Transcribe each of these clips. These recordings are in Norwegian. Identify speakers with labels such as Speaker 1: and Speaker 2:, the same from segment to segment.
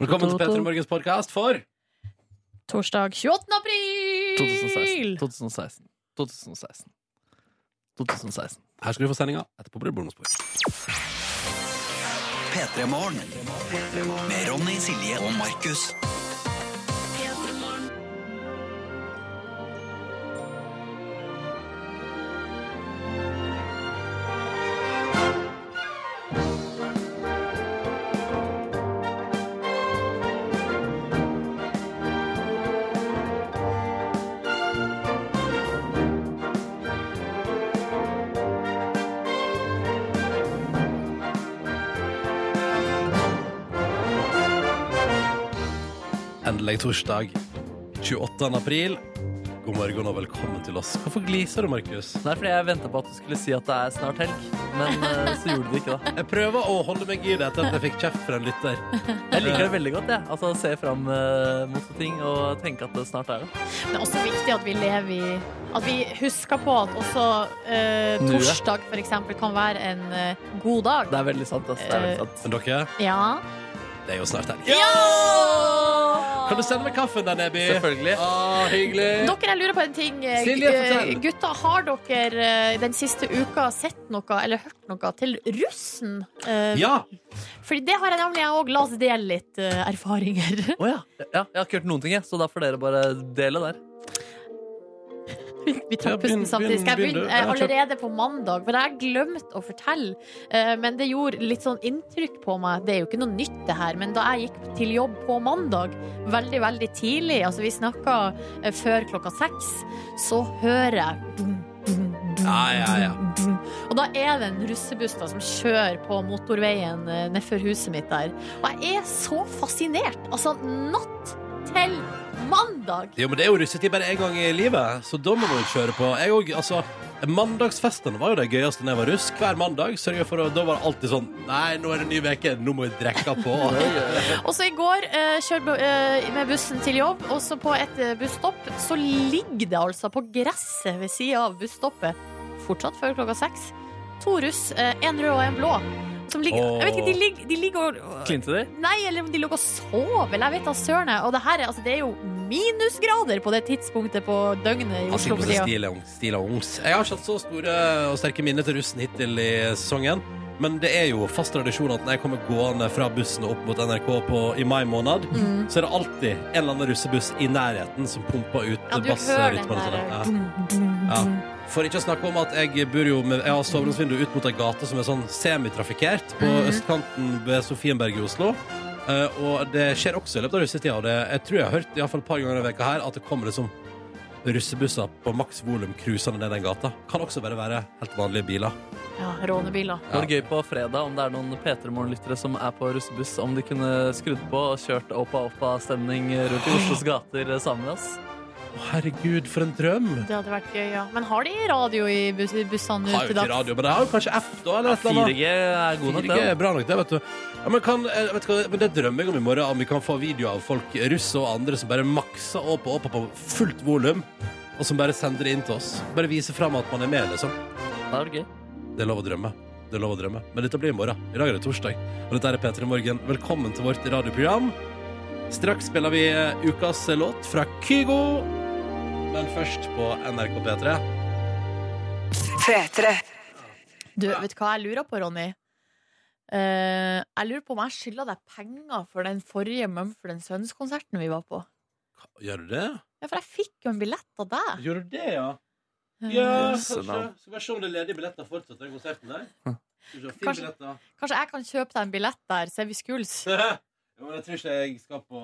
Speaker 1: Velkommen til Petter Morgens podkast for
Speaker 2: Torsdag 28.
Speaker 3: 2016.
Speaker 2: april!
Speaker 3: 2016. 2016. 2016.
Speaker 1: Her skal du få sendinga. Etterpå blir det bonusbord.
Speaker 4: P3 Morgen. Med Ronny, Silje og Markus.
Speaker 1: Endelig torsdag 28. april. God morgen og velkommen til oss. Hvorfor gliser du, Markus?
Speaker 3: Det er fordi jeg venta på at du skulle si at det er snart helg, men eh, så gjorde du det ikke, da.
Speaker 1: Jeg prøver å holde meg i det etter at jeg fikk kjeft fra en lytter.
Speaker 3: Jeg liker det veldig godt, jeg. Altså se fram eh, mot ting og tenke at det snart er det.
Speaker 2: Det er også viktig at vi lever i At vi husker på at også eh,
Speaker 3: Nuet.
Speaker 2: torsdag for eksempel kan være en eh, god dag.
Speaker 3: Det er veldig sant, ass. Det er veldig sant.
Speaker 1: Men dere,
Speaker 2: Ja.
Speaker 1: det er jo snart helg. Kan du sende meg kaffen der, Neby?
Speaker 3: Eh, Selvfølgelig.
Speaker 1: Å, hyggelig.
Speaker 2: Dere, jeg lurer på en ting. Eh,
Speaker 1: Silje,
Speaker 2: eh,
Speaker 1: fortell.
Speaker 2: Gutta, har dere eh, den siste uka sett noe eller hørt noe til russen? Eh,
Speaker 1: Ja.
Speaker 2: Fordi det har jeg nemlig, jeg òg. La oss dele litt eh, erfaringer.
Speaker 3: Å ja. ja. Jeg har ikke hørt noen ting, jeg, så da får dere bare dele der.
Speaker 2: Vi
Speaker 1: Ja,
Speaker 2: tar
Speaker 1: begynn-
Speaker 2: pusten samtidig. Skal jeg
Speaker 1: begynn- begynn
Speaker 2: begynne eh,
Speaker 1: du. Ja, kjør.
Speaker 2: allerede på mandag? For jeg har glemt å fortelle. Eh, Men det gjorde litt sånn inntrykk på meg. Det er jo ikke noe nytt, det her. Men da jeg gikk til jobb på mandag, veldig, veldig tidlig, altså vi snakka eh, før klokka seks, så hører jeg dum, dum, dum,
Speaker 1: Ja, ja, ja.
Speaker 2: dum, dum. Og da er det en russebuss da, som kjører på motorveien eh, nedfor huset mitt der. Og jeg er så fascinert. Altså, natt til mandag!
Speaker 1: Jo, men det er jo russetid bare én gang i livet, så da må man jo kjøre på. Jeg òg, altså. Mandagsfestene var jo det gøyeste da jeg var russ. Hver mandag sørger jeg for å Da var det alltid sånn Nei, nå er det ny uke. Nå må vi drikke på.
Speaker 2: Og så i går eh, kjørte bu- eh, med bussen til jobb, og så på et eh, busstopp så ligger det altså på gresset ved sida av busstoppet, fortsatt før klokka seks, to russ, eh, en rød og en blå. Som ligger,
Speaker 1: Åh.
Speaker 2: jeg vet ikke, de ligger, de ligger og
Speaker 3: Klinte de?
Speaker 2: Nei, eller om de lå og sov, eller jeg vet da søren. jeg. Og det her er, altså, det er jo minusgrader på det tidspunktet på døgnet i
Speaker 1: Ja,
Speaker 2: Oslo.
Speaker 1: sikkert Altså,
Speaker 2: for
Speaker 1: det er
Speaker 2: tida.
Speaker 1: stil og- stil og ungs. Jeg har ikke hatt så store og sterke minner til russen hittil i sesongen. Men det er jo fast tradisjon at når jeg kommer gående fra bussen og opp mot NRK på, i mai måned,
Speaker 2: Mm.
Speaker 1: så er det alltid en eller annen russebuss i nærheten som pumper ut
Speaker 2: Ja, du hører den
Speaker 1: bassrytmen. og
Speaker 2: der
Speaker 1: sånn.
Speaker 2: eh,
Speaker 1: Ja.
Speaker 2: dum, dum,
Speaker 1: Ja.
Speaker 2: dum.
Speaker 1: For ikke å snakke om at jeg bor jo med, Jeg har soveromsvindu ut mot ei gate som er sånn semitrafikkert på
Speaker 2: Mhm.
Speaker 1: østkanten ved Sofienberg i Oslo. Eh, og det skjer også i løpet av russetida. Og det, jeg tror jeg har hørt i hvert fall et par ganger i veka her at det kommer liksom russebusser på maks volum cruisende ned den gata. Kan også bare være helt vanlige biler.
Speaker 2: Ja, rånebiler.
Speaker 3: Det var gøy på fredag om det er noen P3 Morgen-lyttere som er på russebuss, om de kunne skrudd på og kjørt oppa-oppa-stemning rundt i Oslos gater eh, sammen med oss.
Speaker 1: Å, herregud, for en drøm!
Speaker 2: Det hadde vært gøy, ja. Men har de radio i bus bussene
Speaker 1: Har jo
Speaker 2: ute i
Speaker 1: ikke
Speaker 2: dag?
Speaker 1: radio, men det har jo kanskje F, da? Eller et eller annet.
Speaker 3: 4G er god nok,
Speaker 1: 4G
Speaker 3: det.
Speaker 1: er bra nok, det, vet du. Ja, men, kan, eh, vet du hva, men Det drømmer jeg om i morgen, om vi kan få video av folk, russe og andre, som bare makser opp og opp på fullt volum, og som bare sender det inn til oss. Bare viser fram at man er med, liksom.
Speaker 3: Det er gøy.
Speaker 1: Det er lov å drømme. Det er lov å drømme. Men dette blir i morgen. I dag er det torsdag. Og dette er P3 Morgen. Velkommen til vårt radioprogram. Straks spiller vi eh, ukas låt fra Kygo, men først på NRK P3.
Speaker 2: Du, vet du hva jeg lurer på, Ronny? Eh, jeg lurer på om jeg skylder deg penger for den forrige Mumford Sons-konserten vi var på.
Speaker 1: Gjør du det?
Speaker 2: Ja, For jeg fikk jo en billett av deg.
Speaker 1: Gjør du det, ja?
Speaker 2: Eh,
Speaker 1: Ja, kanskje.
Speaker 3: Jøsse navn.
Speaker 1: Skal bare se om det er ledige billetter fortsatt til den konserten der. Skal vi se, Fin
Speaker 2: Kanskje-
Speaker 1: billett, da.
Speaker 2: Kanskje jeg kan kjøpe deg en billett der, så er vi skuls.
Speaker 1: Jo, men jeg tror ikke jeg skal på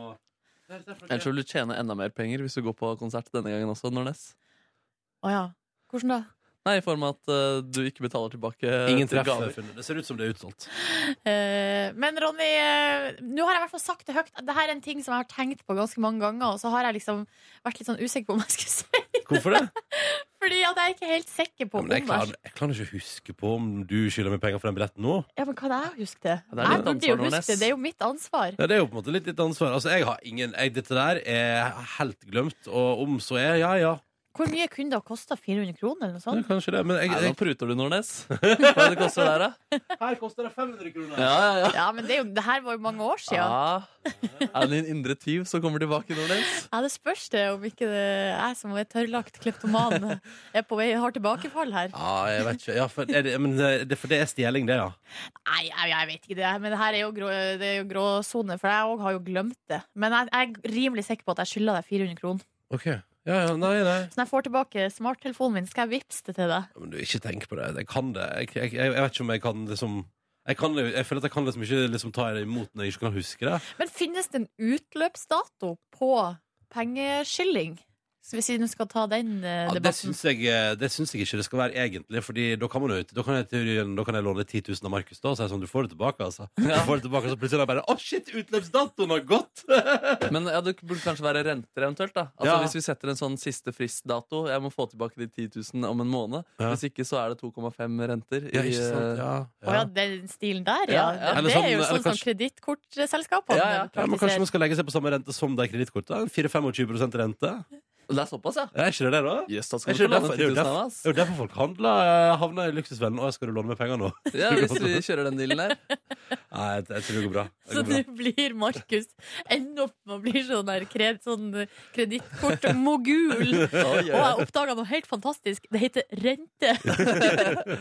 Speaker 1: Der, der,
Speaker 3: Ellers
Speaker 1: for-
Speaker 3: vil du tjene enda mer penger hvis du går på konsert denne gangen også, Nordnes.
Speaker 2: Å ja. Hvordan da?
Speaker 3: Nei, i form av at eh, du ikke betaler tilbake eh,
Speaker 1: Ingen
Speaker 3: til
Speaker 1: treff
Speaker 3: gaver.
Speaker 1: funnet. Det ser ut som det er utsolgt.
Speaker 2: Eh, men Ronny, eh, nå har jeg i hvert fall sagt det høyt. Dette er en ting som jeg har tenkt på ganske mange ganger, og så har jeg liksom vært litt sånn usikker på om jeg skulle si
Speaker 1: Hvorfor det?
Speaker 2: Fordi at jeg er ikke helt sikker på
Speaker 1: Ja,
Speaker 2: om
Speaker 1: men jeg,
Speaker 2: jeg
Speaker 1: klarer, jeg klarer ikke å huske på om du skylder meg penger for den billetten nå.
Speaker 2: Ja, men kan jeg huske det?
Speaker 3: Ja, det er
Speaker 2: jeg
Speaker 3: ditt
Speaker 2: burde
Speaker 3: ansvar,
Speaker 2: jo huske
Speaker 3: Nordnes.
Speaker 2: det. Det er jo mitt ansvar.
Speaker 1: Ja, det er jo på en måte litt ditt ansvar. Altså, jeg har ingen jeg, Dette der er helt glemt, og om så er, ja ja.
Speaker 2: Hvor mye kunne det ha kosta? 400 kroner, eller noe
Speaker 1: Ja,
Speaker 2: sånt?
Speaker 1: kanskje det. Men jeg,
Speaker 3: Nei, nå
Speaker 1: jeg,
Speaker 3: pruter du, Nordnes. Hva er det det koster der, da?
Speaker 1: her koster det 500 kroner.
Speaker 3: Ja, ja, ja.
Speaker 2: Ja, men det, er jo, det her var jo mange år siden. Ja.
Speaker 3: Ah, er det din indre tyv som kommer tilbake, Nordnes?
Speaker 2: det spørs det om ikke det er jeg som er tørrlagt kleptoman, er på vei, har tilbakefall her.
Speaker 1: Ja, jeg vet ikke. Ja, for, er det, men det, det- for det er stjeling, det, ja.
Speaker 2: Nei, jeg, jeg vet ikke det. Men det her er jo grå- det er jo gråsone, for jeg òg har jo glemt det. Men jeg, jeg er rimelig sikker på at jeg skylder deg 400 kroner.
Speaker 1: OK. Ja, ja, nei, nei.
Speaker 2: Så når jeg får tilbake smarttelefonen min, skal jeg vippse det til deg.
Speaker 1: Men du, ikke tenk på det. Jeg kan det. Jeg, jeg, jeg, jeg vet ikke om jeg kan liksom jeg, kan, det- jeg føler at jeg kan liksom ikke liksom ta det imot når jeg ikke kan huske det.
Speaker 2: Men finnes det en utløpsdato på pengeskylling? Så hvis vi nå skal ta den eh,
Speaker 1: Ja, det
Speaker 2: debatten.
Speaker 1: syns jeg, eh, det syns jeg ikke det skal være egentlig, Fordi da kan man jo ut Da kan jeg, i teorien- da kan jeg låne 10 000 av Markus da og si sånn Du får det tilbake, altså. Du får det tilbake, og så plutselig er det bare Å, shit, utløpsdatoen har gått!
Speaker 3: Men ja, det burde kanskje være renter eventuelt. da Altså
Speaker 1: Ja.
Speaker 3: Hvis vi setter en sånn siste fristdato Jeg må få tilbake de 10 000 om en måned.
Speaker 1: Ja.
Speaker 3: Hvis ikke så er det 2,5 renter. i,
Speaker 1: Ja, ikke sant?
Speaker 3: eh,
Speaker 1: Ja,
Speaker 2: Å ja, den stilen der,
Speaker 3: Ja,
Speaker 2: ja.
Speaker 3: ja.
Speaker 1: Eller
Speaker 2: Det
Speaker 1: sånn-
Speaker 2: er jo
Speaker 1: eller
Speaker 2: sånn som
Speaker 1: kanskje-
Speaker 2: kredittkortselskapene
Speaker 3: Ja, ja.
Speaker 1: Ja, men Kanskje
Speaker 2: praktiserer.
Speaker 1: man skal legge seg på samme rente som de kredittkortene? 4-25 rente?
Speaker 3: Det er såpass, ja?
Speaker 1: Er ikke det det, da?
Speaker 3: Jøss, da
Speaker 1: Er
Speaker 3: skal
Speaker 1: ikke
Speaker 3: du få
Speaker 1: det
Speaker 3: låne
Speaker 1: derfor-
Speaker 3: 10
Speaker 1: det er jo
Speaker 3: 000 av oss.
Speaker 1: Det er jo derfor folk handler, eh, havner i luksusfellen. Å, jeg skal du låne meg penger nå?
Speaker 3: Ja, hvis vi kjører den dealen der.
Speaker 1: Nei, jeg, jeg tror det går bra. Det
Speaker 2: Så
Speaker 1: går
Speaker 2: nå
Speaker 1: bra.
Speaker 2: blir Markus ender opp med å bli sånn, der kred, sånn eh, kredittkortmogul.
Speaker 3: Oi,
Speaker 2: Og jeg
Speaker 3: oi,
Speaker 2: oppdaga noe helt fantastisk. Det heter rente.
Speaker 3: oi.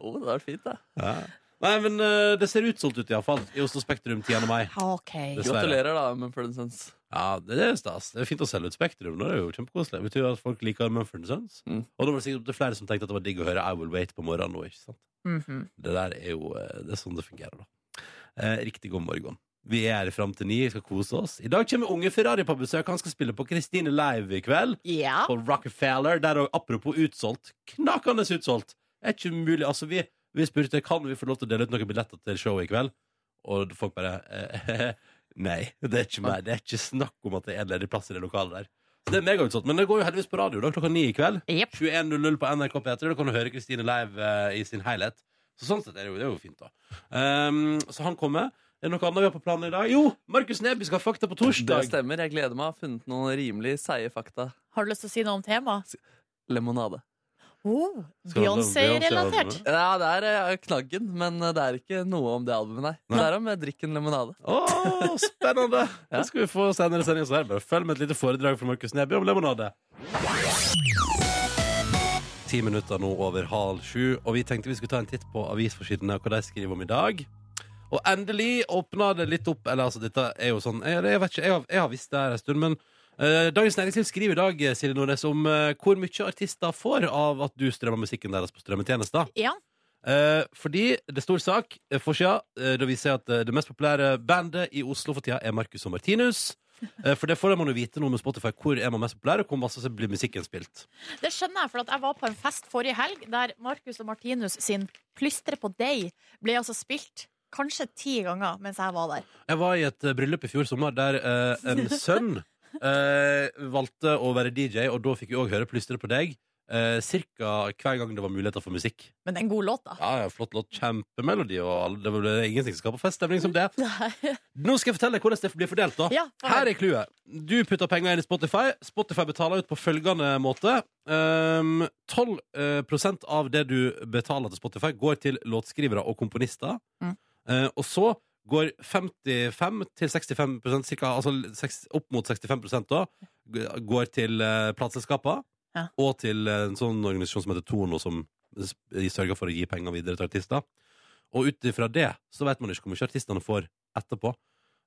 Speaker 3: Å, Oh, det hadde vært fint, da.
Speaker 1: Ja. Nei, men eh, det ser utsolgt ut, iallfall. I Oslo Spektrum 10. mai.
Speaker 2: OK.
Speaker 1: Dessverre.
Speaker 3: Gratulerer, da, Mumford Sons.
Speaker 1: Ja, det er stas. Det er fint å selge ut Spektrum. nå. Det er jo kjempekoselig. Det betyr at folk liker Mumford Sons.
Speaker 3: Mm.
Speaker 1: Og da var det sikkert opp til flere som tenkte at det var digg å høre I Will Wait på morgenen nå, ikke sant?
Speaker 2: Mhm.
Speaker 1: Det der er jo eh, Det er sånn det fungerer, da. Eh, riktig god morgen. Vi er her fram til ni, skal kose oss. I dag kommer unge Ferrari på besøk. Han skal spille på Kristine Live i kveld.
Speaker 2: Ja.
Speaker 1: på Rockefeller. Der òg, apropos utsolgt. Knakende utsolgt! Det er ikke mulig. Altså, vi, vi spurte kan vi få lov til å dele ut noen billetter til showet i kveld, og folk bare eh, Nei. Det er ikke meg. Det er ikke snakk om at det er en ledig plass i det lokalet der. Så det er megautsolgt. Men det går jo heldigvis på radio da, klokka ni i kveld.
Speaker 2: Jep.
Speaker 1: 21.00 på NRK P3. Da kan du høre Kristine live eh, i sin helhet. Så sånn sett er det jo, det er jo fint, da. Ehm, så han kommer. Er det noe annet vi har på planen i dag? Jo! Markus Neby skal ha fakta på
Speaker 3: Det
Speaker 1: torsdag.
Speaker 3: stemmer. Jeg gleder meg. Har funnet noen rimelig seige fakta.
Speaker 2: Har du lyst til å si noe om temaet?
Speaker 3: Lemonade.
Speaker 2: Oh,
Speaker 1: Skal det handle om
Speaker 2: Beyoncé-relatert.
Speaker 1: Beyoncé-albumet?
Speaker 3: Ja, det er eh, knaggen, men eh, det er ikke noe om det albumet, nei.
Speaker 1: Nei.
Speaker 3: Det er om eh, drikken lemonade.
Speaker 1: Å, spennende!
Speaker 3: Ja.
Speaker 1: Det skal vi få senere i sendingen. Så her bare følg med et lite foredrag fra Markus Neby om lemonade. Ti minutter nå over halv sju, og vi tenkte vi skulle ta en titt på avisforsidene og hva de skriver om i dag. Og endelig åpna det litt opp. Eller altså, dette er jo sånn Jeg, jeg vet ikke, jeg har, jeg har visst det her en stund, men eh, Dagens Næringsliv skriver i dag Silje Nordnes, om eh, hvor mye artister får av at du strømmer musikken deres på strømmetjenester.
Speaker 2: Ja.
Speaker 1: Eh, fordi det er stor sak eh, for sida. eh, da viser jeg at eh, det mest populære bandet i Oslo for tida er Marcus og Martinus. Eh, for det får man jo vite noe med Spotify. Hvor er man mest populær, og hvor masse så blir musikken spilt.
Speaker 2: Det skjønner jeg, for at jeg var på en fest forrige helg der Markus og Martinus sin 'Plystre på deg' ble altså spilt kanskje ti ganger mens jeg var der.
Speaker 1: Jeg var i et eh, bryllup i fjor sommer der eh, en sønn eh, valgte å være DJ, og da fikk vi òg høre plystre på deg. eh, cirka hver gang det var muligheter for musikk.
Speaker 2: Men det er en god låt, da.
Speaker 1: Ja, ja, Flott låt. Kjempemelodi. Og alle- det var ingenting som skaper feststemning som det.
Speaker 2: Nei.
Speaker 1: Nå skal jeg fortelle deg hvordan det blir fordelt. da
Speaker 2: Ja, for-
Speaker 1: Her er clouet. Du putter penger inn i Spotify. Spotify betaler ut på følgende måte. Um, 12 eh, prosent av det du betaler til Spotify, går til låtskrivere og komponister.
Speaker 2: Mm.
Speaker 1: Eh, og så går 55 til 65 cirka, altså seks- opp mot 65 da, g- går til uh, plateselskaper.
Speaker 2: Ja.
Speaker 1: Og til eh, en sånn organisasjon som heter Tono, som s- sørger for å gi penger videre til artister. Og ut ifra det så vet man ikke hvor mye artistene får etterpå.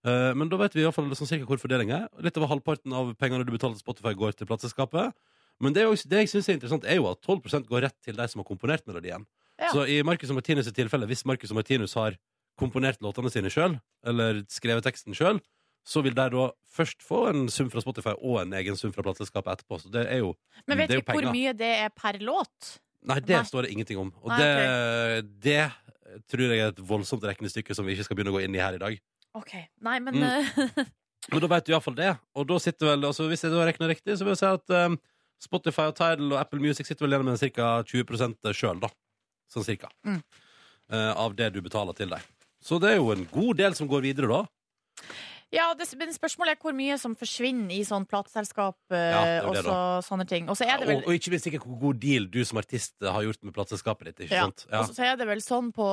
Speaker 1: Eh, Men da vet vi i hvert fall sånn cirka hvor fordelingen er. Litt over halvparten av pengene du betaler til Spotify, går til plateselskapet. Men det, er jo, det jeg syns er interessant, er jo at 12 går rett til de som har komponert melodien.
Speaker 2: Ja.
Speaker 1: Så i Marcus og Martinus' sitt tilfelle, hvis Marcus og Martinus har komponert låtene sine sjøl, eller skrevet teksten sjøl, så vil de da først få en sum fra Spotify og en egen sum fra plateselskapet etterpå. Så det er jo
Speaker 2: Men vet
Speaker 1: det er
Speaker 2: vi
Speaker 1: jo
Speaker 2: hvor
Speaker 1: penger.
Speaker 2: mye det er per låt?
Speaker 1: Nei, det
Speaker 2: Nei.
Speaker 1: står det ingenting om. Og
Speaker 2: Nei,
Speaker 1: det, det tror jeg er et voldsomt regnestykke som vi ikke skal begynne å gå inn i her i dag.
Speaker 2: Ok, nei, men
Speaker 1: Mm.
Speaker 2: eh,
Speaker 1: Men da vet du iallfall det. Og da sitter vel, altså hvis jeg da regner riktig, så vil jeg si at eh, Spotify og Tidal og Apple Music sitter vel igjen med ca. 20 sjøl, da. Sånn cirka.
Speaker 2: Mm.
Speaker 1: Eh, av det du betaler til dem. Så det er jo en god del som går videre, da.
Speaker 2: Ja, det, men spørsmålet er hvor mye som forsvinner i sånn plateselskap eh,
Speaker 1: Ja, det er jo
Speaker 2: og
Speaker 1: det,
Speaker 2: så, sånne ting. Og så er det vel
Speaker 1: Og, og ikke minst ikke hvor god deal du som artist eh, har gjort med plateselskapet ditt. Ikke
Speaker 2: Ja.
Speaker 1: sant? Ja.
Speaker 2: Og så- så er det vel sånn på,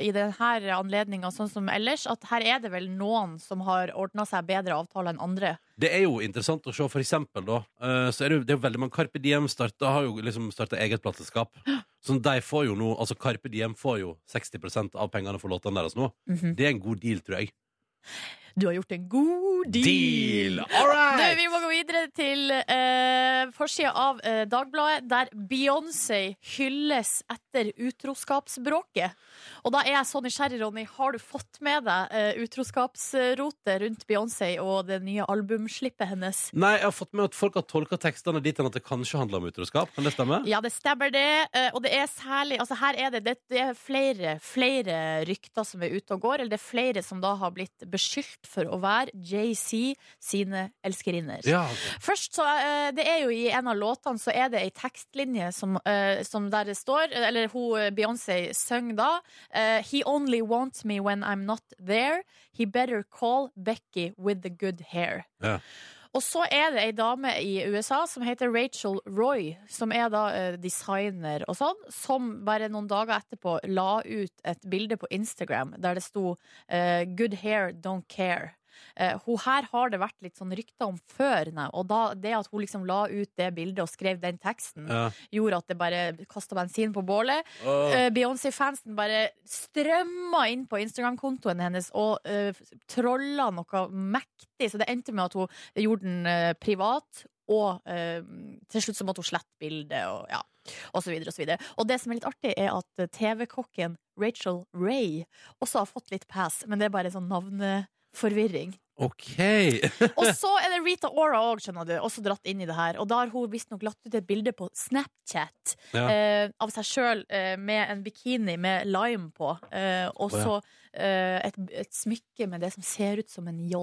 Speaker 2: i denne anledninga, sånn som ellers, at her er det vel noen som har ordna seg bedre avtaler enn andre.
Speaker 1: Det er jo interessant å se, for eksempel, da. eh, Så er det, jo, det er jo veldig mange Carpe Diem starta, har jo liksom starta eget plateselskap. Så de får jo nå Altså, Carpe Diem får jo 60 av pengene for låtene deres nå.
Speaker 2: Mhm.
Speaker 1: Det er en god deal, tror jeg.
Speaker 2: Du har gjort en god deal!
Speaker 1: All
Speaker 2: Du,
Speaker 1: right!
Speaker 2: vi må gå videre til eh, forsida av eh, Dagbladet, der Beyoncé hylles etter utroskapsbråket. Og da er jeg så nysgjerrig, Ronny. Har du fått med deg eh, utroskapsrotet rundt Beyoncé og det nye albumslippet hennes?
Speaker 1: Nei, jeg har fått med at folk har tolka tekstene dit hen at det kanskje handler om utroskap. Kan det stemme?
Speaker 2: Ja, det stemmer det. Eh, Og det er særlig Altså, her er det, det, det er flere, flere rykter som er ute og går. Eller det er flere som da har blitt beskyldt for å være JC sine elskerinner.
Speaker 1: Ja, ok.
Speaker 2: Først så, eh, det er jo I en av låtene så er det ei tekstlinje som, eh, som der det står Eller hun eh, Beyoncé synger da eh, He only wants me when I'm not there. He better call Becky with the good hair.
Speaker 1: Ja.
Speaker 2: Og så er det ei dame i USA som heter Rachel Roy, som er da eh, designer og sånn, som bare noen dager etterpå la ut et bilde på Instagram der det sto eh, 'Good hair, don't care'. Eh, hun her har det vært litt sånn rykter om før, nei. og da, det at hun liksom la ut det bildet og skrev den teksten,
Speaker 1: Ja.
Speaker 2: gjorde at det bare kasta bensin på bålet. Eh, Beyoncé-fansen bare strømma inn på Instagram-kontoen hennes og uh, trolla noe mektig, så det endte med at hun gjorde den eh, privat. Og eh, til slutt så måtte hun slette bildet, og, ja, og så videre og så videre. Og det som er litt artig, er at eh, TV-kokken Rachel Ray også har fått litt pass, men det er bare sånn navneforvirring.
Speaker 1: OK.
Speaker 2: Og så er det Rita Ora òg, skjønner du, også dratt inn i det her. Og da har hun visstnok lagt ut et bilde på Snapchat
Speaker 1: Ja.
Speaker 2: eh, av seg sjøl eh, med en bikini med lime på, eh, og
Speaker 1: Å, ja.
Speaker 2: så eh, et, et smykke med det som ser ut som en J.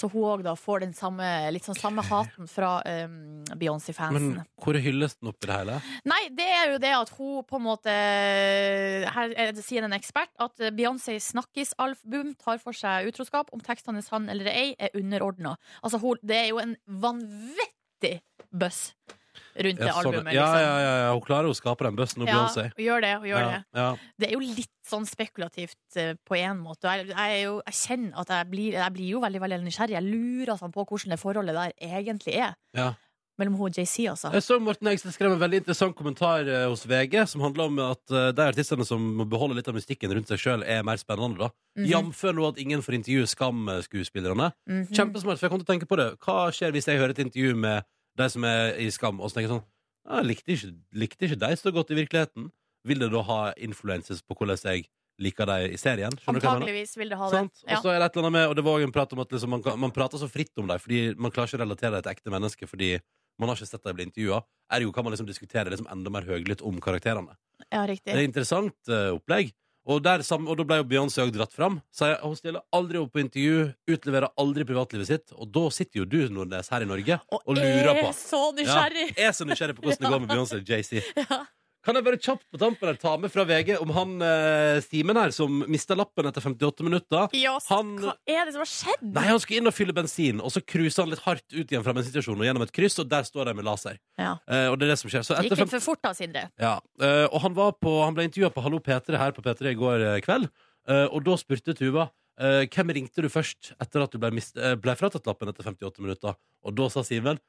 Speaker 2: Så hun òg da får den samme, litt sånn samme haten fra eh, Beyoncé-fansen.
Speaker 1: Men hvor er hyllesten oppi det hele?
Speaker 2: Nei, det er jo det at hun på en måte Her er det, sier en ekspert at Beyoncé snakkisalbum tar for seg utroskap. Om tekstene er sann eller ei, er underordna. Altså, hun- det er jo en vanvittig buzz rundt det
Speaker 1: Ja, sånn-
Speaker 2: albumet.
Speaker 1: ja, ja,
Speaker 2: liksom.
Speaker 1: ja, ja, hun klarer å skape den bøssen, hun
Speaker 2: Ja,
Speaker 1: Beyoncé.
Speaker 2: hun gjør det. Hun gjør
Speaker 1: Ja,
Speaker 2: det.
Speaker 1: ja.
Speaker 2: Det er jo litt sånn spekulativt eh, på én måte. Jeg, jeg, er jo, jeg kjenner at jeg blir, jeg blir jo veldig veldig nysgjerrig. Jeg lurer sånn på hvordan det forholdet der egentlig er.
Speaker 1: Ja.
Speaker 2: Mellom hun og JC, altså.
Speaker 1: Jeg så Morten Hegstad skrev en veldig interessant kommentar eh, hos VG, som handla om at eh, de artistene som må beholde litt av mystikken rundt seg sjøl, er mer spennende, da.
Speaker 2: Mhm,
Speaker 1: Jamfør nå at ingen får intervjue Skam-skuespillerne.
Speaker 2: mhm.
Speaker 1: Kjempesmart, for jeg kom til å tenke på det. Hva skjer hvis jeg hører et intervju med de som er i Skam, og så tenker jeg sånn «Ja, jeg likte ikke, likte ikke de så godt i virkeligheten? Vil det da ha influences på hvordan jeg liker de i serien? Skjønner du hva jeg mener?
Speaker 2: Antakeligvis vil det ha det.
Speaker 1: Sant? Og så er det et eller annet med Og det var også en prat om at liksom, man, kan- man prater så fritt om dem, fordi man klarer ikke å relatere det til ekte mennesker, fordi man har ikke sett dem bli intervjua. Ergo kan man liksom diskutere liksom enda mer høylytt om karakterene.
Speaker 2: Ja,
Speaker 1: Det er
Speaker 2: riktig.
Speaker 1: et interessant eh, opplegg. Og, der, sam- og da ble jo Beyoncé òg dratt fram. Sier hun stiller aldri opp på intervju, utleverer aldri privatlivet sitt. Og da sitter jo du, Nordnes, her i Norge og, lurer på.
Speaker 2: Er så
Speaker 1: Ja,
Speaker 2: nysgjerrig!
Speaker 1: er så nysgjerrig på hvordan det går med Beyoncé og JC.
Speaker 2: Ja.
Speaker 1: Kan jeg bare kjapt på tampen her ta med fra VG om han eh, Simen her som mista lappen etter 58 minutter?
Speaker 2: Ja, så
Speaker 1: Han-
Speaker 2: hva er det som har skjedd?
Speaker 1: Nei, han skulle inn og fylle bensin, og så cruiser han litt hardt ut igjen fra bensinstasjonen og gjennom et kryss, og der står de med laser.
Speaker 2: Ja.
Speaker 1: Eh, og det er det som skjer. Så
Speaker 2: Det
Speaker 1: etter
Speaker 2: Gikk litt
Speaker 1: fem...
Speaker 2: for fort da, Sindre.
Speaker 1: ja. eh, og han, var på, han ble intervjua på Hallo P3 her på P3 i går eh, kveld, eh, og da spurte Tuva eh, hvem ringte du først etter at du ble, mist, eh, ble fratatt lappen etter 58 minutter, og da sa Simen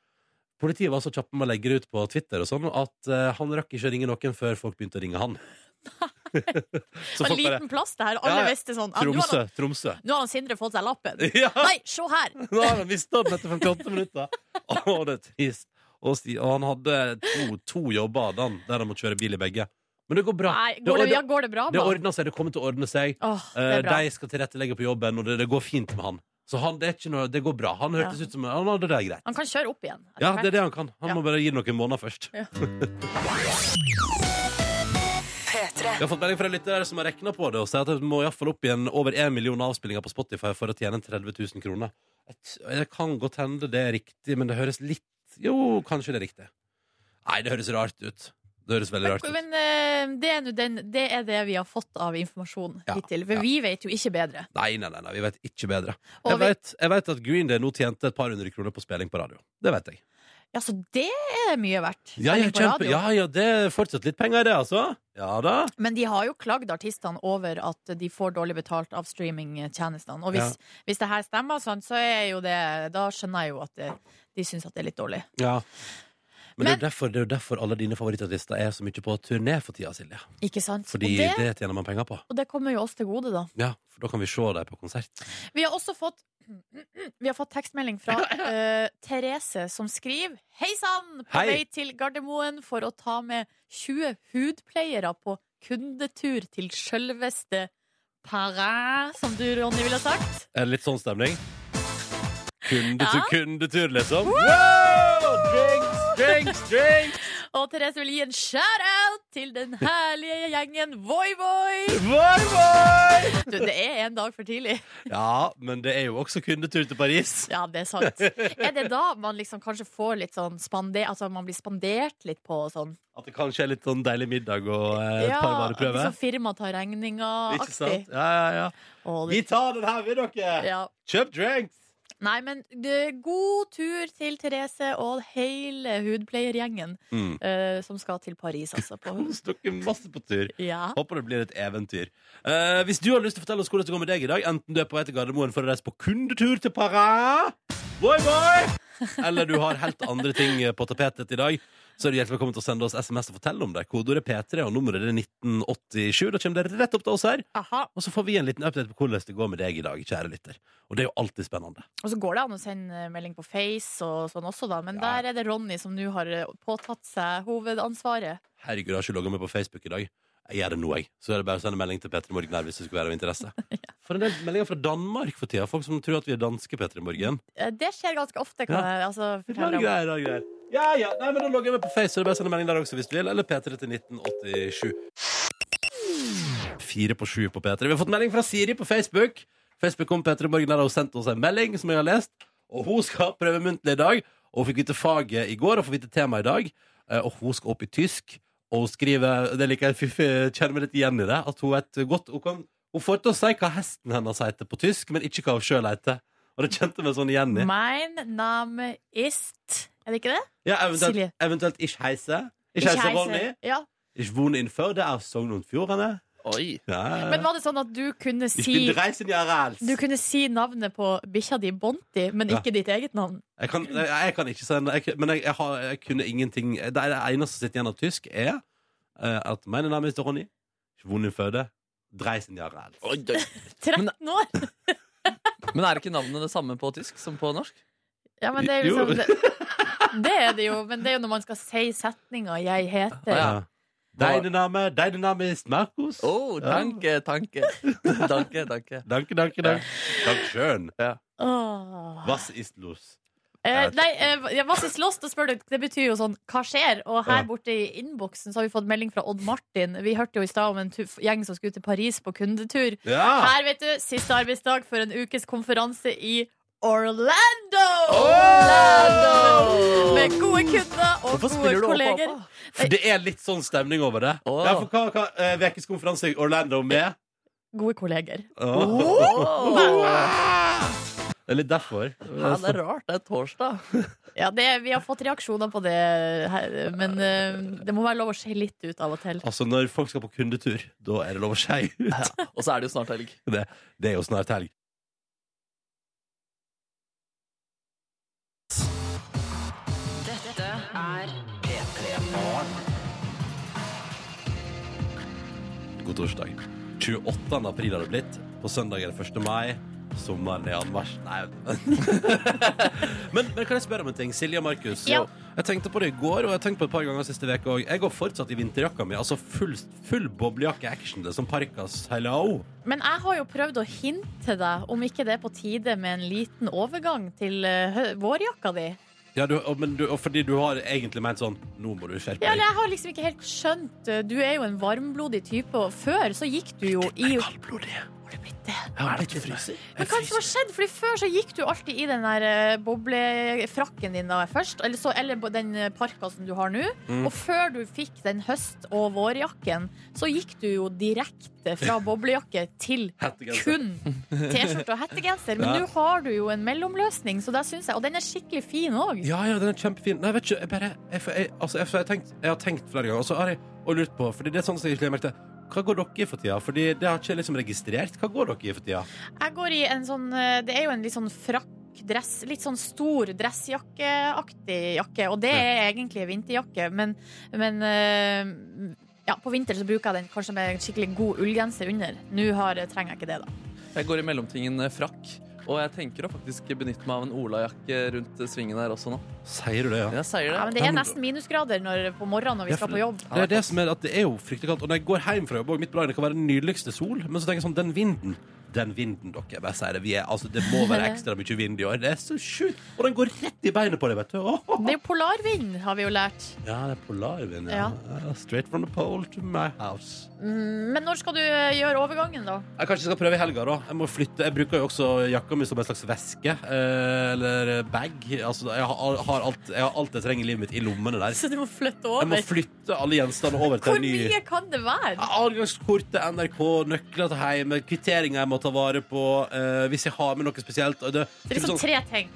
Speaker 1: Politiet var så kjappe med å legge det ut på Twitter og sånn at eh, han rakk ikke å ringe noen før folk begynte å ringe han. så
Speaker 2: Det var
Speaker 1: folk
Speaker 2: en
Speaker 1: bare
Speaker 2: liten plass det her. Alle
Speaker 1: Ja, ja.
Speaker 2: visste sånn ja, nå, har
Speaker 1: Tromsø,
Speaker 2: han,
Speaker 1: Tromsø.
Speaker 2: nå har han Sindre fått seg lappen.
Speaker 1: Ja.
Speaker 2: Nei, se her!
Speaker 1: Nå har han mista den etter 58 minutter. Å, det er trist. Og, Sti- og han hadde to, to jobber hadde han, der han måtte kjøre bil i begge. Men det går bra.
Speaker 2: Nei, går det,
Speaker 1: det,
Speaker 2: ja, går det bra
Speaker 1: det
Speaker 2: med han?
Speaker 1: ordner seg. Det kommer til å ordne seg.
Speaker 2: Åh, det
Speaker 1: Eh,
Speaker 2: er bra.
Speaker 1: de skal tilrettelegge på jobben, og det, det går fint med han. Så han, det, er ikke noe, det går bra. Han hørtes
Speaker 2: Ja.
Speaker 1: ut som han hadde det greit.
Speaker 2: Han kan kjøre opp igjen.
Speaker 1: Ja, det er det han kan. Han
Speaker 2: Ja.
Speaker 1: må bare gi det noen måneder først.
Speaker 2: Ja.
Speaker 1: Jeg har fått melding fra en lytter som har regna på det og sier at jeg må iallfall opp igjen over 1 million avspillinger på Spotify for å tjene 30 000 kroner. Jeg t- Det kan godt hende det er riktig, men det høres litt Jo, kanskje det er riktig. Nei, det høres rart ut. Det høres veldig rart ut.
Speaker 2: Men eh, det er, nå den, det er det vi har fått av informasjon
Speaker 1: Ja,
Speaker 2: hittil. For
Speaker 1: ja.
Speaker 2: vi vet jo ikke bedre.
Speaker 1: Nei, nei, nei, nei, vi vet ikke bedre.
Speaker 2: Og
Speaker 1: Jeg
Speaker 2: vi,
Speaker 1: vet, jeg vet at Green Day nå tjente et par hundre kroner på spilling på radio. Det vet jeg.
Speaker 2: ja, så det er mye verdt.
Speaker 1: Ja, ja,
Speaker 2: Særlig på
Speaker 1: kjempe,
Speaker 2: radio.
Speaker 1: ja, ja, det er fortsatt litt penger i det, altså. Ja da.
Speaker 2: Men de har jo klagd artistene over at de får dårlig betalt av streamingtjenestene. Og hvis, hvis det her stemmer, sånn, så er jo det Da skjønner jeg jo at det, de syns at det er litt dårlig.
Speaker 1: Ja. Men, det er
Speaker 2: Men-
Speaker 1: jo derfor, det er jo derfor alle dine favorittartister er så mye på turné for tida, Silje.
Speaker 2: Ikke sant?
Speaker 1: Fordi
Speaker 2: Og,
Speaker 1: det...
Speaker 2: det,
Speaker 1: tjener man penger på.
Speaker 2: og det kommer jo oss til gode, da.
Speaker 1: Ja, for da kan vi se deg på konsert.
Speaker 2: Vi har også fått Vi har fått tekstmelding fra eh, Therese, som skriver Hei sann! På
Speaker 1: Hei.
Speaker 2: vei til Gardermoen for å ta med 20 hudpleiere på kundetur til sjølveste Paris, som du, Ronny, ville sagt.
Speaker 1: Er det litt sånn stemning? Kundetur,
Speaker 2: Ja.
Speaker 1: kundetur, liksom. Wow! Drinks, drinks, drinks!
Speaker 2: Og Therese vil gi en shout-out til den herlige gjengen Voi Voi!
Speaker 1: Bye, bye!
Speaker 2: Du, det er en dag for tidlig.
Speaker 1: Ja, men det er jo også kundetur til Paris.
Speaker 2: Ja, det er sant. Er det da man liksom kanskje får litt sånn spander... Altså man blir spandert litt på og sånn?
Speaker 1: At det kanskje er litt sånn deilig middag og eh, et par vareprøver.
Speaker 2: liksom firmaet tar
Speaker 1: Ikke sant?
Speaker 2: regninga-aktig.
Speaker 1: Ja, ja, ja.
Speaker 2: Å,
Speaker 1: Vi
Speaker 2: det-
Speaker 1: tar den her, vi, dere!
Speaker 2: Ja.
Speaker 1: Kjøp drinks!
Speaker 2: Nei, men det, god tur til Therese og hele hudpleiergjengen
Speaker 1: Mm.
Speaker 2: eh, som skal til Paris, altså. På,
Speaker 1: Kos dere masse på tur.
Speaker 2: ja.
Speaker 1: Håper det blir et eventyr. Eh, hvis du har lyst til å fortelle oss hvordan det går med deg i dag, enten du er på vei til Gardermoen for å reise på kundetur til Paris, boy, boy, eller du har helt andre ting på tapetet i dag, så er du hjertelig velkommen til å sende oss SMS og fortelle om det. Kodeordet P3 og nummeret er 1987. Da kommer det rett opp til oss her,
Speaker 2: Aha.
Speaker 1: og så får vi en liten update på hvordan det går med deg i dag, kjære lytter. Og det er jo alltid spennende.
Speaker 2: Og så går det an å sende eh, melding på Face og sånn også, da. Men
Speaker 1: Ja.
Speaker 2: der er det Ronny som nå har eh, påtatt seg hovedansvaret.
Speaker 1: Herregud, jeg har ikke logget meg på Facebook i dag. Jeg gjør det nå, jeg. Så er det bare å sende melding til Petter i Morgen her hvis det skulle være av interesse. For en del meldinger fra Danmark for tida. Folk som tror at vi er danske, Petter i Morgen.
Speaker 2: Eh, Det skjer ganske ofte, kan
Speaker 1: Ja.
Speaker 2: jeg altså,
Speaker 1: Rar
Speaker 2: fortelle om.
Speaker 1: greier, rar greier. Ja, ja. Nei, men da logger jeg meg på Face, så det er bare å sende melding der også hvis du vil. Eller P3 til 1987. Fire på sju på P3. Vi har fått melding fra Siri på Facebook. Facebook kom P3 Morgen der og sendte oss en melding som jeg har lest. Og hun skal prøve muntlig i dag. Og hun fikk vite faget i går og får vite temaet i dag. Eh, Og hun skal opp i tysk. Og hun skriver Det liker jeg fiffig, kjenner meg litt igjen i det. At hun vet godt Hun, kan, hun får til å si hva hesten hennes heter på tysk, men ikke hva hun sjøl heter. Og det kjente meg sånn igjen i.
Speaker 2: Mein Name ist Er det ikke det?
Speaker 1: Ja, eventuelt,
Speaker 2: Silje.
Speaker 1: eventuelt ikke heise. Ikke heise, Ronny.
Speaker 2: Ja.
Speaker 1: Ikke vone innenfor. Det er Sogn og Fjordane.
Speaker 3: Oi.
Speaker 1: Ja, ja, ja.
Speaker 2: Men var det sånn at du kunne
Speaker 1: Ich bin
Speaker 2: si
Speaker 1: 13 Jahre alt.
Speaker 2: du kunne si navnet på bikkja di Bonti, men
Speaker 1: Ja.
Speaker 2: ikke ditt eget navn?
Speaker 1: Jeg kan, jeg, jeg kan ikke si jeg, Men jeg, jeg, har, jeg kunne ingenting Det, er det eneste som sitter igjen av tysk, er eh, at Meine Name is Ronny. Ikke vone innenfor. 13 Jahre alt.
Speaker 3: Oi, oi.
Speaker 2: 13 år!
Speaker 3: Men er ikke navnet det samme på tysk som på norsk?
Speaker 2: Ja, men det er jo
Speaker 1: Jo.
Speaker 2: liksom det, det er det jo, men det er jo når man skal si setninga 'jeg heter'.
Speaker 3: Ja.
Speaker 1: Ja. Deine Name, deine Name is Markus.
Speaker 3: Oh, danke, tanke. Danke, danke.
Speaker 1: Danke, danke, danke. Dank schön.
Speaker 2: Åh.
Speaker 1: Was ist los?
Speaker 2: Eh, nei, eh, ja, Vassis Lost, da spør du, det betyr jo sånn 'hva skjer?' Og her
Speaker 1: Ja.
Speaker 2: borte i innboksen så har vi fått melding fra Odd Martin. Vi hørte jo i stad om en tu gjeng som skulle til Paris på kundetur.
Speaker 1: Ja!
Speaker 2: Her, vet du, siste arbeidsdag for en ukes konferanse i Orlando! Orlando! Med gode kunder og
Speaker 3: Hvorfor
Speaker 2: gode
Speaker 3: spiller du opp
Speaker 2: kolleger.
Speaker 3: Apa?
Speaker 1: For det er litt sånn stemning over det.
Speaker 3: Åh.
Speaker 1: Ja, for hva, hva eh, vekes konferanse i Orlando med?
Speaker 2: Gode kolleger.
Speaker 1: Åh. Det er litt derfor.
Speaker 3: Ja, det er rart. Det er torsdag.
Speaker 2: Ja, det, vi har fått reaksjoner på det her, men eh, det må være lov å se litt ut av og til.
Speaker 1: Altså, når folk skal på kundetur, da er det lov å skei ut.
Speaker 3: Og så er det jo snart helg.
Speaker 1: Det, det er jo snart helg.
Speaker 5: Dette er
Speaker 1: God torsdag. 28. april har det blitt. På søndag er det 1. mai. Sommeren er anmarsj. Nei men, men kan jeg spørre om en ting? Silje og Markus.
Speaker 2: Ja.
Speaker 1: Jeg tenkte på det i går, og jeg har tenkt på det et par ganger siste uke òg. Jeg går fortsatt i vinterjakka mi. Altså full, full boblejakke-action. Det er som Parkas hello.
Speaker 2: Men jeg har jo prøvd å hinte deg om ikke det er på tide med en liten overgang til eh, hø- vårjakka di.
Speaker 1: Ja, du, og, men du, og fordi du har egentlig ment sånn Nå må du skjerpe
Speaker 2: Ja,
Speaker 1: deg.
Speaker 2: eller jeg har liksom ikke helt skjønt eh, Du er jo en varmblodig type, og før så gikk du jo i
Speaker 1: Kaldblodig.
Speaker 2: Har du blitt det?
Speaker 1: er det ikke fryser?
Speaker 2: Men hva er det som har skjedd? Fordi Før så gikk du alltid i den der eh, boblefrakken din da først, eller, så, eller på den eh, parka som du har nå.
Speaker 1: Mm.
Speaker 2: Og før du fikk den høst- og vårjakken, så gikk du jo direkte fra boblejakke til
Speaker 1: Hettegenser.
Speaker 2: kun T-skjorte og hettegenser. Men
Speaker 1: Ja.
Speaker 2: nå har du jo en mellomløsning, så det synes jeg, og den er skikkelig fin òg.
Speaker 1: Ja, ja, den er kjempefin. Nei, vet ikke, jeg bare Jeg, for jeg, altså, jeg, for jeg, har tenkt, jeg har tenkt flere ganger, og så har jeg og lurt på Fordi det er sånn som jeg egentlig merkte Hva går dere i for tida? Fordi det har ikke jeg liksom registrert. Hva går dere i for tida?
Speaker 2: Jeg går i en sånn eh, Det er jo en litt sånn frakk. Dress, litt sånn stor dressjakkeaktig jakke, og det er egentlig vinterjakke, men, men eh, ja, på vinter så bruker jeg den kanskje med en skikkelig god ullgenser under. Nå har, eh, trenger jeg ikke det, da.
Speaker 3: Jeg går i mellomtingen eh, frakk. Og jeg tenker å faktisk benytte meg av en olajakke rundt eh, svingen her også nå.
Speaker 1: Sier du det, ja?
Speaker 3: Jeg sier
Speaker 2: Ja, men
Speaker 3: det.
Speaker 2: det er nesten minusgrader når, på morgenen når
Speaker 1: Ja,
Speaker 2: vi skal
Speaker 1: for-
Speaker 2: på jobb.
Speaker 1: Det er det som er at det er jo fryktelig kaldt. Og når jeg går hjem fra jobb, og mitt på dagen, det kan være den nydeligste sol, men så tenker jeg sånn Den vinden den vinden, dere. Jeg bare sier det. Vi er, altså, det må være ekstra mye vind i år. Det er så sjukt. Og den går rett i beinet på deg, vet du. Åh.
Speaker 2: Det er jo polarvind, har vi jo lært.
Speaker 1: Ja, det er polarvind. Ja. Ja, Straight from the pole to my house.
Speaker 2: Mm, Men når skal du eh, gjøre overgangen, da?
Speaker 1: Jeg kanskje skal prøve i helga, da. Jeg må flytte. Jeg bruker jo også jakka mi som en slags veske. eh, Eller bag. Altså, jeg har, har alt, jeg har alt jeg trenger i livet mitt i lommene der.
Speaker 2: Så du må flytte
Speaker 1: Jeg må
Speaker 2: over?
Speaker 1: flytte alle gjenstandene over til
Speaker 2: Hvor
Speaker 1: en ny
Speaker 2: mye kan det være?
Speaker 1: Adgangskortet, NRK, nøkler til hjemme, kvitteringer jeg må ta vare på eh, hvis jeg har med noe spesielt. Og det,
Speaker 2: Det er liksom tre ting.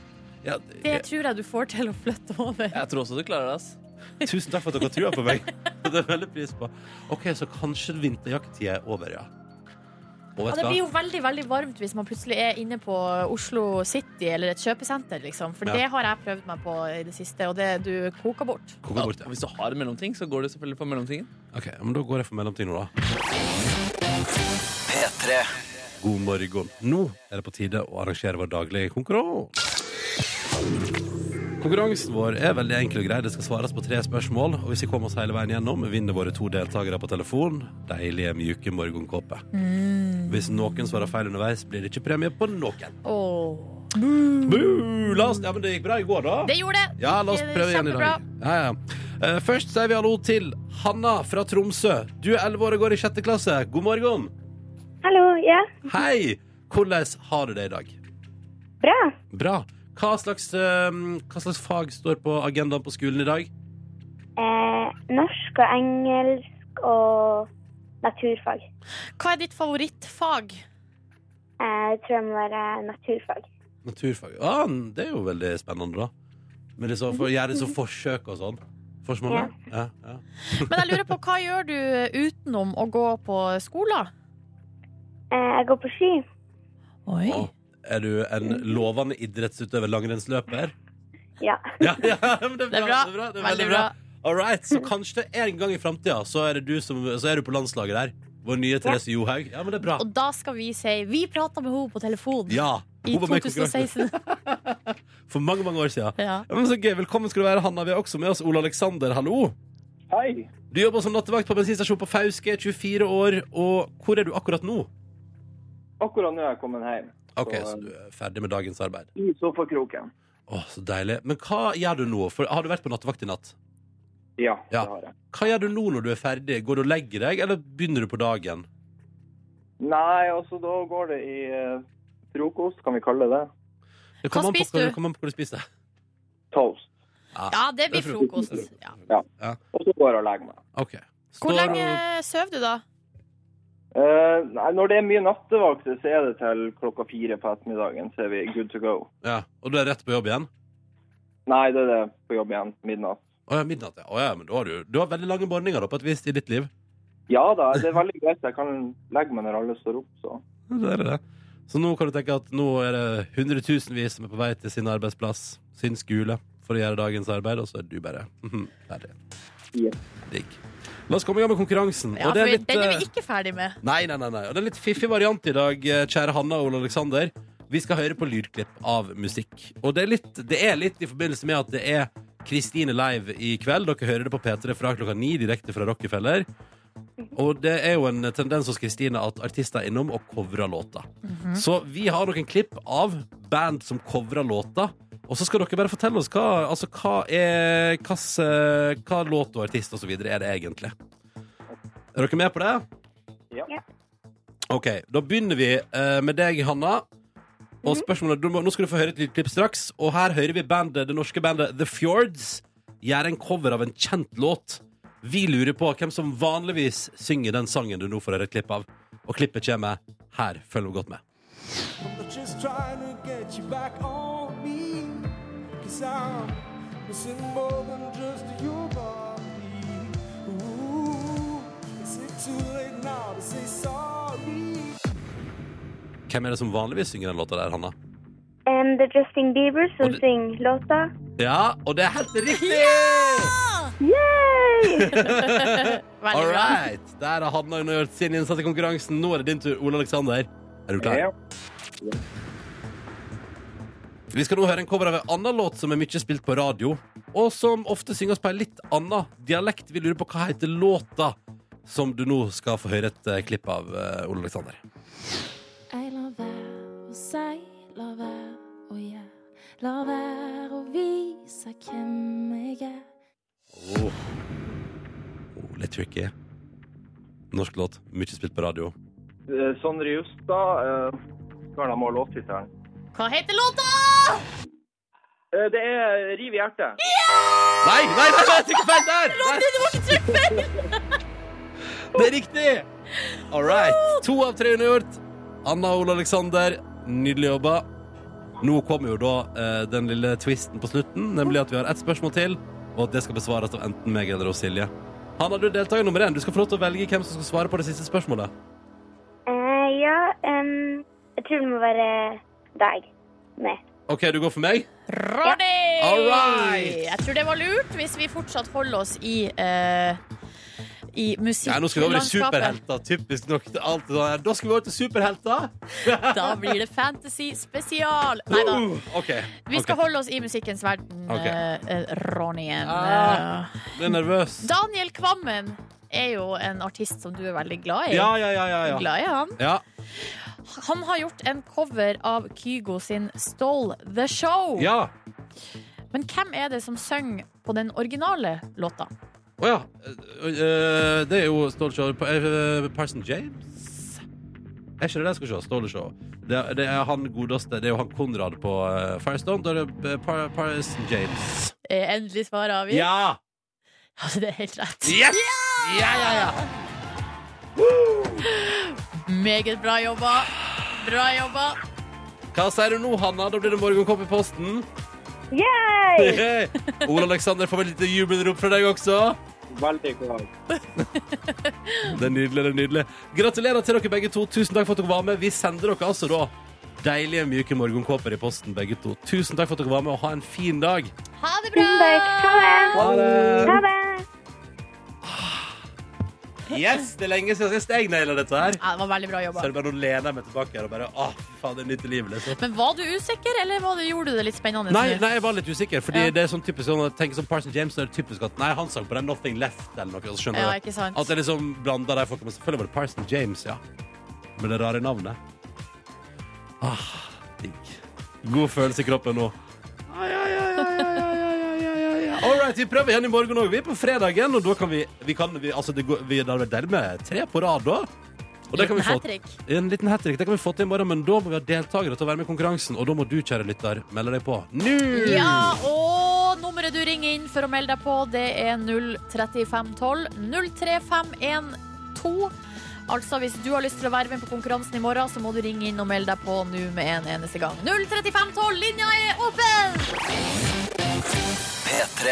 Speaker 1: ja,
Speaker 2: Det
Speaker 1: jeg,
Speaker 2: tror jeg du får til å flytte over.
Speaker 3: Jeg tror også du klarer det. ass.
Speaker 1: eh, tusen takk for at dere har trua på meg. Det er jeg veldig pris på. OK, så kanskje vinterjakktida er over, ja. Og
Speaker 2: Ja,
Speaker 1: vet du
Speaker 2: det blir
Speaker 1: hva?
Speaker 2: jo veldig veldig varmt hvis man plutselig er inne på Oslo City eller et kjøpesenter. liksom. For
Speaker 1: Ja.
Speaker 2: det har jeg prøvd meg på i det siste, og det du koker bort.
Speaker 1: Hvor
Speaker 3: Ja,
Speaker 1: går borte?
Speaker 3: hvis du har en mellomting, så går du selvfølgelig for mellomtingen.
Speaker 1: Ok, men da går jeg for mellomtiden nå, da. God morgen. Nå er det på tide å arrangere vår daglige konkurranse. Konkurransen vår er veldig enkel og grei. Det skal svares på tre spørsmål. Og hvis vi kommer oss hele veien gjennom, vinner våre to deltakere på telefon deilige, mjuke morgenkåper. Hvis noen svarer feil underveis, blir det ikke premie på noen.
Speaker 2: Åh.
Speaker 1: Buh! La oss, ja, men det gikk bra i går, da.
Speaker 2: Det gjorde det!
Speaker 1: Ja, la oss prøve igjen i dag. Ja, ja. Eh, først sier vi hallo til Hanna fra Tromsø. Du er 11 år og går i sjette klasse. God morgen.
Speaker 6: Hallo, ja.
Speaker 1: Hei! Hvordan har du det i dag?
Speaker 6: Bra.
Speaker 1: Bra. Hva slags, eh, hva slags fag står på agendaen på skolen i dag?
Speaker 6: Eh, norsk og engelsk og naturfag.
Speaker 2: Hva er ditt favorittfag?
Speaker 6: Eh, jeg tror jeg må være naturfag.
Speaker 1: Naturfag. Ah, det er jo veldig spennende, da. Men det er så, for å gjøre så forsøk og sånn. Forsmål,
Speaker 6: Ja.
Speaker 1: ja. ja.
Speaker 2: Men jeg lurer på, hva gjør du utenom å gå på skolen?
Speaker 6: Eh, jeg går på ski.
Speaker 2: Oi.
Speaker 1: Å, Er du en lovende idrettsutøver, langrennsløper?
Speaker 6: Ja.
Speaker 1: Ja, ja, men det er bra.
Speaker 2: Det er bra.
Speaker 1: Det er bra. Det er
Speaker 2: Veldig bra.
Speaker 1: All right, så kanskje det en gang i framtida så, er det du som- så er du på landslaget der. Vår nye Therese Johaug. Ja, men det er bra.
Speaker 2: Og da skal vi si Vi prata med henne på telefon
Speaker 1: Ja,
Speaker 2: i
Speaker 1: hun var med i konkurransen
Speaker 2: 2016.
Speaker 1: for mange mange år siden.
Speaker 2: ja.
Speaker 1: Ja, men så gøy. Velkommen skal du være, Hanna. Vi har også med oss Ole Aleksander. Hallo.
Speaker 7: Hei.
Speaker 1: Du jobber som nattevakt på bensinstasjon på Fauske, 24 år. Og hvor er du akkurat nå?
Speaker 7: Akkurat nå er jeg kommet hjem.
Speaker 1: OK, så du er ferdig med dagens arbeid.
Speaker 7: I sofakroken.
Speaker 1: Å, så deilig. Men hva gjør du nå? For har du vært på nattevakt i natt?
Speaker 7: Ja,
Speaker 1: Ja.
Speaker 7: det har jeg.
Speaker 1: Hva gjør du nå når du er ferdig? Går du og legger deg, eller begynner du på dagen?
Speaker 7: Nei, altså da går det i eh, frokost, kan vi kalle det.
Speaker 1: Det kommer
Speaker 2: Hva
Speaker 1: an på
Speaker 2: spiser du?
Speaker 1: det kommer an på hva du spiser.
Speaker 7: Toast.
Speaker 2: ja, det blir frokost. Ja.
Speaker 7: Og så går jeg og legger meg.
Speaker 1: OK.
Speaker 2: Hvor
Speaker 1: Står
Speaker 2: lenge
Speaker 1: og-
Speaker 2: sover du, da?
Speaker 7: Eh, nei, når det er mye nattevakter, så er det til klokka fire på ettermiddagen, så er vi good to go.
Speaker 1: Ja, Og du er rett på jobb igjen?
Speaker 7: Nei, det er det på jobb igjen. Midnatt.
Speaker 1: Å ja, midnatt. Ja. Å, ja, men da har du, du har veldig lange morgener da, på et vis i ditt liv.
Speaker 7: Ja da, det er veldig greit. Jeg kan legge meg når alle står opp, så.
Speaker 1: Ja, Det er det. Så nå kan du tenke at nå er det hundretusenvis som er på vei til sin arbeidsplass, sin skole, for å gjøre dagens arbeid, og så er du bare ferdig.
Speaker 7: Ja.
Speaker 1: Digg. La oss komme i gang med konkurransen.
Speaker 2: Ja,
Speaker 1: og det
Speaker 2: for
Speaker 1: er litt,
Speaker 2: den er
Speaker 1: eh,
Speaker 2: vi ikke ferdig med.
Speaker 1: Nei, nei, nei, nei. Og det er en litt fiffig variant i dag, eh, kjære Hanna og Ole Aleksander. Vi skal høre på lydklipp av musikk. Og det er litt, det er litt i forbindelse med at det er Kristine Live i kveld. Dere hører det på P3 fra klokka ni direkte fra Rockefeller. Og det er jo en tendens hos Kristine at artister er innom og covrer låter. Så vi har noen klipp av band som covrer låter. Og så skal dere bare fortelle oss hva, altså, hva, er, hva, hva låt og artist og så videre er det egentlig. Er dere med på det?
Speaker 7: Ja.
Speaker 6: Ja.
Speaker 1: OK, da begynner vi eh, med deg, Hanna. Og spørsmålet, du må, Nå skal du få høre et lite klipp straks. Og her hører vi bandet, det norske bandet The Fjords gjøre en cover av en kjent låt. Vi lurer på hvem som vanligvis synger den sangen du nå får høre et klipp av. Og klippet kommer her. Følg godt med.
Speaker 8: Just trying to get you back on me. Cause I'm missing more than just your body. Ooh, is it too late now to say sorry?
Speaker 1: Hvem er det som vanligvis synger den låta der, Hanna?
Speaker 6: Em, det er Um, Justin Bieber
Speaker 1: Og
Speaker 6: som
Speaker 1: det-
Speaker 6: synger låta.
Speaker 1: Ja, og det er helt riktig!
Speaker 6: Yay!
Speaker 2: Veldig
Speaker 1: All
Speaker 2: bra.
Speaker 1: right. Der har Hanna gjort sin innsats i konkurransen. Nå er det din tur, Ole Aleksander. Er du klar?
Speaker 7: Ja.
Speaker 1: Vi skal nå høre en cover av en annen låt som er mye spilt på radio, og som ofte synges på en litt annen dialekt. Vi lurer på hva heter låta som du nå skal få høre et eh, klipp av, eh, Ole Aleksander.
Speaker 9: Jeg lar være å si, lar være å gjøre. Lar være å vise hvem jeg er.
Speaker 1: Oh. Oh, litt tricky. Norsk låt, mye spilt på radio.
Speaker 7: Eh, Sondre Justad, eh, hva er det med låttittelen?
Speaker 2: Hva heter låta?
Speaker 7: Eh, Det er Riv i hjertet.
Speaker 1: Nei, nei, nei, nei trykk feil der! Nei,
Speaker 2: Det var ikke trykk feil!
Speaker 1: det er riktig! All right. To av tre undergjort. Anna og Ole Aleksander, nydelig jobba. Nå kommer jo da eh, den lille twisten på slutten, nemlig at vi har ett spørsmål til, og at det skal besvares av enten meg eller av Silje. Hanna, du er deltaker nummer én. Du skal få lov til å velge hvem som skal svare på det siste spørsmålet.
Speaker 6: Eh, ja, em, jeg tror det må være deg. Nei.
Speaker 1: OK, du går for meg?
Speaker 2: Ronny!
Speaker 1: All right.
Speaker 2: Jeg tror det var lurt hvis vi fortsatt holder oss i eh, i
Speaker 1: Ja, nå skal vi over til
Speaker 2: musikklandskapet.
Speaker 1: superhelter. Typisk nok. til Alt det der. Da skal vi over til superhelter.
Speaker 2: Da blir det fantasy spesial. Nei da.
Speaker 1: Uh, OK.
Speaker 2: Vi skal
Speaker 1: ok.
Speaker 2: holde oss i musikkens verden,
Speaker 1: Ok.
Speaker 2: eh, eh, Ronnyen.
Speaker 1: Ah. Blir nervøs.
Speaker 2: Daniel Kvammen er jo en artist som du er veldig glad i.
Speaker 1: Ja, ja, ja, ja. ja.
Speaker 2: Glad i han.
Speaker 1: ja.
Speaker 2: Han har gjort en cover av Kygo sin Stole The Show.
Speaker 1: ja.
Speaker 2: Men hvem er det som synger på den originale låta?
Speaker 1: Å ja. Eh, eh, det er jo Ståle Shaw på- eh, Parson James. Er ikke det det jeg skal se? Ståle Shaw. Det, er- det er han godeste. Det er jo han Konrad på eh, Firestone. Da er det eh, Par Parson James.
Speaker 2: Eh, Endelig svar avgitt.
Speaker 1: Ja!
Speaker 2: Altså, det er helt rett.
Speaker 1: Yes! Ja, ja, ja.
Speaker 2: Meget bra jobba. Bra jobba.
Speaker 1: Hva sier du nå, Hanna? Da blir det morgenkopp i posten.
Speaker 6: Yay!
Speaker 1: Ole Aleksander får vel et lite jubelrop fra deg også.
Speaker 7: Veldig glad.
Speaker 1: Det er nydelig. det er nydelig Gratulerer til dere begge to. Tusen takk for at dere var med. Vi sender dere altså da deilige, myke morgenkåper i posten, begge to. Tusen takk for at dere var med, og ha en fin dag.
Speaker 2: Ha det bra!
Speaker 6: Tusen takk. Ha det.
Speaker 1: det!
Speaker 6: Ha det.
Speaker 1: Yes, det er lenge siden sist jeg naila dette her.
Speaker 2: Ja, det var veldig bra
Speaker 1: Så
Speaker 2: jobba.
Speaker 1: er det bare å lene meg tilbake her og bare Åh, fy faen, det er nytt i livet, liksom.
Speaker 2: Men var du usikker, eller var det, gjorde du det litt spennende?
Speaker 1: Nei,
Speaker 2: nå?
Speaker 1: nei, jeg var litt usikker, Fordi
Speaker 2: Ja.
Speaker 1: det er sånn typisk sånn, jeg tenker som Parson James, så er det typisk at Nei, han sang på den Nothing Left eller noe, og så skjønner
Speaker 2: Ja,
Speaker 1: jeg
Speaker 2: ikke sant.
Speaker 1: At jeg liksom blanda de folka, men selvfølgelig var det Parson James, ja. Med det rare navnet. Ah, digg. God følelse i kroppen nå. Ai, ai, ai, ai, ai, ai, ai, ai, ai, ai. All right, vi prøver igjen i morgen òg. Vi er på fredagen, og da kan vi, vi, kan, vi Altså, det går, vi, det er deilig med tre på rad da. Og det kan vi
Speaker 2: Liten
Speaker 1: få
Speaker 2: hat-trick.
Speaker 1: en liten hat-trick det kan vi få til i morgen, men da må vi ha deltakere til å være med i konkurransen. Og da må du, kjære lytter, melde deg på nå!
Speaker 2: Ja, og nummeret du ringer inn for å melde deg på, det er 03512. 03512. Altså, hvis du har lyst til å være med på konkurransen i morgen, så må du ringe inn og melde deg på nå med en eneste gang. 03512, linja er åpen!
Speaker 4: P3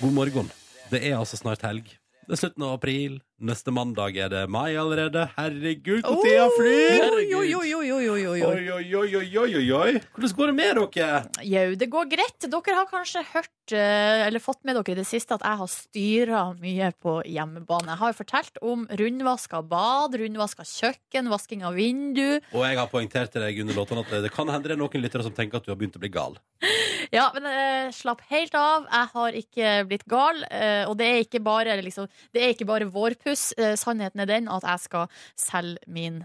Speaker 1: God morgen. Det er altså snart helg. Det er slutten av april. Neste mandag er det mai allerede. Herregud, hvor tida flyr!
Speaker 2: Oi, oi, oi, oi, oi, oi, oi.
Speaker 1: Oi, oi, oi, oi, oi, oi, oi. Hvordan går det med dere?
Speaker 2: Jau, det går greit. Dere har kanskje hørt, eh, eller fått med dere i det siste, at jeg har styra mye på hjemmebane. Jeg har jo fortalt om rundvask av bad, rundvask av kjøkken, vasking av vindu.
Speaker 1: Og jeg har poengtert til deg under låtene at det kan hende det er noen lyttere som tenker at du har begynt å bli gal.
Speaker 2: Ja, men eh, slapp helt av. Jeg har ikke blitt gal. eh, og det er ikke bare, liksom, det er ikke bare vårpuss. Eh, sannheten er den at jeg skal selge min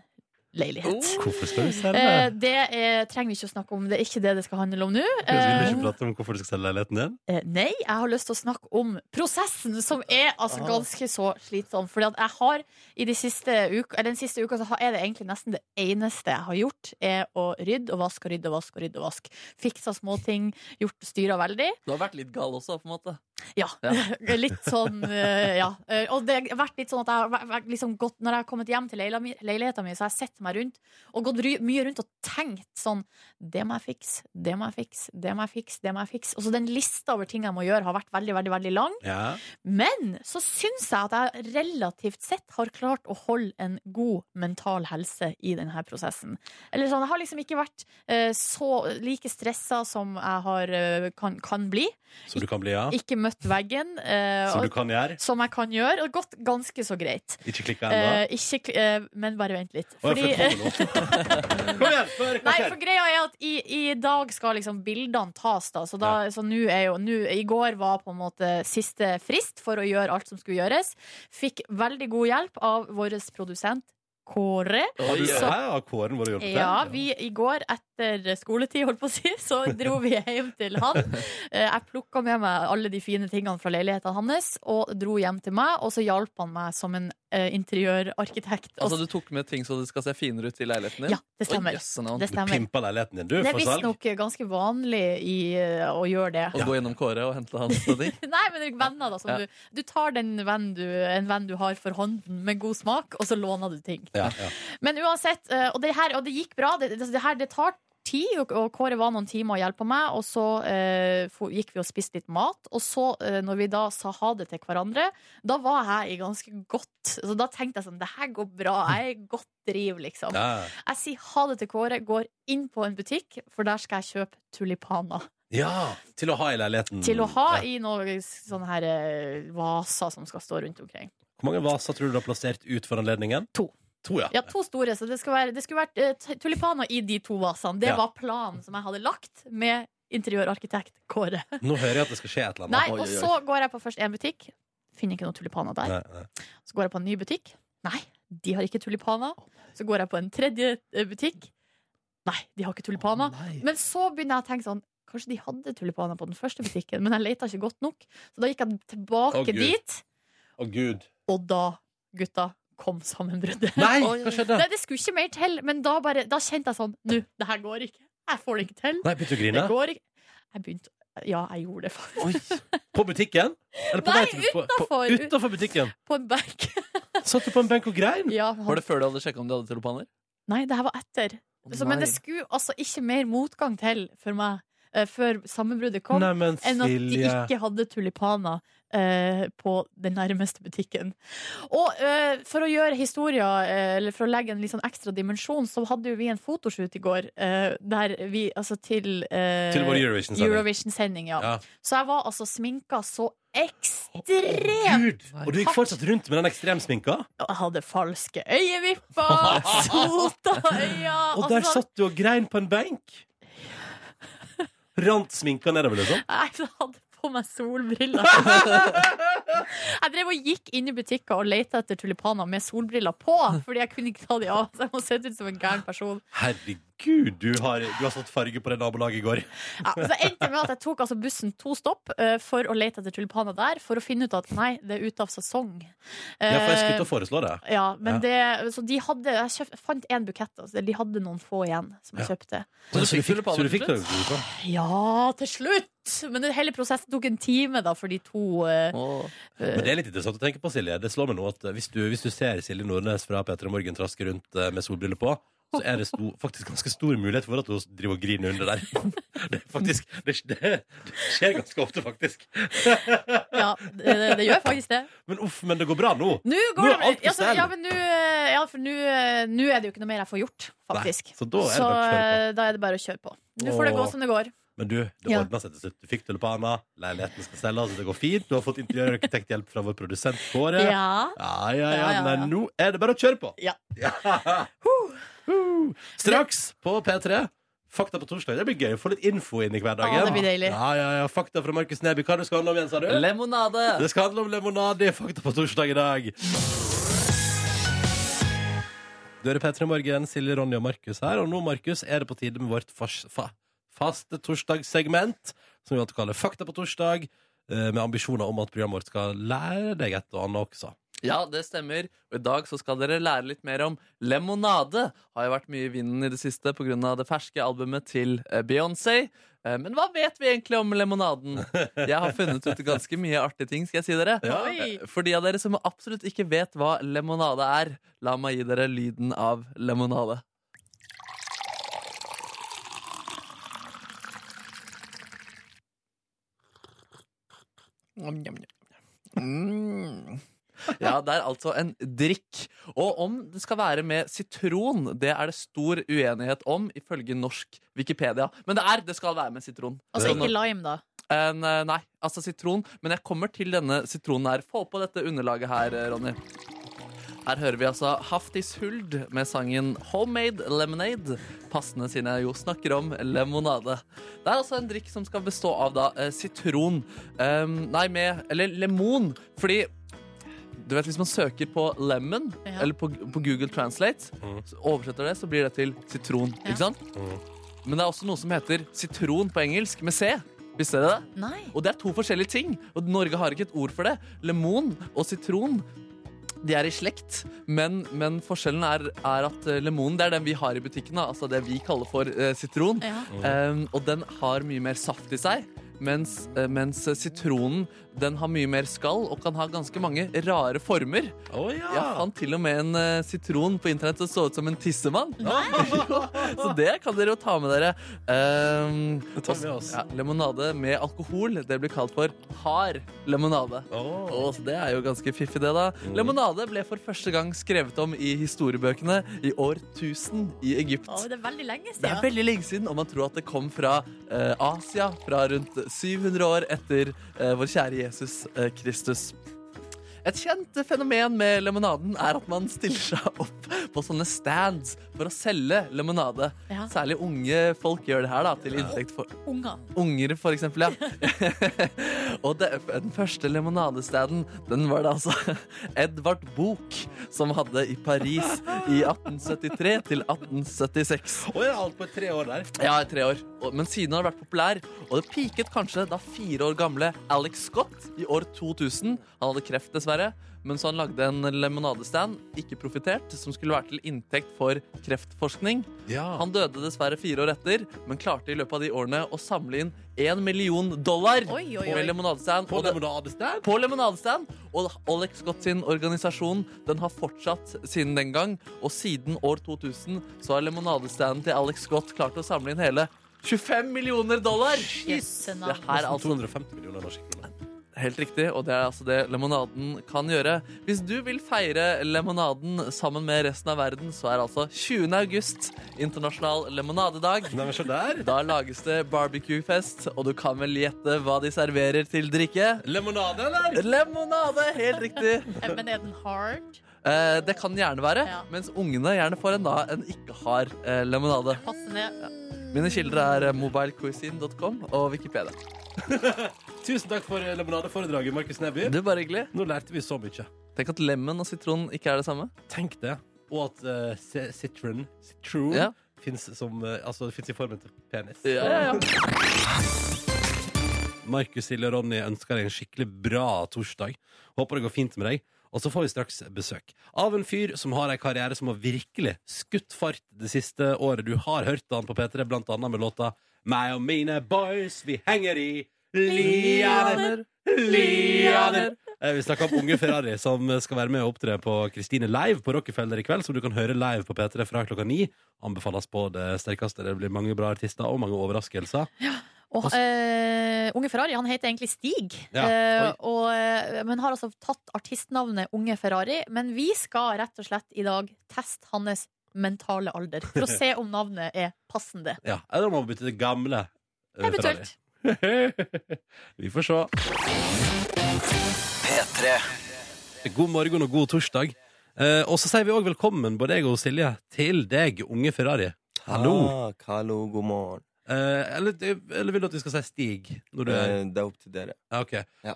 Speaker 2: leilighet.
Speaker 1: Hvorfor skal du selge?
Speaker 2: Eh, det er, trenger vi ikke å snakke om. Det er ikke det det skal handle om nå.
Speaker 1: Du vil
Speaker 2: Eh,
Speaker 1: ikke prate om hvorfor du skal selge leiligheten din?
Speaker 2: Eh, Nei, jeg har lyst til å snakke om prosessen, som er altså ganske så slitsom. Fordi at jeg har i de siste uk eller den siste uka så har- er det egentlig nesten det eneste jeg har gjort, er å rydde og vaske og rydde og vaske og rydde og vaske. Fiksa småting, gjort styra veldig.
Speaker 3: Du har vært litt gal også, på en måte.
Speaker 2: Ja.
Speaker 3: Ja.
Speaker 2: litt sånn, eh, ja. Eh, Og det har vært litt sånn at jeg har vært- vært liksom gått, når jeg har kommet hjem til leila mi- leiligheta mi, så har jeg sett meg rundt og gått ry- mye rundt og tenkt sånn Det må jeg fikse, det må jeg fikse, det må jeg fikse, det må jeg fikse. Og så den lista over ting jeg må gjøre, har vært veldig, veldig, veldig lang.
Speaker 1: Ja.
Speaker 2: Men så syns jeg at jeg relativt sett har klart å holde en god mental helse i denne prosessen. Eller sånn, Jeg har liksom ikke vært eh, så like stressa som jeg har, eh, kan, kan bli.
Speaker 1: Som du kan bli, ja.
Speaker 2: Ikke møtt veggen. eh,
Speaker 1: Som du
Speaker 2: og,
Speaker 1: kan gjøre.
Speaker 2: som jeg kan gjøre. Og gått ganske så greit.
Speaker 1: Ikke klikka
Speaker 2: Eh,
Speaker 1: ennå.
Speaker 2: ikke, kl- eh, men bare vent litt.
Speaker 1: Å, jeg får komme nå. Kom igjen, få høre hva
Speaker 2: Nei,
Speaker 1: skjer.
Speaker 2: for greia er at i, i dag skal liksom bildene tas, da. Så da, så nå er jo nå- I går var på en måte siste frist for å gjøre alt som skulle gjøres. Fikk veldig god hjelp av vår produsent Kåre.
Speaker 1: Har du-
Speaker 2: Så-
Speaker 1: Hæ, Har kåren vår hjulpet til?
Speaker 2: Ja, vi i går etter skoletid, holdt på å si, så dro vi hjem til han. Eh, Jeg plukka med meg alle de fine tingene fra leiligheten hans og dro hjem til meg. Og så hjalp han meg som en eh, interiørarkitekt.
Speaker 3: Altså, du tok med ting så det skal se finere ut i leiligheten din?
Speaker 2: Ja, det stemmer.
Speaker 3: Oi, jøsse navn.
Speaker 2: Det
Speaker 1: Du
Speaker 2: stemmer.
Speaker 1: pimpa leiligheten din, du,
Speaker 2: Det er
Speaker 1: for salg.
Speaker 2: visstnok ganske vanlig i, eh, å gjøre det.
Speaker 3: Og gå gjennom Kåre og hente hans ting?
Speaker 2: Nei, men det er venner da som
Speaker 3: Ja.
Speaker 2: du, du tar den venn du, en venn du har for hånden med god smak, og så låner du ting.
Speaker 1: Ja, ja.
Speaker 2: Men uansett, eh, og det, her, og det gikk bra. Det, det, det her det tar tid, og, og Kåre var noen timer og hjelpa meg. Og så eh, fo- gikk vi og spiste litt mat. Og så, eh, når vi da sa ha det til hverandre, da var jeg i ganske godt Så da tenkte jeg sånn, det her går bra. Jeg er i godt driv, liksom.
Speaker 1: Ja.
Speaker 2: Jeg sier ha det til Kåre, går inn på en butikk, for der skal jeg kjøpe tulipaner.
Speaker 1: ja, til å ha i leiligheten.
Speaker 2: Til å ha
Speaker 1: Mm, Ja.
Speaker 2: i noen sånne her eh, vaser som skal stå rundt omkring.
Speaker 1: Hvor mange vaser tror du du har plassert ut for anledningen?
Speaker 2: To.
Speaker 1: To, ja.
Speaker 2: Ja, to store, så det, skal være, det skulle vært eh, t- tulipaner i de to vasene. Det
Speaker 1: Ja.
Speaker 2: var planen som jeg hadde lagt med interiørarkitekt Kåre.
Speaker 1: Nå hører jeg at det skal skje et eller
Speaker 2: Nei,
Speaker 1: annet.
Speaker 2: og så går jeg på først én butikk, finner ikke noen tulipaner der.
Speaker 1: Nei, nei.
Speaker 2: Så går jeg på en ny butikk. Nei, de har ikke tulipaner. Så går jeg på en tredje eh, butikk. Nei, de har ikke tulipaner. Men så begynner jeg å tenke sånn Kanskje de hadde tulipaner på den første butikken, men jeg leita ikke godt nok. Så da gikk jeg tilbake
Speaker 1: Å, Gud.
Speaker 2: dit,
Speaker 1: Å, gud.
Speaker 2: og da, gutta, kom sammenbruddet.
Speaker 1: Nei, hva skjedde?
Speaker 2: Nei, det skulle ikke mer til, men da, bare, da kjente jeg sånn Nå, det her går ikke. Jeg får det ikke til.
Speaker 1: Nei, begynte du å
Speaker 2: Det
Speaker 1: grine?
Speaker 2: går ikke. Jeg begynte Ja, jeg gjorde det faktisk.
Speaker 1: På butikken? Eller på
Speaker 2: Nei,
Speaker 1: vei til- på- på-
Speaker 2: utenfor.
Speaker 1: utenfor butikken.
Speaker 2: På en benk.
Speaker 1: Satt du på en benk og grein?
Speaker 2: Ja, han-
Speaker 3: Var det før du hadde sjekka om de hadde tulipaner?
Speaker 2: Nei, det her var etter.
Speaker 3: Å,
Speaker 2: Så, men
Speaker 3: nei.
Speaker 2: det skulle altså ikke mer motgang til for meg eh, før sammenbruddet kom,
Speaker 1: Nei, men
Speaker 2: enn at de
Speaker 1: Silje
Speaker 2: ikke hadde tulipaner. eh, på den nærmeste butikken. Og eh, for å gjøre historia, eh, eller for å legge en litt sånn ekstra dimensjon, så hadde jo vi en fotoshoot i går eh, der vi altså til eh,
Speaker 1: Til vår Eurovision-sending.
Speaker 2: Eurovision-sending, ja.
Speaker 1: Ja.
Speaker 2: Så jeg var altså sminka så ekstremt
Speaker 1: Gud! Og du gikk fortsatt rundt med den ekstremsminka?
Speaker 2: Jeg hadde falske øyevipper, sota øyne
Speaker 1: Og der
Speaker 2: altså,
Speaker 1: satt du og grein på en benk? Rant sminka nedover, liksom?
Speaker 2: Jeg hadde på meg solbriller. jeg drev og gikk inn i butikker og lette etter tulipaner med solbriller på, fordi jeg kunne ikke ta de av. Så jeg må se ut som en gæren person.
Speaker 1: Herregud, du har, du har satt farge på det nabolaget i går.
Speaker 2: Ja, så det endte med at jeg tok altså, bussen to stopp eh, for å lete etter tulipaner der, for å finne ut at nei, det er ute av sesong.
Speaker 1: Ja, for jeg
Speaker 2: Eh,
Speaker 1: skulle til å foreslå det.
Speaker 2: Ja, men det Så de hadde Jeg kjøpt, fant én bukett, altså. De hadde noen få igjen som jeg kjøpte.
Speaker 3: Så du fikk tulipaner
Speaker 1: så du fikk
Speaker 3: til
Speaker 1: det? Tulipan.
Speaker 2: Ja, til slutt! Men det, hele prosessen tok en time, da, for de to eh,
Speaker 3: Å,
Speaker 1: Men det er litt interessant å tenke på, Silje. Det slår meg nå at eh, Hvis du, hvis du ser Silje Nordnes fra Peter og Morgen traske rundt eh, med solbriller på, så er det sto, faktisk ganske stor mulighet for at hun driver og griner under der. Det, er faktisk, det, det, det skjer ganske ofte, faktisk.
Speaker 2: Ja, det, det, det gjør faktisk det.
Speaker 1: Men uff, men det går bra nå.
Speaker 2: Nå
Speaker 1: Nå
Speaker 2: går
Speaker 1: er alt
Speaker 2: det
Speaker 1: på
Speaker 2: ja, så,
Speaker 1: stell.
Speaker 2: ja, men nå eh, Ja, for nå eh, nå er det jo ikke noe mer jeg får gjort, faktisk.
Speaker 1: Nei, så da er det
Speaker 2: Så,
Speaker 1: bare å kjøre
Speaker 2: eh, da er det bare å kjøre på. Nå får det gå
Speaker 1: Åh.
Speaker 2: som det går.
Speaker 1: Men du, det
Speaker 2: Ja.
Speaker 1: ordna seg til slutt. Du fikk tulipaner, leiligheten skal selges, det går fint. Du har fått interiørarkitekthjelp fra vår produsent Kåre. Ja.
Speaker 2: Ja.
Speaker 1: Ja, ja,
Speaker 2: Ja, ja,
Speaker 1: Nei,
Speaker 2: ja.
Speaker 1: nå er det bare å kjøre på.
Speaker 2: Ja.
Speaker 1: Huh. Huh. Straks på P3. Fakta på torsdag. Det blir gøy å få litt info inn i hverdagen.
Speaker 2: Ja, det blir deilig.
Speaker 1: Ja, ja, ja. Fakta fra Markus Neby. Hva er det skal handle om igjen, sa du?
Speaker 3: Lemonade!
Speaker 1: Det skal handle om lemonade i Fakta på torsdag i dag. Du hører P3 Morgen, Silje, Ronny og Markus her. Og nå, Markus, er det på tide med vårt fas fa faste torsdagssegment, som vi alltid kaller Fakta på torsdag, eh, med ambisjoner om at programmet vårt skal lære deg et og annet også.
Speaker 3: Ja, det stemmer. Og i dag så skal dere lære litt mer om lemonade. Har jo vært mye i vinden i det siste pga. det ferske albumet til eh, Beyoncé. Eh, Men hva vet vi egentlig om lemonaden? Jeg har funnet ut ganske mye artige ting. skal jeg si dere
Speaker 1: Ja.
Speaker 2: Oi.
Speaker 3: Eh, For de av dere som absolutt ikke vet hva lemonade er, la meg gi dere lyden av lemonade. Ja, det er altså en drikk. Og om det skal være med sitron, det er det stor uenighet om, ifølge norsk Wikipedia. Men det er, det skal være med sitron.
Speaker 2: Altså ikke lime, da.
Speaker 3: Eh, ne- nei, altså sitron. Men jeg kommer til denne sitronen her. Få på dette underlaget her, eh, Ronny. Her hører vi altså Haftis Huld med sangen Homemade Lemonade. Passende siden jeg jo snakker om lemonade. Det er altså en drikk som skal bestå av da eh, sitron. Eh, nei, med Eller lemon. Fordi du vet, Hvis man søker på lemon
Speaker 2: Ja.
Speaker 3: eller på, på Google Translate,
Speaker 1: Mm.
Speaker 3: så oversetter det, så blir det til sitron.
Speaker 2: Ja.
Speaker 3: Ikke sant? Men det er også noe som heter sitron på engelsk med C. Visste dere det?
Speaker 2: Nei.
Speaker 3: Og det er to forskjellige ting. Og Norge har ikke et ord for det. Lemon og sitron de er i slekt, men, men forskjellen er, er at eh, lemonen det er den vi har i butikken. da, Altså det vi kaller for eh, sitron.
Speaker 2: Ja.
Speaker 3: Um, og den har mye mer saft i seg. Mens, eh, mens sitronen den har mye mer skall og kan ha ganske mange rare former.
Speaker 1: Å ja!
Speaker 3: Jeg fant til og med en eh, sitron på internett som så ut som en tissemann. så det kan dere jo ta med dere. Um,
Speaker 1: Det tar vi med oss.
Speaker 3: ja, lemonade med alkohol, det blir kalt for hard lemonade.
Speaker 1: Å.
Speaker 3: Og så det er jo ganske fiffig, det, da.
Speaker 1: Mm.
Speaker 3: Lemonade ble for første gang skrevet om i historiebøkene i år 1000 i Egypt.
Speaker 2: Å, det er veldig lenge
Speaker 3: Det er
Speaker 2: siden.
Speaker 3: veldig lenge siden, og man tror at det kom fra eh, Asia, fra rundt 700 år etter eh, vår kjære Jesus eh, Kristus. Et kjent fenomen med lemonaden er at man stiller seg opp på sånne stands for å selge lemonade.
Speaker 2: Ja.
Speaker 3: Særlig unge folk gjør det her da, til inntekt for
Speaker 2: Unger.
Speaker 3: Unger, for eksempel, ja. og det, den første lemonadestaden, den var det altså Edvard Buch som hadde i Paris i 1873 til 1876.
Speaker 1: Å, jeg har holdt på i tre år der.
Speaker 3: Ja, i tre år. Og- Men siden har det vært populær, og det piket kanskje da fire år gamle Alex Scott i år 2000. Han hadde kreft, dessverre, men så han lagde en lemonadestand, ikke profitert, som skulle være til inntekt for kreftforskning.
Speaker 2: Ah.
Speaker 1: Ja.
Speaker 3: Han døde dessverre fire år etter, men klarte i løpet av de årene å samle inn én million dollar
Speaker 2: Oi, oi,
Speaker 3: på
Speaker 2: oi.
Speaker 3: en lemonadestand.
Speaker 1: På
Speaker 3: og det-
Speaker 1: lemonadestand.
Speaker 3: på lemonadestand. Og Alex Scott sin organisasjon den har fortsatt siden den gang. Og siden år 2000 så har lemonadestanden til Alex Scott klart å samle inn hele 25 millioner dollar!
Speaker 2: Jøsse
Speaker 3: Det
Speaker 2: navn.
Speaker 3: her er altså
Speaker 1: 250 millioner norske kroner.
Speaker 3: Helt riktig, og det er altså det lemonaden kan gjøre. Hvis du vil feire lemonaden sammen med resten av verden, så er altså 20. august internasjonal lemonadedag.
Speaker 1: Nei, men se der.
Speaker 3: Da lages det barbecuefest, og du kan vel gjette hva de serverer til drikke?
Speaker 1: Lemonade, eller?
Speaker 3: Lemonade! Helt riktig.
Speaker 2: Eh, Men er den hard?
Speaker 3: Eh, det kan gjerne være,
Speaker 2: Ja.
Speaker 3: mens ungene gjerne får en da en ikke hard eh, lemonade.
Speaker 2: Passe ned.
Speaker 3: Mine kilder er eh, mobilecuisine.com og Wikipedia.
Speaker 1: Tusen takk for eh, lemonadeforedraget, Markus Neby.
Speaker 3: Det er bare hyggelig.
Speaker 1: Nå lærte vi så mye.
Speaker 3: Tenk at lemon og sitron ikke er det samme.
Speaker 1: Tenk det. Og at eh, si- citron, citron
Speaker 3: Ja.
Speaker 1: fins som eh, Altså, det fins i formen til penis.
Speaker 3: Ja, ja, ja.
Speaker 1: Markus, Silje og Ronny ønsker deg en skikkelig bra torsdag. Håper det går fint med deg. Og så får vi straks besøk av en fyr som har en karriere som har virkelig skutt fart det siste året. Du har hørt han på P3, blant annet med låta «Meg og mine boys, vi henger i lianer, lianer». Eh, Vi snakker om Unge Ferrari, som skal være med og opptre på Kristine Live på Rockefeller i kveld, som du kan høre live på P3 fra klokka ni. Anbefales på det sterkeste. Det blir mange bra artister og mange overraskelser.
Speaker 2: Og, eh, Unge Ferrari han heter egentlig Stig,
Speaker 1: Ja,
Speaker 2: Eh,
Speaker 1: oi.
Speaker 2: og, eh, men har altså tatt artistnavnet Unge Ferrari. Men vi skal rett og slett i dag teste hans mentale alder for å se om navnet er passende.
Speaker 1: Ja, Eller om man bytter til gamle. eh, Ferrari.
Speaker 2: Eventuelt.
Speaker 1: Vi får se. God morgen og god torsdag. Eh, og så sier vi òg velkommen, både jeg og Silje, til deg, unge Ferrari. Hallo.
Speaker 10: Ah, hallo, god morgen.
Speaker 1: Eh, eller, eller vil du at vi skal si Stig? Når du er,
Speaker 10: Eh, Det er opp til dere.
Speaker 1: ja, ok.
Speaker 10: ja.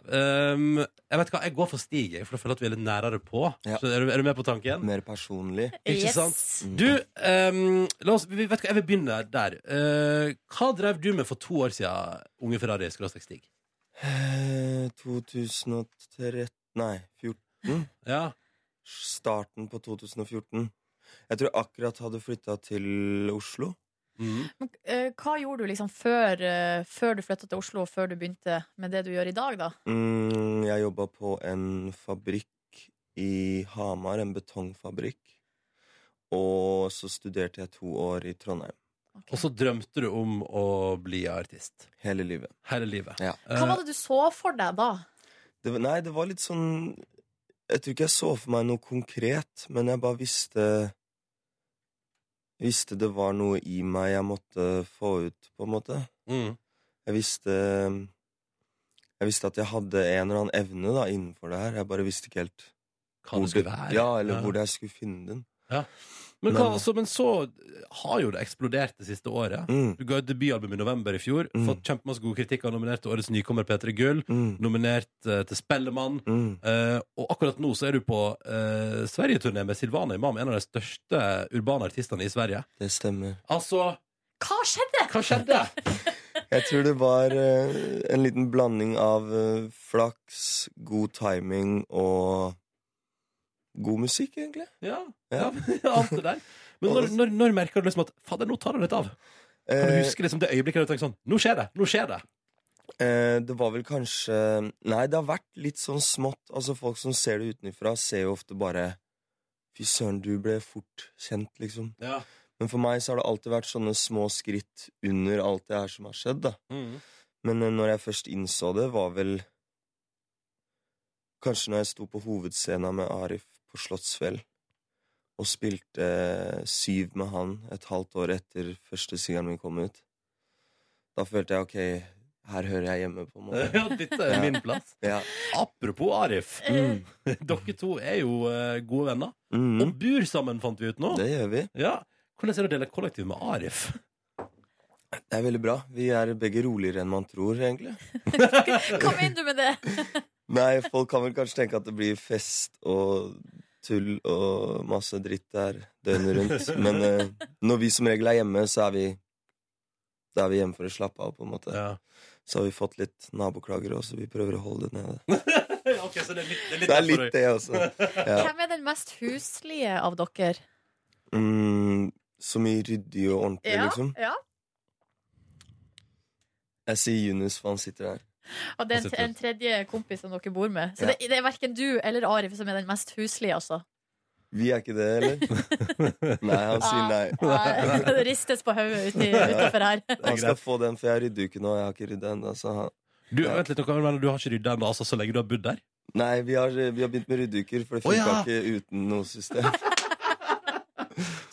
Speaker 1: Um, jeg vet hva, jeg går for Stig, jeg, for da føler jeg at vi er litt nærere på.
Speaker 10: Ja.
Speaker 1: Så er du, er du med på tanken?
Speaker 10: Mer personlig.
Speaker 1: Ikke
Speaker 2: Yes.
Speaker 1: sant?
Speaker 10: Mm.
Speaker 1: Du, ehm, la oss, vi vet hva, jeg vil begynne der. Eh, hva drev du med for to år siden, unge Ferrari skråstrek Stig?
Speaker 10: Eh, 2013 Nei, 14.
Speaker 1: Ja,
Speaker 10: Starten på 2014. Jeg tror jeg akkurat hadde flytta til Oslo. Mm.
Speaker 1: Mhm.
Speaker 2: Men, eh, hva gjorde du liksom før, eh, før du flytta til Oslo, og før du begynte med det du gjør i dag, da?
Speaker 10: Mm, jeg jobba på en fabrikk i Hamar, en betongfabrikk. Og så studerte jeg to år i Trondheim.
Speaker 1: Og så drømte du om å bli artist.
Speaker 10: Hele livet.
Speaker 1: Hele livet. Eh,
Speaker 10: Ja.
Speaker 2: Hva var det du så for deg da?
Speaker 10: Det, var- nei, det var litt sånn Jeg tror ikke jeg så for meg noe konkret, men jeg bare visste Visste det var noe i meg jeg måtte få ut, på en måte.
Speaker 1: Mhm.
Speaker 10: Jeg visste Jeg visste at jeg hadde en eller annen evne da innenfor det her. Jeg bare visste ikke helt
Speaker 1: Hva det skulle være.
Speaker 10: Ja, eller hvor jeg skulle finne den.
Speaker 1: Men, hva,
Speaker 10: Men-
Speaker 1: så, men så har jo det eksplodert det siste året.
Speaker 10: Mm,
Speaker 1: Du ga ut debutalbum i november i fjor.
Speaker 10: Mm.
Speaker 1: Fått kjempemasse gode kritikker. Nominert til Årets nykommer P3 Gull.
Speaker 10: mm,
Speaker 1: Nominert eh, til Spellemann.
Speaker 10: mm.
Speaker 1: Eh, og akkurat nå så er du på uh, Sverigeturné med Silvana Imam, en av de største urbane artistene i Sverige.
Speaker 10: Det stemmer.
Speaker 1: Altså,
Speaker 2: Hva skjedde?
Speaker 1: hva skjedde?
Speaker 10: Jeg tror det var eh, en liten blanding av eh, flaks, god timing og god musikk, egentlig.
Speaker 1: ja, ja,
Speaker 10: Ja.
Speaker 1: alt det der. Men når, når, når merker du liksom at Fader, nå tar det litt av? Kan du
Speaker 10: Eh,
Speaker 1: huske liksom det øyeblikket du tenker sånn Nå skjer det! Nå skjer det!
Speaker 10: Eh, det var vel kanskje Nei, det har vært litt sånn smått. Altså, folk som ser det utenfra, ser jo ofte bare Fy søren, du ble fort kjent, liksom.
Speaker 1: Ja.
Speaker 10: Men for meg så har det alltid vært sånne små skritt under alt det her som har skjedd, da.
Speaker 1: Mm.
Speaker 10: Men eh, når jeg først innså det, var vel Kanskje når jeg sto på hovedscenen med Arif på Slottsfjell og spilte eh, syv med han et halvt år etter første singelen min kom ut. Da følte jeg ok, her hører jeg hjemme, på en måte.
Speaker 1: Ja, dette er min plass.
Speaker 10: Ja.
Speaker 1: Apropos Arif.
Speaker 10: Mm.
Speaker 1: Dere to er jo eh, gode venner. Og
Speaker 10: Mm.
Speaker 1: bor sammen, fant vi ut nå.
Speaker 10: Det gjør vi.
Speaker 1: Ja. Hvordan er det å dele kollektiv med Arif?
Speaker 10: Det er veldig bra. Vi er begge roligere enn man tror, egentlig.
Speaker 2: Hva mener du med det?
Speaker 10: Nei, folk kan vel kanskje tenke at det blir fest og tull og masse dritt der døgnet rundt. Men eh, når vi som regel er hjemme, så er vi da er vi hjemme for å slappe av, på en måte.
Speaker 1: Ja.
Speaker 10: Så har vi fått litt naboklager også, så vi prøver å holde det nede.
Speaker 1: Ok, så det er litt, det er litt
Speaker 10: Det er
Speaker 1: derfor
Speaker 10: litt det også. Ja.
Speaker 2: Hvem er den mest huslige av dere?
Speaker 10: Mm, så mye ryddig og ordentlig, liksom.
Speaker 2: ja.
Speaker 10: Jeg sier Yunus, for han sitter der.
Speaker 2: Og det er en, en tredje kompis som dere bor med. Så det, det er verken du eller Arif som er den mest huslige, altså.
Speaker 10: Vi er ikke det, eller? Nei, han sier nei.
Speaker 2: Ah, Nei, Det ristes på hodet uti- utafor her.
Speaker 10: Han skal få den, for jeg rydder jo ikke nå. Jeg har ikke rydda ennå, så han
Speaker 1: Du, vent litt, noe, men du har ikke rydda ennå, altså, så lenge du har bodd der?
Speaker 10: Nei, vi har, eh, vi har begynt med ryddeuker, for det
Speaker 1: Å,
Speaker 10: funka
Speaker 1: ja.
Speaker 10: ikke uten noe system.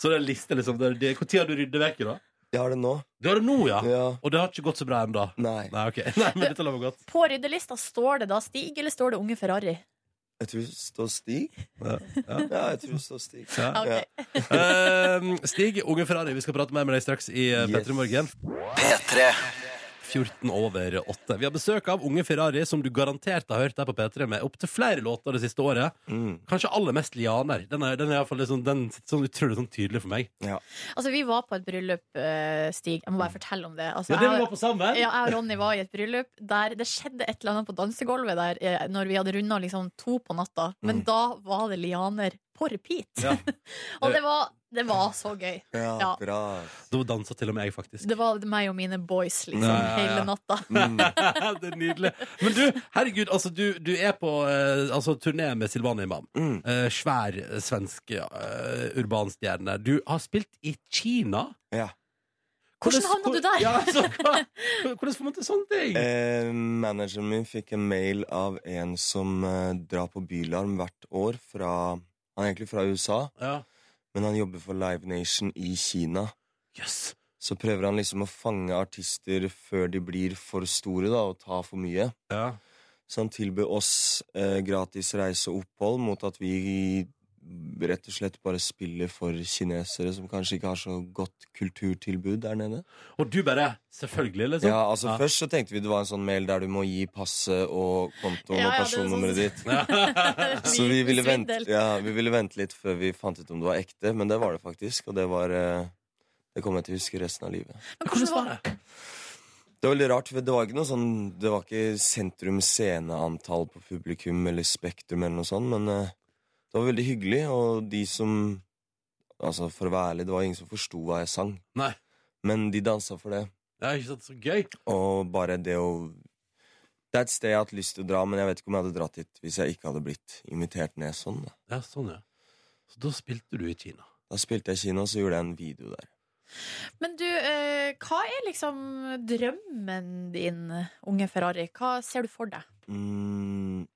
Speaker 1: Så det er en liste, liksom. Det er, det, hvor tid har du ryddet vekk, da?
Speaker 10: Jeg har det nå.
Speaker 1: Du har det nå, ja.
Speaker 10: Ja.
Speaker 1: Og det har ikke gått så bra ennå.
Speaker 10: Nei.
Speaker 1: Nei, ok. Nei, men dette lover godt.
Speaker 2: På ryddelista står det da Stig, eller står det Unge Ferrari?
Speaker 10: Jeg tror det står Stig.
Speaker 1: Ja.
Speaker 10: Ja, jeg tror det står Stig.
Speaker 1: Ja.
Speaker 2: Ok.
Speaker 1: Ehm, Stig, unge Ferrari, vi skal prate mer med deg straks i
Speaker 10: Yes.
Speaker 1: P3 Morgen.
Speaker 4: P3
Speaker 1: 14 over 8. Vi har besøk av unge Ferrari, som du garantert har hørt her på P3 med opptil flere låter det siste året.
Speaker 10: Mm.
Speaker 1: Kanskje aller mest Lianer. Den, er, den, er i hvert fall litt sånn- den sitter sånn utrolig sånn tydelig for meg.
Speaker 2: Altså, vi var på et bryllup, eh, Stig. Jeg må bare fortelle om det. Altså,
Speaker 1: Ja, det
Speaker 2: jeg-
Speaker 1: vi var på sammen.
Speaker 2: Ja, jeg og Ronny var i et bryllup der det skjedde et eller annet på dansegulvet der eh, når vi hadde runda liksom to på natta. Men da var det lianer på repeat.
Speaker 1: Mm. Ja.
Speaker 2: og det var, det var så gøy.
Speaker 10: Ja,
Speaker 2: Ja.
Speaker 10: bra.
Speaker 1: Da dansa til og med jeg, faktisk.
Speaker 2: Det var meg og mine boys liksom
Speaker 1: Ja, ja, ja.
Speaker 2: hele natta.
Speaker 10: Mm.
Speaker 1: det er nydelig. Men du, herregud, altså, du, du er på eh, altså, turné med Silvana Imam.
Speaker 10: Mm.
Speaker 1: Eh, svær eh, svensk eh, urban stjerne. Du har spilt i Kina.
Speaker 10: Ja.
Speaker 2: Hvordan havna du der?
Speaker 1: Ja, altså, hva, hvordan sånn får man til sånne ting?
Speaker 10: Eh, manageren min fikk en mail av en som eh, drar på bylarm hvert år fra Han er egentlig fra USA,
Speaker 1: Ja.
Speaker 10: men han jobber for Live Nation i Kina.
Speaker 1: Yes.
Speaker 10: Så prøver han liksom å fange artister før de blir for store da, og tar for mye.
Speaker 1: Ja.
Speaker 10: Så han tilbød oss eh, gratis reise og opphold mot at vi rett og slett bare spiller for kinesere som kanskje ikke har så godt kulturtilbud der nede.
Speaker 1: Og du bare Selvfølgelig, liksom.
Speaker 10: Ja, altså
Speaker 1: Ja.
Speaker 10: Først så tenkte vi det var en sånn mail der du må gi passet og kontoen
Speaker 1: Ja, ja,
Speaker 10: og
Speaker 1: det er
Speaker 10: personnummeret
Speaker 1: sånn-
Speaker 10: ditt. så vi ville, vente,
Speaker 1: Svindel.
Speaker 10: ja, vi ville vente litt før vi fant ut om det var ekte, men det var det faktisk. Og det var eh, Det kommer jeg til å huske resten av livet. Det var veldig rart, for det var ikke noe sånn Det var ikke sentrum sceneantall på publikum eller Spektrum eller noe sånt, men eh, det var veldig hyggelig, og de som Altså, for å være ærlig, det var ingen som forsto hva jeg sang,
Speaker 1: Nei.
Speaker 10: men de dansa for det.
Speaker 1: Det er ikke sant, så gøy.
Speaker 10: Og bare det å Det er et sted jeg har hatt lyst til å dra, men jeg vet ikke om jeg hadde dratt dit hvis jeg ikke hadde blitt invitert ned sånn. Da,
Speaker 1: Ja, sånn, ja. Så da spilte du i Kina.
Speaker 10: da spilte jeg i Kina, og så gjorde jeg en video der.
Speaker 2: Men du, eh, hva er liksom drømmen din, unge Ferrari? Hva ser du for deg?
Speaker 10: Mm.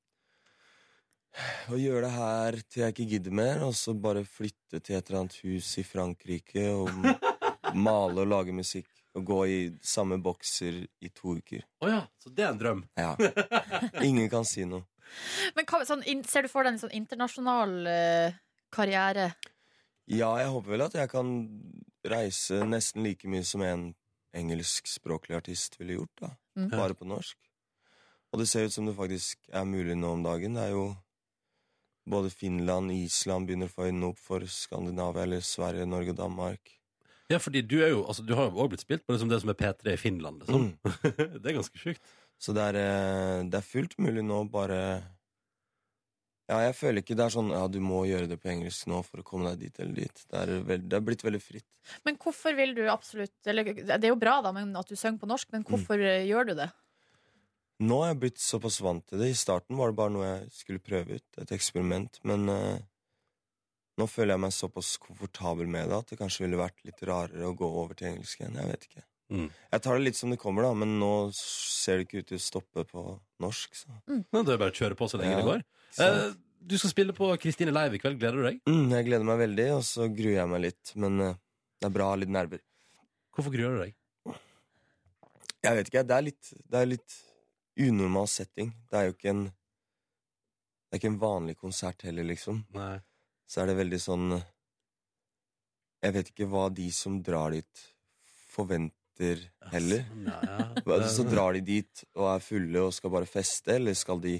Speaker 10: Å gjøre det her til jeg ikke gidder mer, og så bare flytte til et eller annet hus i Frankrike og m- male og lage musikk. Og gå i samme bokser i to uker.
Speaker 1: Å ja, så det er en drøm?
Speaker 10: Ja. Ingen kan si noe.
Speaker 2: Men hva, sånn, in, ser du for deg en sånn internasjonal eh, karriere?
Speaker 10: Ja, jeg håper vel at jeg kan reise nesten like mye som en engelskspråklig artist ville gjort, da.
Speaker 2: Mm.
Speaker 10: Bare på norsk. Og det ser ut som det faktisk er mulig nå om dagen. Det er jo både Finland, Island begynner å få øynene opp for Skandinavia eller Sverige, Norge og Danmark.
Speaker 1: Ja, fordi du er jo altså, Du har jo også blitt spilt på liksom det som er P3 i Finland,
Speaker 10: Mm.
Speaker 1: liksom. det er ganske sjukt.
Speaker 10: Så det er, eh, det er fullt mulig nå, bare Ja, jeg føler ikke det er sånn ja, du må gjøre det på engelsk nå for å komme deg dit eller dit. Det er, vel- det er blitt veldig fritt.
Speaker 2: Men hvorfor vil du absolutt eller, Det er jo bra da, men at du synger på norsk, men
Speaker 10: Mm.
Speaker 2: hvorfor eh, gjør du det?
Speaker 10: Nå er jeg blitt såpass vant til det. I starten var det bare noe jeg skulle prøve ut, et eksperiment. Men eh, nå føler jeg meg såpass komfortabel med det at det kanskje ville vært litt rarere å gå over til engelsk igjen. Jeg vet ikke.
Speaker 1: Mm.
Speaker 10: Jeg tar det litt som det kommer, da, men nå ser det ikke ut til å stoppe på norsk. Så.
Speaker 1: Ja, det er bare å kjøre på så lenge
Speaker 10: Ja,
Speaker 1: det går. Eh, du skal spille på Kristine Leiv i kveld. Gleder du deg?
Speaker 10: Mm, jeg gleder meg veldig, og så gruer jeg meg litt. Men eh, det er bra å ha litt nerver.
Speaker 1: Hvorfor gruer du deg?
Speaker 10: Jeg vet ikke, det er litt, det er litt unormal setting. Det er jo ikke en Det er ikke en vanlig konsert heller, liksom. Så er det veldig sånn Jeg vet ikke hva de som drar dit, forventer heller. Hva- Så drar de dit og er fulle og skal bare feste, eller skal de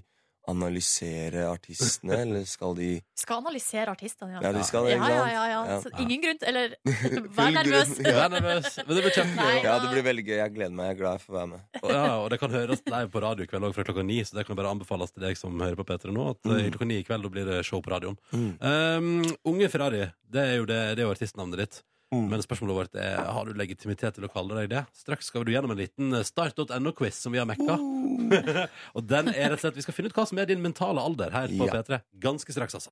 Speaker 10: analysere artistene, eller skal de
Speaker 2: Skal analysere artistene, ja.
Speaker 10: Ja, de skal det,
Speaker 2: ja,
Speaker 10: ikke
Speaker 2: ja,
Speaker 10: sant?
Speaker 2: ja, ja.
Speaker 10: Ja.
Speaker 2: Så ingen grunn til Eller vær
Speaker 10: Full
Speaker 2: nervøs.
Speaker 10: grunn. Ja.
Speaker 1: Men det blir kjempegøy.
Speaker 10: Ja, det blir veldig gøy. Jeg gleder meg. Jeg er glad jeg får være med.
Speaker 1: Og- Ja, og det kan høres live på radio i kveld også fra klokka ni, så det kan bare anbefales til deg som hører på P3 nå, at
Speaker 10: Mm.
Speaker 1: eh, i klokka ni i kveld da blir det show på radioen. Um, unge Ferrari, det er jo, det, det er jo artistnavnet ditt. Men spørsmålet vårt er har du legitimitet til å kalle deg det. Straks skal du gjennom en liten eh, start.no-quiz som vi har mekka. og den er rett og slett Vi skal finne ut hva som er din mentale alder her på
Speaker 10: Ja.
Speaker 1: P3. Ganske straks, altså.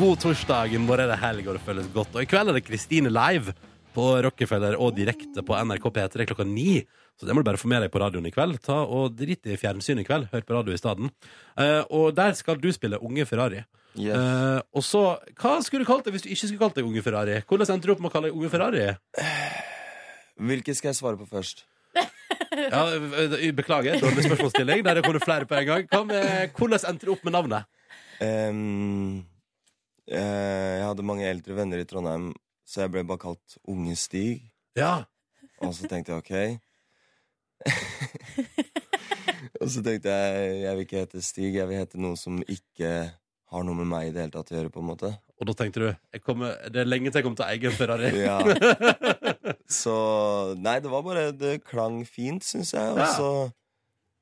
Speaker 1: God torsdag, i morgen er det helg og det føles godt. Og i kveld er det Kristine live på Rockefeller og direkte på NRK P3 klokka ni. Så det må du bare få med deg på radioen i kveld. Ta og Drit i fjernsynet i kveld, hør på radio i stedet. Eh, og der skal du spille Unge Ferrari.
Speaker 10: Yes.
Speaker 1: Eh, og så, Hva skulle du kalt deg hvis du ikke skulle kalt deg Unge Ferrari? Hvordan endte du opp med å kalle deg Unge Ferrari?
Speaker 10: Hvilke skal jeg svare på først?
Speaker 1: Ja, ø- ø- Beklager, dårlig spørsmålsstilling. Der kom det flere på en gang. Hva med, hvordan endte du opp med navnet?
Speaker 10: Ehm, eh, jeg hadde mange eldre venner i Trondheim, så jeg ble bare kalt Unge Stig.
Speaker 1: Ja.
Speaker 10: Og så tenkte jeg ok. og så tenkte jeg jeg vil ikke hete Stig, jeg vil hete noe som ikke har noe med meg i det hele tatt å gjøre, på en måte.
Speaker 1: Og da tenkte du jeg kommer, det er lenge til jeg kommer til å eie en Ferrari.
Speaker 10: Ja. Så Nei, det var bare Det klang fint, syns jeg. Og
Speaker 1: Ja.
Speaker 10: så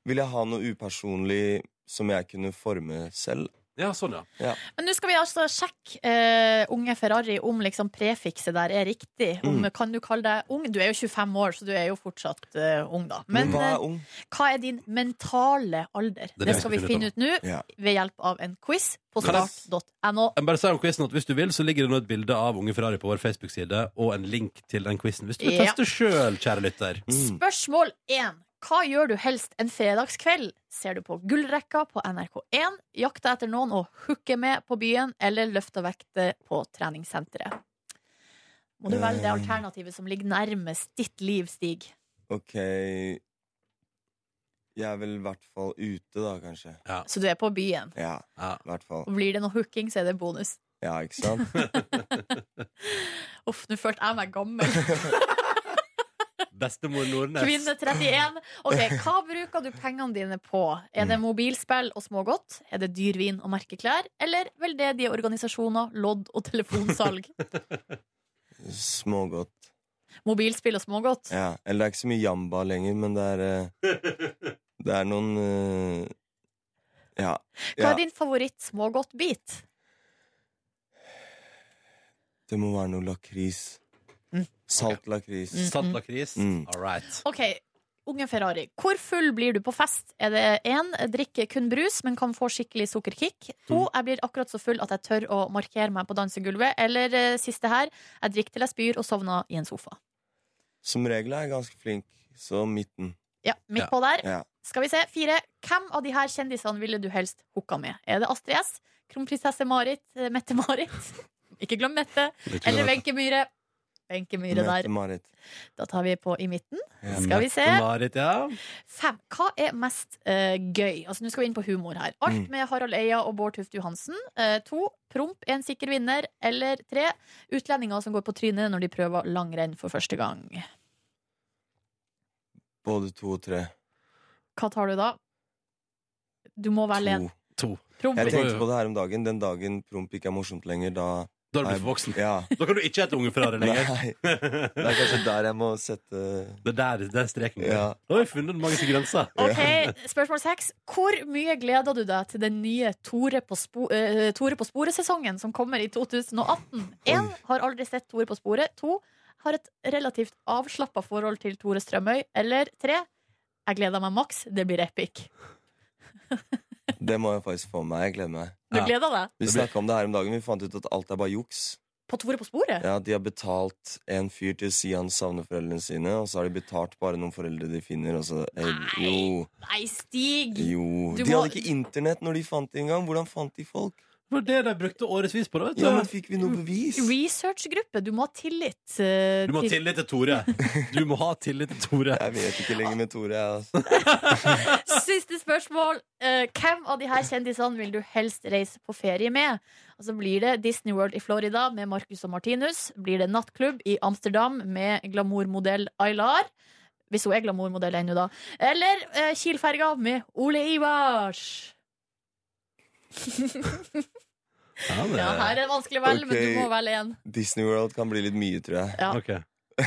Speaker 10: ville jeg ha noe upersonlig som jeg kunne forme selv.
Speaker 1: Ja, sånn, ja.
Speaker 10: Ja.
Speaker 2: Men nå skal vi altså sjekke eh, unge Ferrari om liksom prefikset der er riktig. Om,
Speaker 10: Mm.
Speaker 2: Kan du kalle deg ung? Du er jo 25 år, så du er jo fortsatt eh, ung, da. Men
Speaker 10: Hva
Speaker 2: eh,
Speaker 10: er ung?
Speaker 2: hva er din mentale alder?
Speaker 1: Det er
Speaker 2: Det,
Speaker 1: det
Speaker 2: skal vi finne ut nå
Speaker 10: Ja.
Speaker 2: ved hjelp av en quiz på
Speaker 1: Kan jeg-
Speaker 2: start.no.
Speaker 1: Jeg bare sier om quizen at Hvis du vil, så ligger det nå et bilde av Unge Ferrari på vår Facebook-side og en link til den quizen. Hvis du vil
Speaker 2: Ja.
Speaker 1: teste sjøl, kjære lytter.
Speaker 2: Spørsmål 1. Hva gjør du helst en fredagskveld? Ser du på gullrekka på NRK1, jakter etter noen og hooker med på byen, eller løfter vekter på treningssenteret? Må du velge det
Speaker 10: Eh.
Speaker 2: alternativet som ligger nærmest ditt liv, Stig?
Speaker 10: Ok Jeg er vel i hvert fall ute, da, kanskje.
Speaker 1: Ja.
Speaker 2: Så du er på byen.
Speaker 10: Ja,
Speaker 1: i
Speaker 10: hvert fall.
Speaker 2: Og blir det noe hooking, så er det bonus.
Speaker 10: Ja, ikke sant?
Speaker 2: Uff, nå følte jeg meg gammel.
Speaker 1: Bestemor Nordnes.
Speaker 2: Kvinne 31. Ok, Hva bruker du pengene dine på? Er det mobilspill og smågodt? Er det dyr vin og merkeklær? Eller veldedige organisasjoner, lodd og telefonsalg?
Speaker 10: Smågodt.
Speaker 2: Mobilspill og smågodt?
Speaker 10: Ja. Eller det er ikke så mye jamba lenger, men det er eh, Det er noen eh, Ja.
Speaker 2: Hva
Speaker 10: ja.
Speaker 2: er din favoritt-smågodtbit?
Speaker 10: Det må være noe lakris. Salt lakris.
Speaker 2: Mm, Salt mm.
Speaker 1: lakris? All right.
Speaker 2: Ok, unge Ferrari, hvor full blir du på fest? Er det én, drikker kun brus, men kan få skikkelig sukkerkick? To,
Speaker 10: Mm.
Speaker 2: jeg blir akkurat så full at jeg tør å markere meg på dansegulvet. Eller eh, siste her, jeg drikker til jeg spyr og sovner i en sofa.
Speaker 10: Som regel er jeg ganske flink, så midten.
Speaker 2: Ja, midt på der.
Speaker 10: Ja.
Speaker 2: Skal vi se. Fire. Hvem av de her kjendisene ville du helst hooka med? Er det Astrid S? Kronprinsesse Marit? eh, Mette-Marit? Ikke glem Mette.
Speaker 10: Ikke glem
Speaker 2: Eller
Speaker 10: Mette.
Speaker 2: Wenche Myhre. Wenche Myhre der.
Speaker 10: Mette-Marit.
Speaker 2: Da tar vi på i midten. Skal vi se.
Speaker 1: Marit, ja.
Speaker 2: Fem. Hva er mest eh, gøy? Altså, Nå skal vi inn på humor her. Alt
Speaker 1: Mm.
Speaker 2: med Harald Eia og Bård Tufte Johansen. Eh, to. Promp er en sikker vinner. Eller tre. Utlendinger som går på trynet når de prøver langrenn for første gang.
Speaker 10: Både to og tre.
Speaker 2: Hva tar du da? Du må velge en.
Speaker 1: To.
Speaker 2: Promp.
Speaker 10: Jeg tenkte på det her om dagen. Den dagen promp ikke er morsomt lenger, da
Speaker 1: Da er du blitt for voksen.
Speaker 10: Ja.
Speaker 1: Da kan du ikke hete Unge Ferrari lenger.
Speaker 10: Nei. Det er kanskje der jeg må sette
Speaker 1: Det er der, det er streken. går.
Speaker 10: Ja.
Speaker 1: Da har vi funnet den magiske grensa.
Speaker 2: Ok, Spørsmål seks. Hvor mye gleder du deg til den nye Tore på, spo eh, Tore på sporet-sesongen som kommer i 2018? Én har aldri sett Tore på sporet. To har et relativt avslappa forhold til Tore Strømøy. Eller tre jeg gleder meg maks. Det blir epic.
Speaker 10: Det må jeg faktisk få med meg. Jeg gleder meg.
Speaker 2: Du gleder deg?
Speaker 10: Vi snakka om det her om dagen. Vi fant ut at alt er bare juks.
Speaker 2: På Tore på sporet?
Speaker 10: Ja, De har betalt en fyr til å si han savner foreldrene sine, og så har de betalt bare noen foreldre de finner. Og så, eh, jo,
Speaker 2: Nei, Stig!
Speaker 10: jo.
Speaker 2: Du
Speaker 10: De
Speaker 2: må-
Speaker 10: hadde ikke internett når de fant det engang. Hvordan fant de folk?
Speaker 1: Det var det de brukte årevis på. da, vet du.
Speaker 10: Ja, men Fikk vi noe bevis?
Speaker 2: Researchgruppe. Du må ha tillit. eh,
Speaker 1: Du må ha
Speaker 2: til-
Speaker 1: tillit til Tore. Du må ha tillit til Tore.
Speaker 10: Jeg vet ikke lenger med Tore. Jeg, altså.
Speaker 2: Siste spørsmål. Eh, hvem av de her kjendisene vil du helst reise på ferie med? Altså Blir det Disney World i Florida med Marcus og Martinus? Blir det nattklubb i Amsterdam med glamourmodell Aylar? Hvis hun er glamourmodell ennå, da. Eller eh, Kielferga med Ole Ivars.
Speaker 1: Ja,
Speaker 10: det-
Speaker 2: Ja, her er det vanskelig å velge, men
Speaker 10: Ok.
Speaker 2: du må velge én.
Speaker 10: Disney World kan bli litt mye, tror jeg.
Speaker 2: Ja.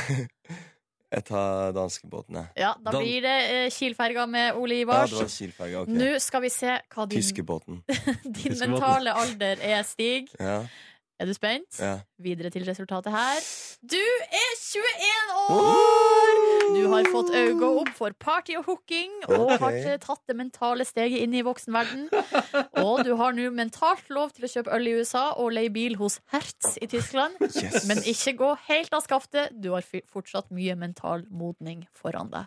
Speaker 10: jeg tar danskebåten, jeg.
Speaker 2: Ja, da blir det eh, Kielferga med Ole
Speaker 10: Ja,
Speaker 2: Ivars.
Speaker 10: det var Kielferga.
Speaker 2: Nå
Speaker 10: Ok.
Speaker 2: skal vi se hva din,
Speaker 10: Tyskebåten.
Speaker 2: din
Speaker 10: Tyskebåten.
Speaker 2: mentale alder er, Stig.
Speaker 10: Ja.
Speaker 2: Er du spent?
Speaker 10: ja.
Speaker 2: Videre til resultatet her. Du er 21 år! Du har fått øynene opp for party og hooking, og
Speaker 11: Ok.
Speaker 2: har t- tatt det mentale steget inn i voksenverden. Og du har nå mentalt lov til å kjøpe øl i USA og leie bil hos Hertz i Tyskland.
Speaker 11: Yes.
Speaker 2: Men ikke gå helt av skaftet. Du har fy- fortsatt mye mental modning foran deg.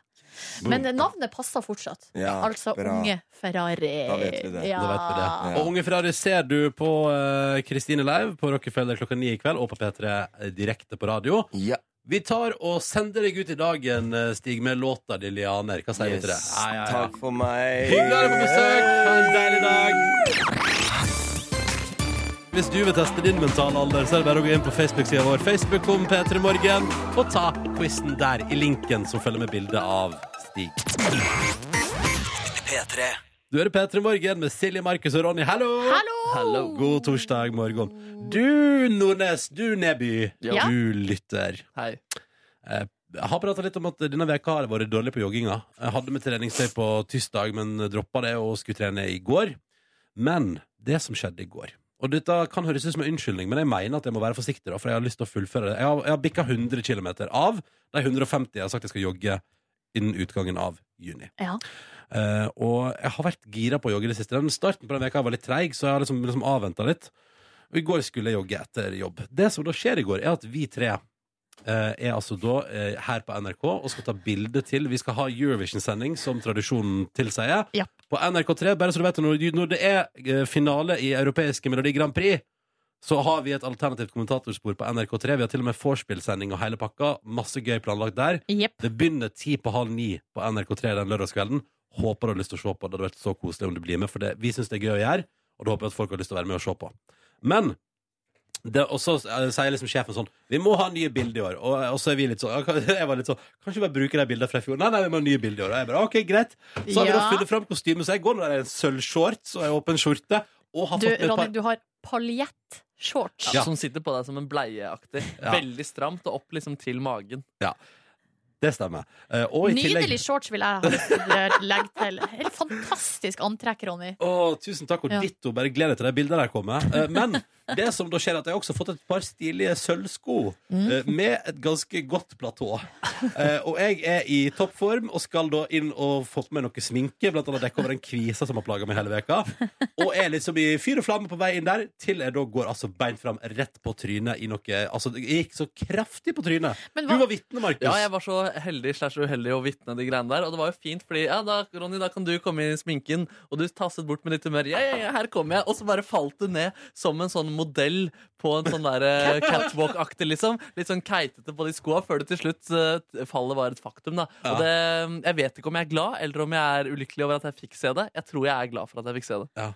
Speaker 2: Men navnet passer fortsatt.
Speaker 1: Ja,
Speaker 2: altså
Speaker 1: bra.
Speaker 2: Unge Ferrari.
Speaker 1: Da vet vi det.
Speaker 2: Ja.
Speaker 1: Da vet vi det. Og Unge Ferrari ser du på eh, Kristine Leiv på Rockefeller klokka ni i kveld, og på P3 direkte på radio. Vi tar og sender deg ut i dagen, eh, Stig, med låta di, Lianer. Hva sier vi til det?
Speaker 10: Yes.
Speaker 1: Ja, ja, ja.
Speaker 10: Takk for meg.
Speaker 1: Hyggelig å ha deg på besøk. Ha en deilig dag. Hvis du vil teste din mentale alder, så er det bare å gå inn på Facebook-sida vår. Facebook om P3 Morgen, og ta quizen der i linken som følger med bildet av Stig.
Speaker 4: P3.
Speaker 1: Du hører P3 Morgen med Silje, Markus og Ronny. Hallo!
Speaker 2: Hallo!
Speaker 1: God torsdag morgen. Du, Nordnes, du, Neby,
Speaker 3: Ja.
Speaker 1: du lytter.
Speaker 3: Hei.
Speaker 1: Eh, Jeg har prata litt om at denne veka har jeg vært dårlig på jogginga. Jeg hadde med treningstøy på tirsdag, men droppa det og skulle trene i går. Men det som skjedde i går Og dette kan høres ut som en unnskyldning, men jeg mener at jeg må være forsiktig, da, for jeg har lyst til å fullføre det. Jeg har, jeg har bikka 100 km av de 150 jeg har sagt jeg skal jogge innen utgangen av juni.
Speaker 2: Ja.
Speaker 1: Eh, og jeg har vært gira på å jogge i det siste. Den starten på den veka var litt treig, så jeg har liksom, liksom avventa litt. Og i går skulle jeg jogge etter jobb. Det som da skjer i går, er at vi tre eh, er altså da eh, her på NRK og skal ta bilde til Vi skal ha Eurovision-sending, som tradisjonen tilsier. På NRK3, bare så du vet det, når, når det er eh, finale i europeiske Melodi Grand Prix, så har vi et alternativt kommentatorspor på NRK3. Vi har til og med vorspiel-sending og hele pakka. Masse gøy planlagt der. Det begynner ti på halv ni på NRK3 den lørdagskvelden. Håper du har lyst til å se på. Det hadde vært så koselig om du blir med, for det, vi syns det er gøy å gjøre, og det håper jeg at folk har lyst til å være med og se på. Men det, og så eh, sier liksom sjefen sånn Vi må ha nye bilder i år. Og, og så er vi litt sånn ja, Jeg var litt sånn Kan ikke bare bruke de bildene fra i fjor? Nei, nei, vi må ha nye bilder i år. Og jeg bare OK, greit. Så har vi da
Speaker 2: Ja.
Speaker 1: funnet fram kostyme, så jeg går nå der i en sølvshorts og en åpen skjorte. Og har
Speaker 2: Du,
Speaker 1: fått med et
Speaker 2: Ronny,
Speaker 1: par
Speaker 2: du har paljettshorts.
Speaker 3: Ja, Som sitter på deg som en bleieaktig.
Speaker 1: Ja.
Speaker 3: Veldig stramt og opp liksom til magen.
Speaker 1: Ja, det stemmer. Eh, og i tillegg
Speaker 2: Nydelig shorts vil jeg ha lyst til å legge til. Helt fantastisk antrekk, Ronny.
Speaker 1: Å, tusen takk, og
Speaker 2: Ja.
Speaker 1: ditto. Bare gled deg til de bildene der kommer. Eh, Men det som da skjer, er at jeg har også fått et par stilige sølvsko eh, med et ganske godt platå. Eh, Og jeg er i toppform og skal da inn og få på meg noe sminke, blant annet dekke over en kvise som har plaga meg hele veka. Og er liksom i fyr og flamme på vei inn der, til jeg da går altså beint fram rett på trynet i noe Altså, jeg gikk så kraftig på trynet.
Speaker 2: Men
Speaker 1: Du var vitne, Markus.
Speaker 3: Ja, jeg var så heldig slash uheldig å vitne de greiene der. Og det var jo fint, fordi ja, da, Ronny, da kan du komme i sminken. Og du tasset bort med litt humør. Ja, ja, ja, her kommer jeg. Og så bare falt du ned som en sånn modell på en sånn der eh, catwalk-aktig, liksom. Litt sånn keitete på de skoa før det til slutt eh, t- fallet var et faktum, da.
Speaker 1: Ja.
Speaker 3: Og det, mm, jeg vet ikke om jeg er glad, eller om jeg er ulykkelig over at jeg fikk se det. Jeg tror jeg er glad for at jeg fikk se det.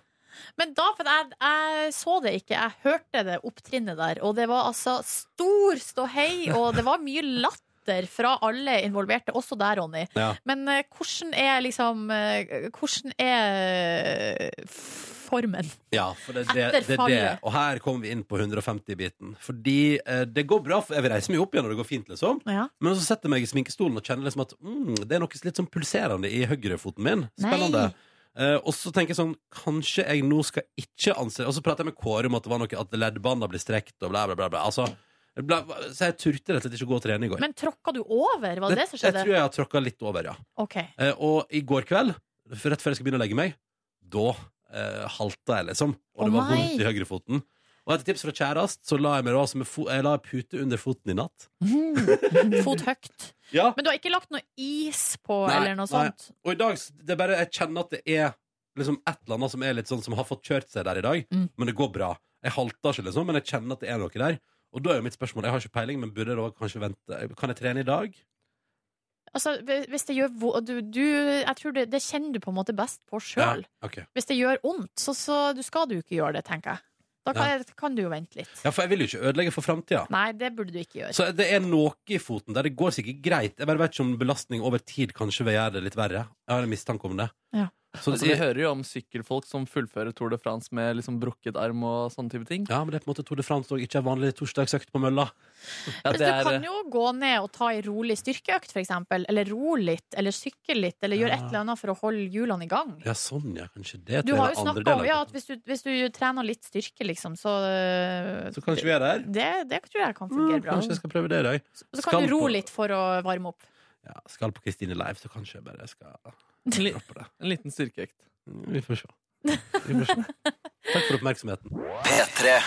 Speaker 2: Men da, for jeg, jeg så det ikke, jeg hørte det opptrinnet der, og det var altså stor ståhei, og det var mye latter fra alle involverte, også der, Ronny.
Speaker 1: Ja.
Speaker 2: Men eh, hvordan er liksom eh, Hvordan er eh, formen?
Speaker 1: Ja, for det, det, det,
Speaker 2: Etter
Speaker 1: er det.
Speaker 2: fallet.
Speaker 1: Og her kommer vi inn på 150-biten. Fordi eh, det går bra. For jeg vil reise meg opp igjen når det går fint, liksom.
Speaker 2: Ja.
Speaker 1: Men så setter jeg meg i sminkestolen og kjenner liksom at mm, det er noe litt sånn pulserende i høyrefoten min. Spennende.
Speaker 2: Nei.
Speaker 1: Eh, og så tenker jeg sånn Kanskje jeg nå skal ikke anse Og så prater jeg med Kåre om at det var noe at leddbanda blir strekt og bla, bla, bla. bla. Altså, det ble, så jeg turte rett og slett ikke å gå og trene i går.
Speaker 2: Men tråkka du over? Var det det som
Speaker 1: jeg
Speaker 2: skjedde?
Speaker 1: tror jeg har tråkka litt over, ja.
Speaker 2: Ok.
Speaker 1: Eh, og i går kveld, f- rett før jeg skal begynne å legge meg, da eh, halta jeg, liksom. Og det
Speaker 2: Å,
Speaker 1: var
Speaker 2: nei.
Speaker 1: vondt i høyrefoten. Og etter tips fra kjærest, så la jeg meg da altså med fo jeg la pute under foten i natt.
Speaker 2: Mm. Fot høyt.
Speaker 1: Ja.
Speaker 2: Men du har ikke lagt noe is på,
Speaker 1: Nei,
Speaker 2: eller noe sånt?
Speaker 1: nei. Og i dag, s- det er bare, jeg kjenner at det er liksom et eller annet som er litt sånn som har fått kjørt seg der i dag,
Speaker 2: Mm.
Speaker 1: men det går bra. Jeg halter ikke, liksom, men jeg kjenner at det er noe der. Og da er jo mitt spørsmål, jeg har ikke peiling, men burde jeg da kanskje vente? Kan jeg trene i dag?
Speaker 2: Altså, hvis det gjør vo- du, du, Jeg tror det, det kjenner du på en måte best på sjøl.
Speaker 1: Ja, ok.
Speaker 2: Hvis det gjør vondt, så, så du skal du ikke gjøre det, tenker jeg. Da kan, kan du jo vente litt.
Speaker 1: Ja, for jeg vil jo ikke ødelegge for fremtiden.
Speaker 2: Nei, det burde du ikke gjøre.
Speaker 1: Så det er noe i foten der. Det går sikkert greit. Jeg bare vet ikke om belastning over tid kanskje vil gjøre det litt verre. Jeg har en mistanke om det.
Speaker 2: Ja.
Speaker 1: Så
Speaker 3: Altså,
Speaker 1: det
Speaker 3: vi hører jo om sykkelfolk som fullfører Tour de France med liksom brukket arm og sånne type ting.
Speaker 1: ja, men det er på en måte Tour de France og ikke en vanlig torsdagsøkt på mølla.
Speaker 3: Ja,
Speaker 2: Men
Speaker 3: det
Speaker 2: du
Speaker 3: er, eh,
Speaker 1: eh,
Speaker 2: kan jo gå ned og ta ei rolig styrkeøkt, for eksempel. Eller ro litt, eller sykle litt, eller gjøre et eller annet for å holde hjulene i gang.
Speaker 1: Ja, sånn, ja. Kanskje det.
Speaker 2: Du
Speaker 1: til
Speaker 2: har jo
Speaker 1: den andre
Speaker 2: snakka om
Speaker 1: delen.
Speaker 2: ja, at hvis du, hvis du trener litt styrke, liksom, så øh,
Speaker 1: Så kanskje vi er der?
Speaker 2: Det, det tror jeg kan fungere bra.
Speaker 1: Mm, Kanskje jeg skal prøve det i dag.
Speaker 2: Så kan du ro
Speaker 1: på-
Speaker 2: litt for å varme opp.
Speaker 1: Ja, skal på Kristine Live, så kanskje jeg bare skal
Speaker 3: en, li
Speaker 1: droppe det.
Speaker 3: en liten styrkeøkt.
Speaker 1: Vi får se. Vi får se. Takk for oppmerksomheten.
Speaker 4: P3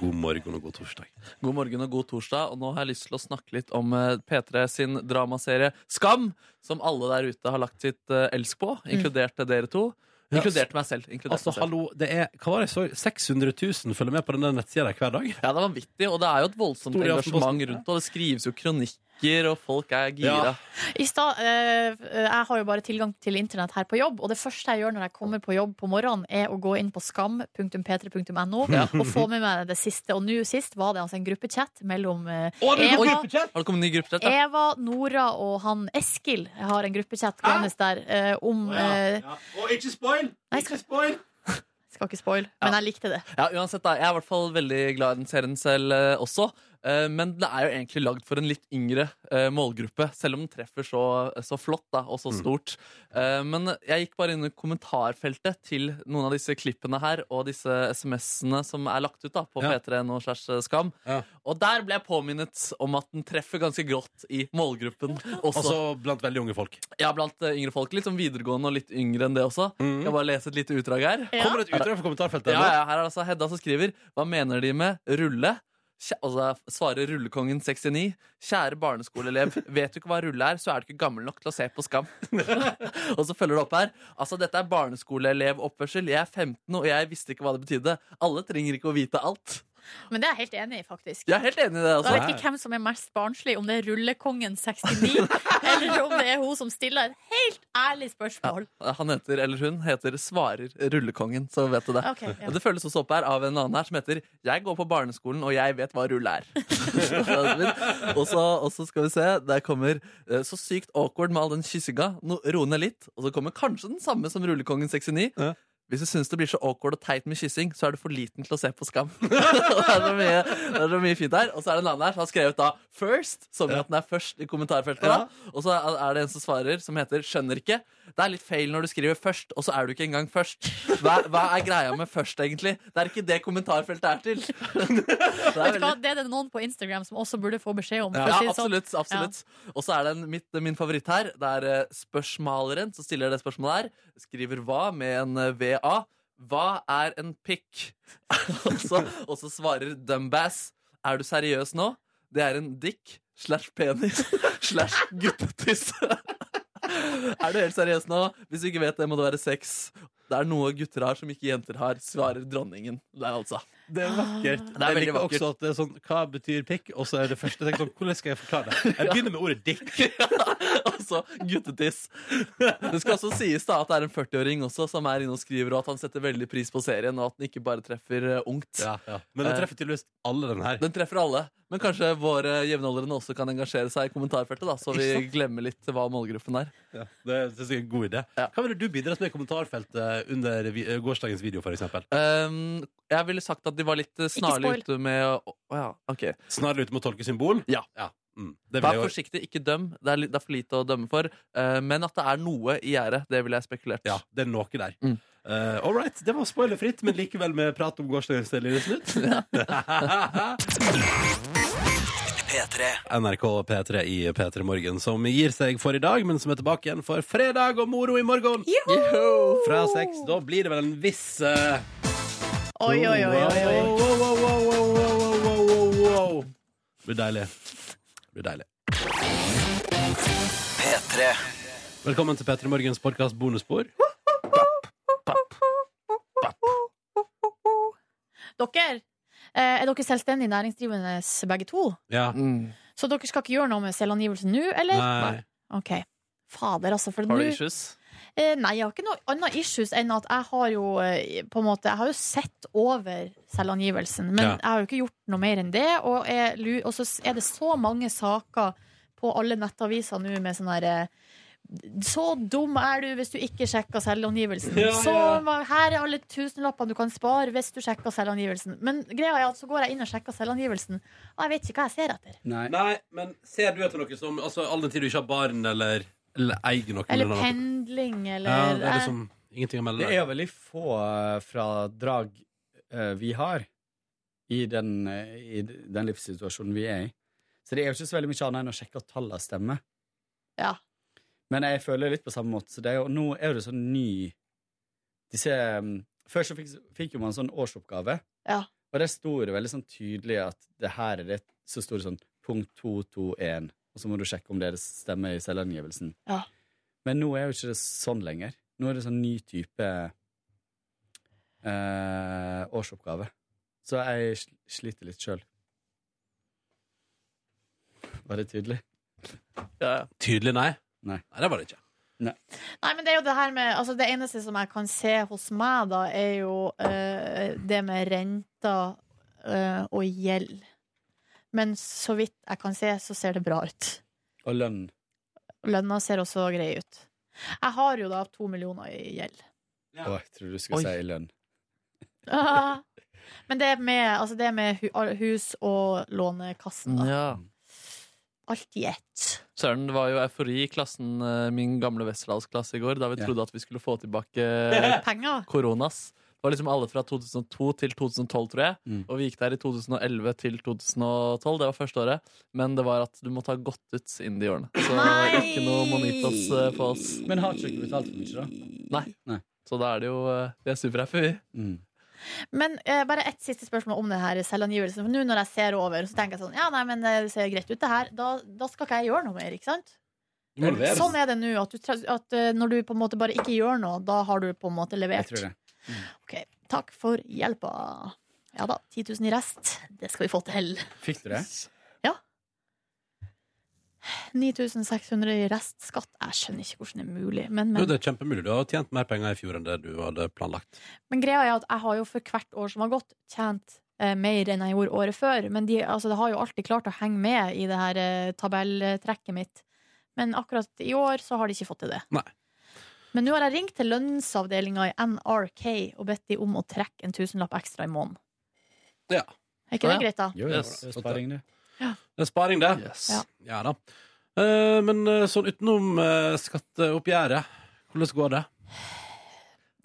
Speaker 1: God morgen og god torsdag.
Speaker 3: God morgen og god torsdag. Og nå har jeg lyst til å snakke litt om eh, P3 sin dramaserie Skam, som alle der ute har lagt sitt eh, elsk på, inkludert eh, dere to.
Speaker 1: Mm. Ja,
Speaker 3: Inkludert meg selv. Inkludert
Speaker 1: Altså,
Speaker 3: meg selv.
Speaker 1: hallo, det er hva var det jeg så? 600 000 følger med på denne nettsida hver dag.
Speaker 3: Ja, det er vanvittig, og det er jo et voldsomt
Speaker 1: Stor i
Speaker 3: engasjement
Speaker 1: Aftenposten.
Speaker 3: rundt det. og Det skrives jo kronikker, og folk er gira.
Speaker 1: Ja.
Speaker 2: I stad, eh, Jeg har jo bare tilgang til internett her på jobb, og det første jeg gjør når jeg kommer på jobb på morgenen, er å gå inn på skam.p3.no og få med meg det siste. Og nå sist var det altså en gruppechat mellom eh, Eva,
Speaker 3: Har det kommet ny gruppechat? da?
Speaker 2: Eva, Nora og han Eskil. Jeg har en gruppechat gående der eh, om eh,
Speaker 1: Og ikke spoil!
Speaker 2: Nei, skal, skal ikke spoil, men jeg likte det.
Speaker 3: Ja, uansett da, Jeg er i hvert fall veldig glad i den serien selv eh, også. Eh, Men det er jo egentlig lagd for en litt yngre eh, målgruppe, selv om den treffer så, så flott da, og
Speaker 1: Mm.
Speaker 3: så stort. Eh, Men jeg gikk bare inn i kommentarfeltet til noen av disse klippene her og disse SMS-ene som er lagt ut da, på
Speaker 1: Ja.
Speaker 3: p3.no. slash eh, skam.
Speaker 1: Ja.
Speaker 3: Og der ble jeg påminnet om at den treffer ganske grått i målgruppen også.
Speaker 1: Altså blant veldig unge folk.
Speaker 3: ja, blant eh, yngre folk. Litt sånn videregående og litt yngre enn det også.
Speaker 1: Mm.
Speaker 3: Skal Jeg bare lese et lite utdrag her.
Speaker 2: Ja.
Speaker 1: Kommer det et utdrag fra kommentarfeltet?
Speaker 3: Ja,
Speaker 1: nå?
Speaker 3: ja, her er det altså Hedda som skriver Hva mener de med rulle? Kjæ- Altså, svarer rullekongen 69 Kjære barneskoleelev, vet du ikke hva rulle er, så er du ikke gammel nok til å se på skam Og så følger det opp her Altså, dette er barneskoleelevoppførsel Jeg er 15 og jeg visste ikke hva det betydde Alle trenger ikke å vite alt
Speaker 2: Men det er jeg helt enig i, faktisk.
Speaker 3: Jeg er helt enig i det.
Speaker 2: Da
Speaker 3: Altså.
Speaker 2: vet jeg ikke hvem som er mest barnslig, om det er Rullekongen 69, eller om det er hun som stiller et helt ærlig spørsmål.
Speaker 3: Han heter, eller hun heter Svarer Rullekongen, så vet du det.
Speaker 2: Ok, ja.
Speaker 3: Og Det føles også opp her av en annen her som heter Jeg går på barneskolen, og jeg vet hva rulle er. og, så, og så skal vi se, der kommer eh, Så sykt awkward med all den kyssinga. No, Ro ned litt. Og så kommer kanskje den samme som Rullekongen 69. Hvis du syns det blir så awkward og teit med kyssing, så er du for liten til å se på Skam. det, er så mye, det er så mye fint her Og så er det en annen her som har skrevet da 'first', som i at den er først i kommentarfeltet. da Og så er det en som svarer, som heter 'skjønner ikke'. Det er litt feil når du skriver 'først', og så er du ikke engang først. Hva, hva er greia med 'først', egentlig? Det er ikke det kommentarfeltet er til. Det er
Speaker 2: Vet du hva,
Speaker 3: veldig
Speaker 2: det er det noen på Instagram som også burde få beskjed om. for å
Speaker 3: ja,
Speaker 2: si det sånn.
Speaker 3: absolutt. absolutt. Og så er det en, mitt, min favoritt her. Det er eh, spørsmaleren som stiller det spørsmålet her. Skriver hva med en eh, VA? Hva er en pikk? og, så, og så svarer Dumbass. Er du seriøs nå? Det er en dick slash penis slash guttetiss. er du helt seriøs nå? Hvis du ikke vet det, må det være sex. Det er noe gutter har som ikke jenter har, svarer dronningen der, altså.
Speaker 1: Det er vakkert.
Speaker 3: Det er
Speaker 1: jeg
Speaker 3: veldig
Speaker 1: liker
Speaker 3: vakkert.
Speaker 1: også at det er sånn Hva betyr pikk? Og så er det første jeg tenker sånn Hvordan skal jeg forklare det? Jeg begynner med ordet dick.
Speaker 3: altså guttetiss. Det skal også sies da at det er en 40-åring også som er inne og skriver, og at han setter veldig pris på serien, og at den ikke bare treffer eh, ungt.
Speaker 1: Men den
Speaker 3: Eh,
Speaker 1: treffer tydeligvis alle, den her.
Speaker 3: Den treffer alle. Men kanskje våre jevnaldrende også kan engasjere seg i kommentarfeltet, da, så vi
Speaker 1: Ikke
Speaker 3: glemmer litt hva målgruppen er.
Speaker 1: Ja, det synes jeg er en god idé. Hva ville du bidratt med i kommentarfeltet under vi- eh, gårsdagens video, for eksempel?
Speaker 3: Um, jeg ville sagt at de var litt eh, snarlig
Speaker 1: spoil.
Speaker 3: ute med å å ja, ok.
Speaker 1: Snarlig ute med å tolke symbol?
Speaker 3: Ja.
Speaker 1: Mm, det vil
Speaker 3: Vær
Speaker 1: jeg gjøre.
Speaker 3: forsiktig, ikke døm. Det er, li- det er for lite å dømme for. eh, men at det er noe i gjerdet, det ville jeg spekulert.
Speaker 1: Ja, det er noe der.
Speaker 2: Mm.
Speaker 1: Eh, all right, det var spoilerfritt, men likevel med prat om gårsdagens lille snutt.
Speaker 4: P3.
Speaker 1: NRK P3 i P3 Morgen, som gir seg for i dag, men som er tilbake igjen for fredag og moro i morgen. Fra seks. Da blir det vel en viss eh,
Speaker 2: Oi, oi, oi, oi, oi.
Speaker 1: Wow, wow, wow, wow, wow, wow, wow, wow, wow, wow. Det blir deilig. Det blir deilig.
Speaker 4: P3.
Speaker 1: Velkommen til P3 Morgens podkast bonusspor.
Speaker 2: Dere, eh, er dere selvstendig næringsdrivende begge to?
Speaker 1: Ja.
Speaker 2: Så dere skal ikke gjøre noe med selvangivelsen nå, eller?
Speaker 1: Nei.
Speaker 2: Ok. Fader, altså. For
Speaker 3: Har du
Speaker 2: nå-
Speaker 3: issues?
Speaker 2: Eh, nei, jeg har ikke noe annet issues enn at jeg har jo eh, på en måte, jeg har jo sett over selvangivelsen. Men
Speaker 11: Ja.
Speaker 2: jeg har jo ikke gjort noe mer enn det. Og, jeg, lu- og så er det så mange saker på alle nettaviser nå med sånn herre så dum er du hvis du ikke sjekker selvangivelsen.
Speaker 11: Ja, ja.
Speaker 2: Så ma- her er alle tusenlappene du kan spare hvis du sjekker selvangivelsen. Men greia er at så går jeg inn og sjekker selvangivelsen, og jeg vet ikke hva jeg ser etter.
Speaker 1: Nei. men ser du etter noe som Altså, All den tid du ikke har barn eller, eller eier noe?
Speaker 2: Eller
Speaker 1: noe.
Speaker 2: pendling, eller
Speaker 1: Ja, det er liksom ingenting å melde
Speaker 12: Det er veldig få eh, fradrag eh, vi har i den, eh, i den livssituasjonen vi er i. Så det er jo ikke så veldig mye annet enn å sjekke at tallene stemmer.
Speaker 2: Ja.
Speaker 12: Men jeg føler litt på samme måte. Så det er jo, nå er det sånn ny disse, mm, Før så fikk, fikk jo man sånn årsoppgave,
Speaker 2: Ja.
Speaker 12: og der sto det veldig sånn tydelig at det her er det Så sto det sånn punkt 221, og så må du sjekke om det stemmer i selvangivelsen.
Speaker 2: Ja.
Speaker 12: Men nå er jo ikke det sånn lenger. Nå er det sånn ny type eh, årsoppgave. Så jeg sl- sliter litt sjøl. Var det tydelig?
Speaker 1: Tydelig nei?
Speaker 12: Nei.
Speaker 1: det var det ikke.
Speaker 2: Nei, men det er jo det her med altså Det eneste som jeg kan se hos meg, da, er jo eh, det med renter eh, og gjeld. Men så vidt jeg kan se, så ser det bra ut.
Speaker 12: Og lønn.
Speaker 2: Lønna ser også grei ut. Jeg har jo da to millioner i gjeld.
Speaker 12: Å, jeg trodde du skulle
Speaker 2: Oi.
Speaker 12: si lønn.
Speaker 2: Men det er med, altså det er med hu hus og Lånekassen, da.
Speaker 3: Ja.
Speaker 2: Alt i ett.
Speaker 3: Søren, det var jo eufori i klassen, eh, min gamle Westerdalsklasse i går, da vi trodde at vi skulle få tilbake eh,
Speaker 2: Penger.
Speaker 3: koronas. Det var liksom alle fra 2002 til 2012, tror jeg.
Speaker 1: Mm.
Speaker 3: Og vi gikk der i 2011 til 2012. Det var første året. Men det var at du måtte ha gått ut innen de årene. Så ikke noe monitos eh, på oss.
Speaker 12: Men har ikke dere betalt for mye,
Speaker 3: da? Nei. Så da er det jo eh, Vi er superhappy, vi.
Speaker 12: Mm,
Speaker 2: Men eh, bare ett siste spørsmål om det her selvangivelsen. For nå når jeg ser over, så tenker jeg sånn Ja, nei, men det ser greit ut, det her. Da, da skal ikke jeg gjøre noe mer, ikke sant?
Speaker 1: Du må levere.
Speaker 2: Sånn er det nå. At, du, tre- at eh, når du på en måte bare ikke gjør noe, da har du på en måte levert.
Speaker 12: Jeg tror det.
Speaker 2: Ok, Takk for hjelpa. Ja da, 10 000 i rest. Det skal vi få til.
Speaker 12: Fikk du det?
Speaker 2: Ja. 9600 i restskatt. Jeg skjønner ikke hvordan det er mulig.
Speaker 1: Jo,
Speaker 2: Men, men,
Speaker 1: det er kjempemulig. Du har tjent mer penger i fjor enn det du hadde planlagt.
Speaker 2: men greia er at jeg har jo for hvert år som har gått, tjent eh, mer enn jeg gjorde året før. Men de, altså, det har jo alltid klart å henge med i det her eh, tabelltrekket mitt. Men akkurat i år så har de ikke fått til det. Men nå har jeg ringt til lønnsavdelinga i NRK og bedt de om å trekke en tusenlapp ekstra i måneden.
Speaker 1: Ja.
Speaker 2: Er ikke det
Speaker 1: Ja.
Speaker 2: greit, da?
Speaker 1: Jo, jo, Yes. det er sparing,
Speaker 12: det.
Speaker 2: Ja.
Speaker 1: Det er sparing, det.
Speaker 2: Ja.
Speaker 1: Ja da. Eh, men eh, sånn utenom eh, skatteoppgjøret, hvordan går det?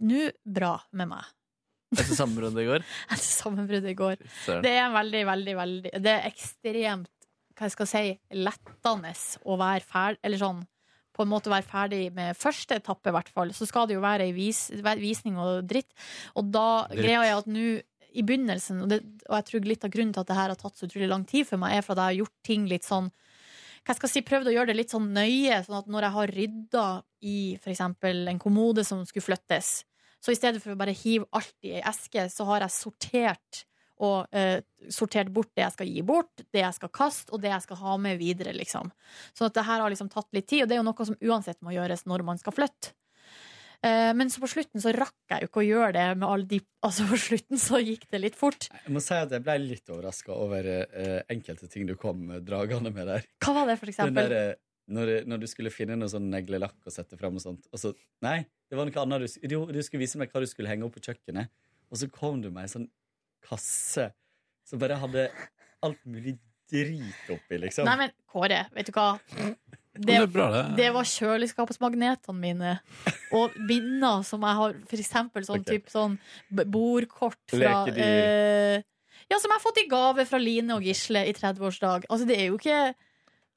Speaker 2: Nå bra med meg.
Speaker 3: Etter sammenbruddet i går.
Speaker 2: Etter sammenbruddet i går.
Speaker 3: søren.
Speaker 2: Det er veldig, veldig, veldig Det er ekstremt hva jeg skal si, lettende å være ferdig Eller sånn på en måte være ferdig med første etappe, i hvert fall. Så skal det jo være ei vis, visning og dritt. Og da
Speaker 9: Dritt.
Speaker 2: greia er at nå i begynnelsen, og, det, og jeg tror litt av grunnen til at det her har tatt så utrolig lang tid for meg, er for at jeg har gjort ting litt sånn hva jeg skal si, prøvd å gjøre det litt sånn nøye, sånn at når jeg har rydda i for eksempel en kommode som skulle flyttes, så i stedet for å bare hive alt i ei eske, så har jeg sortert og eh, sortert bort det jeg skal gi bort, det jeg skal kaste, og det jeg skal ha med videre, liksom. Sånn at det her har liksom tatt litt tid, og det er jo noe som uansett må gjøres når man skal flytte. Eh, Men så på slutten så rakk jeg jo ikke å gjøre det med alle de Altså, på slutten så gikk det litt fort.
Speaker 12: Jeg må si at jeg ble litt overraska over eh, enkelte ting du kom eh, dragende med der.
Speaker 2: Hva var det, for
Speaker 12: Den
Speaker 2: eksempel?
Speaker 12: der, eh, når, når du skulle finne noe sånn neglelakk og sette fram og sånt. Og så, nei, det var noe annet. Du, s- jo, du skulle vise meg hva du skulle henge opp på kjøkkenet. Og så kom du med ei sånn kasse som bare hadde alt mulig drit oppi, liksom.
Speaker 2: Nei, men Kåre, vet du hva?
Speaker 12: det er bra, det.
Speaker 2: det var kjøleskapsmagnetene mine og minner som jeg har, for eksempel sånn
Speaker 12: Ok.
Speaker 2: typ sånn b- bordkort fra
Speaker 12: Lekedyr.
Speaker 2: eh, Ja, som jeg har fått i gave fra Line og Gisle i 30-årsdag. Altså, det er jo ikke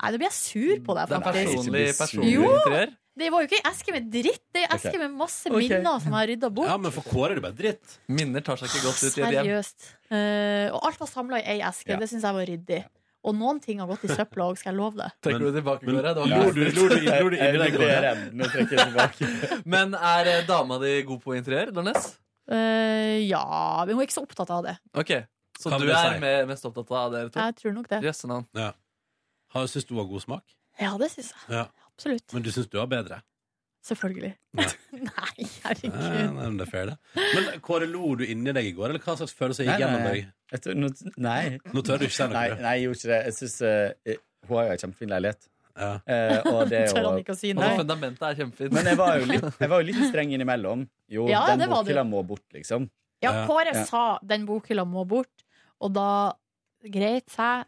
Speaker 2: Nei, da blir jeg sur på deg,
Speaker 3: Det er
Speaker 2: faktisk.
Speaker 3: personlig, personlig
Speaker 2: Jo!
Speaker 3: interiør.
Speaker 2: Det var jo ikke ei eske med dritt, det er ei eske
Speaker 3: Ok.
Speaker 2: med masse
Speaker 3: Ok.
Speaker 2: minner som jeg har rydda bort.
Speaker 1: Ja, men for Kåre er det bare dritt.
Speaker 3: Minner tar seg ikke godt ut i et hjem.
Speaker 2: Seriøst. Eh, og alt var samla i ei eske.
Speaker 3: Ja.
Speaker 2: Det syns jeg var ryddig. Og noen ting har gått i søpla òg, skal jeg love deg.
Speaker 3: Trekker du tilbake,
Speaker 1: men-
Speaker 3: Kåre? Det var
Speaker 1: Ja. Lor du- lor du- lor du
Speaker 3: Jeg-
Speaker 1: inni deg,
Speaker 3: jeg
Speaker 1: Kåre?
Speaker 3: ble redd. Nå trekker jeg tilbake. Men er eh, dama di god på interiør, Lornes?
Speaker 2: Eh, ja, men hun er ikke så opptatt av det.
Speaker 3: Ok, Så
Speaker 1: Kan
Speaker 3: du
Speaker 1: det
Speaker 3: er
Speaker 1: si?
Speaker 3: me- mest opptatt av dere to?
Speaker 2: Jeg tror nok det.
Speaker 3: Jøsse navn.
Speaker 1: Ja. Har- Syns du har god smak?
Speaker 2: Ja, det syns jeg.
Speaker 1: Ja.
Speaker 2: Absolutt.
Speaker 1: Men du syns du har bedre?
Speaker 2: Selvfølgelig. Nei,
Speaker 1: Nei,
Speaker 2: herregud.
Speaker 1: nei, men det er fair, det. Men Kåre, lo du inni deg i går, eller hva slags følelse gikk gjennom
Speaker 12: nei.
Speaker 1: deg?
Speaker 12: Jeg tror- nå, nei.
Speaker 1: Nå tør du ikke si noe,
Speaker 12: Nei,
Speaker 1: du.
Speaker 12: nei, jeg gjorde ikke det. Jeg synes, eh, hun har jo en kjempefin leilighet. Eh, og det er
Speaker 3: Tør han
Speaker 12: jo
Speaker 3: ikke å si
Speaker 12: Nei.
Speaker 3: nei? Altså, Fundamentet er kjempefint.
Speaker 12: Men jeg var jo litt, jeg var jo litt streng innimellom. Jo,
Speaker 2: Ja,
Speaker 12: den
Speaker 2: det var
Speaker 12: bokhylla
Speaker 2: du.
Speaker 12: må bort, liksom.
Speaker 2: Ja, Kåre
Speaker 12: Ja.
Speaker 2: sa 'den bokhylla må bort', og da Greit, sa jeg.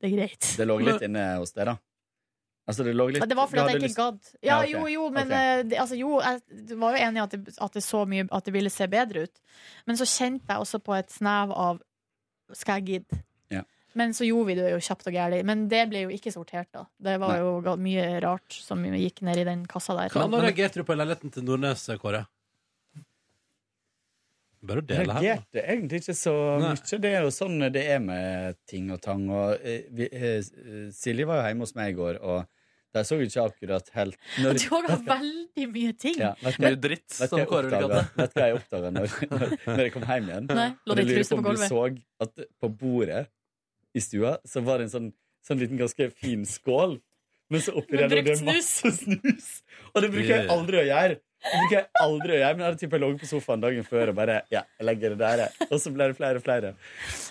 Speaker 2: Det er greit.
Speaker 12: Det lå litt inne hos deg, da. Altså, det lå litt
Speaker 2: Ja, det var
Speaker 12: du
Speaker 2: fordi at
Speaker 12: hadde
Speaker 2: jeg ikke
Speaker 12: lyst-
Speaker 2: gadd. Ja,
Speaker 12: Ja, ok.
Speaker 2: jo, jo, men
Speaker 12: Ok.
Speaker 2: eh, det, altså, jo, jeg du var jo enig i at det, at det så mye At det ville se bedre ut. Men så kjente jeg også på et snev av Skal jeg gidde?
Speaker 12: Ja.
Speaker 2: Men så gjorde vi det jo kjapt og gærlig. Men det ble jo ikke sortert, da. Det var
Speaker 1: Nei.
Speaker 2: jo ga- mye rart som gikk ned i den kassa der.
Speaker 1: Hvordan reagerte du på leiligheten til Nordnes, Kåre? Bare å dele her.
Speaker 12: reagerte egentlig ikke så mye. Det er jo sånn det er med ting og tang. Og, eh, vi, eh, Silje var jo hjemme hos meg i går, og der så vi ikke akkurat helt
Speaker 2: Og
Speaker 12: når-
Speaker 2: Du har da veldig mye ting.
Speaker 12: Ja, vet du-
Speaker 3: Mye dritt,
Speaker 12: vet du
Speaker 3: som
Speaker 12: hva jeg
Speaker 3: Kåre ville kalt
Speaker 12: oppdaget- Vet du hva jeg oppdaga når, når, når jeg kom hjem igjen?
Speaker 2: Nei, lå
Speaker 12: Og jeg
Speaker 2: det
Speaker 12: lurer
Speaker 2: truse
Speaker 12: på om
Speaker 2: på
Speaker 12: du
Speaker 2: gulvet?
Speaker 12: så at på bordet i stua så var det en sånn, sånn liten ganske fin skål, men så oppi
Speaker 2: Med
Speaker 12: der lå det
Speaker 2: brukt
Speaker 12: masse snus! Og det bruker jeg
Speaker 1: Yeah.
Speaker 12: aldri å gjøre. Det bruker jeg aldri å gjøre, men jeg hadde typ jeg lå på sofaen dagen før og bare Ja, jeg legger det der, jeg. Og så ble det flere og flere.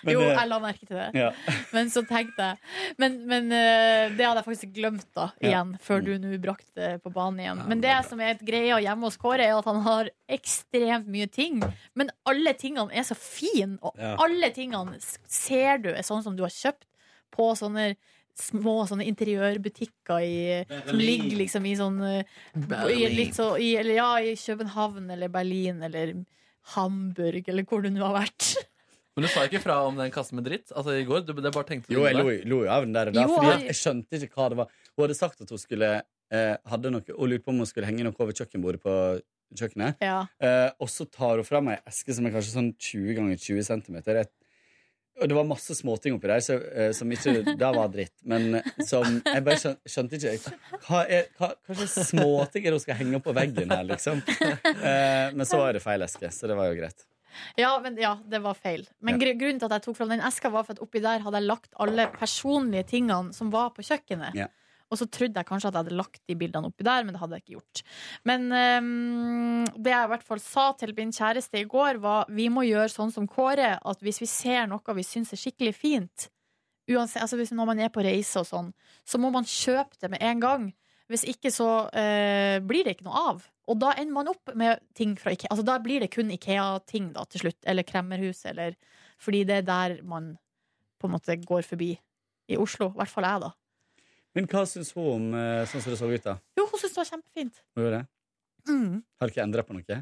Speaker 12: Men,
Speaker 2: jo,
Speaker 12: eh,
Speaker 2: jeg la merke til det.
Speaker 12: ja.
Speaker 2: Men så tenkte jeg Men, men eh, det hadde jeg faktisk glemt da
Speaker 12: Ja.
Speaker 2: igjen, før du nå brakte det på banen igjen. Men det som er et greia hjemme hos Kåre, er at han har ekstremt mye ting. Men alle tingene er så fine, og
Speaker 9: Ja.
Speaker 2: alle tingene s- ser du er sånn som du har kjøpt på sånne små sånne interiørbutikker i, som
Speaker 9: Berlin.
Speaker 2: ligger liksom i sånn eh, i,
Speaker 9: Berlin.
Speaker 2: litt så, i, eller, Ja, i København eller Berlin eller Hamburg eller hvor du nå har vært.
Speaker 3: Men du sa ikke fra om den kassen med dritt? Altså i går, du, det bare tenkte du
Speaker 12: Jo, jeg
Speaker 3: på
Speaker 12: lo,
Speaker 3: det.
Speaker 12: lo jo av den der, og da,
Speaker 3: Jo,
Speaker 12: fordi
Speaker 3: jeg-
Speaker 12: at jeg skjønte ikke hva det var. Hun hadde sagt at hun skulle eh, hadde noe, og lurte på om hun skulle henge noe over kjøkkenbordet på kjøkkenet.
Speaker 2: Ja.
Speaker 12: Eh, og så tar hun fram ei eske som er kanskje sånn 20 ganger 20 cm. Og det var masse småting oppi der så, eh, som ikke da var dritt, men eh, som Jeg bare skjøn- skjønte ikke Hva er hva, hva slags småting er det hun skal henge opp på veggen her, liksom? Eh, men så var det feil eske, så det var jo greit.
Speaker 2: Ja, men ja, det var feil. Men gr grunnen til at jeg tok fram den eska, var for at oppi der hadde jeg lagt alle personlige tingene som var på kjøkkenet.
Speaker 12: Ja.
Speaker 2: Og så trodde jeg kanskje at jeg hadde lagt de bildene oppi der, men det hadde jeg ikke gjort. Men ehm, det jeg i hvert fall sa til min kjæreste i går, var vi må gjøre sånn som Kåre, at hvis vi ser noe vi syns er skikkelig fint, uansett, altså hvis, når man er på reise og sånn, så må man kjøpe det med en gang. Hvis ikke så eh, blir det ikke noe av. Og da ender man opp med ting fra Ikea. Altså da blir det kun Ikea-ting da til slutt, eller kremmerhus, eller Fordi det er der man på en måte går forbi i Oslo. I hvert fall jeg, da.
Speaker 12: Men hva syns hun om eh, sånn som det så ut, da?
Speaker 2: Jo, hun syntes det var kjempefint.
Speaker 12: Hun gjorde det?
Speaker 2: Mm.
Speaker 12: Har ikke endra på noe?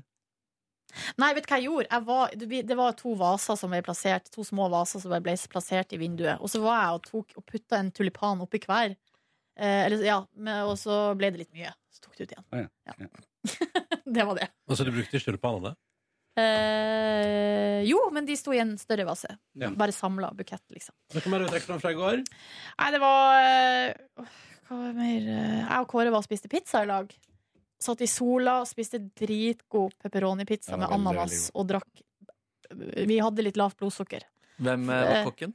Speaker 2: Nei, vet du hva jeg gjorde? Jeg var, det vi- det var to vaser som ble plassert To små vaser som ble plassert i vinduet. Og så var jeg og, tok, og putta en tulipan oppi hver. Eh, eller, ja, men, og så ble det litt mye. Så tok det ut igjen.
Speaker 12: Å ja. ja.
Speaker 2: Det var det.
Speaker 1: Altså, du brukte ikke tulipanene?
Speaker 2: Eh, jo, men de sto i en større vase.
Speaker 1: Ja.
Speaker 2: Bare samla bukett, liksom.
Speaker 1: Noe mer du trekker fram fra i går?
Speaker 2: Nei, det var eh, åh, Hva var det mer Eh, Jeg og Kåre var og spiste pizza i lag. Satt i sola og spiste dritgod pepperoni-pizza
Speaker 3: Den var
Speaker 2: med
Speaker 3: veldig,
Speaker 2: ananas
Speaker 3: veldig
Speaker 2: og drakk Vi hadde litt lavt blodsukker.
Speaker 3: Hvem eh, var
Speaker 2: Eh,
Speaker 3: kokken?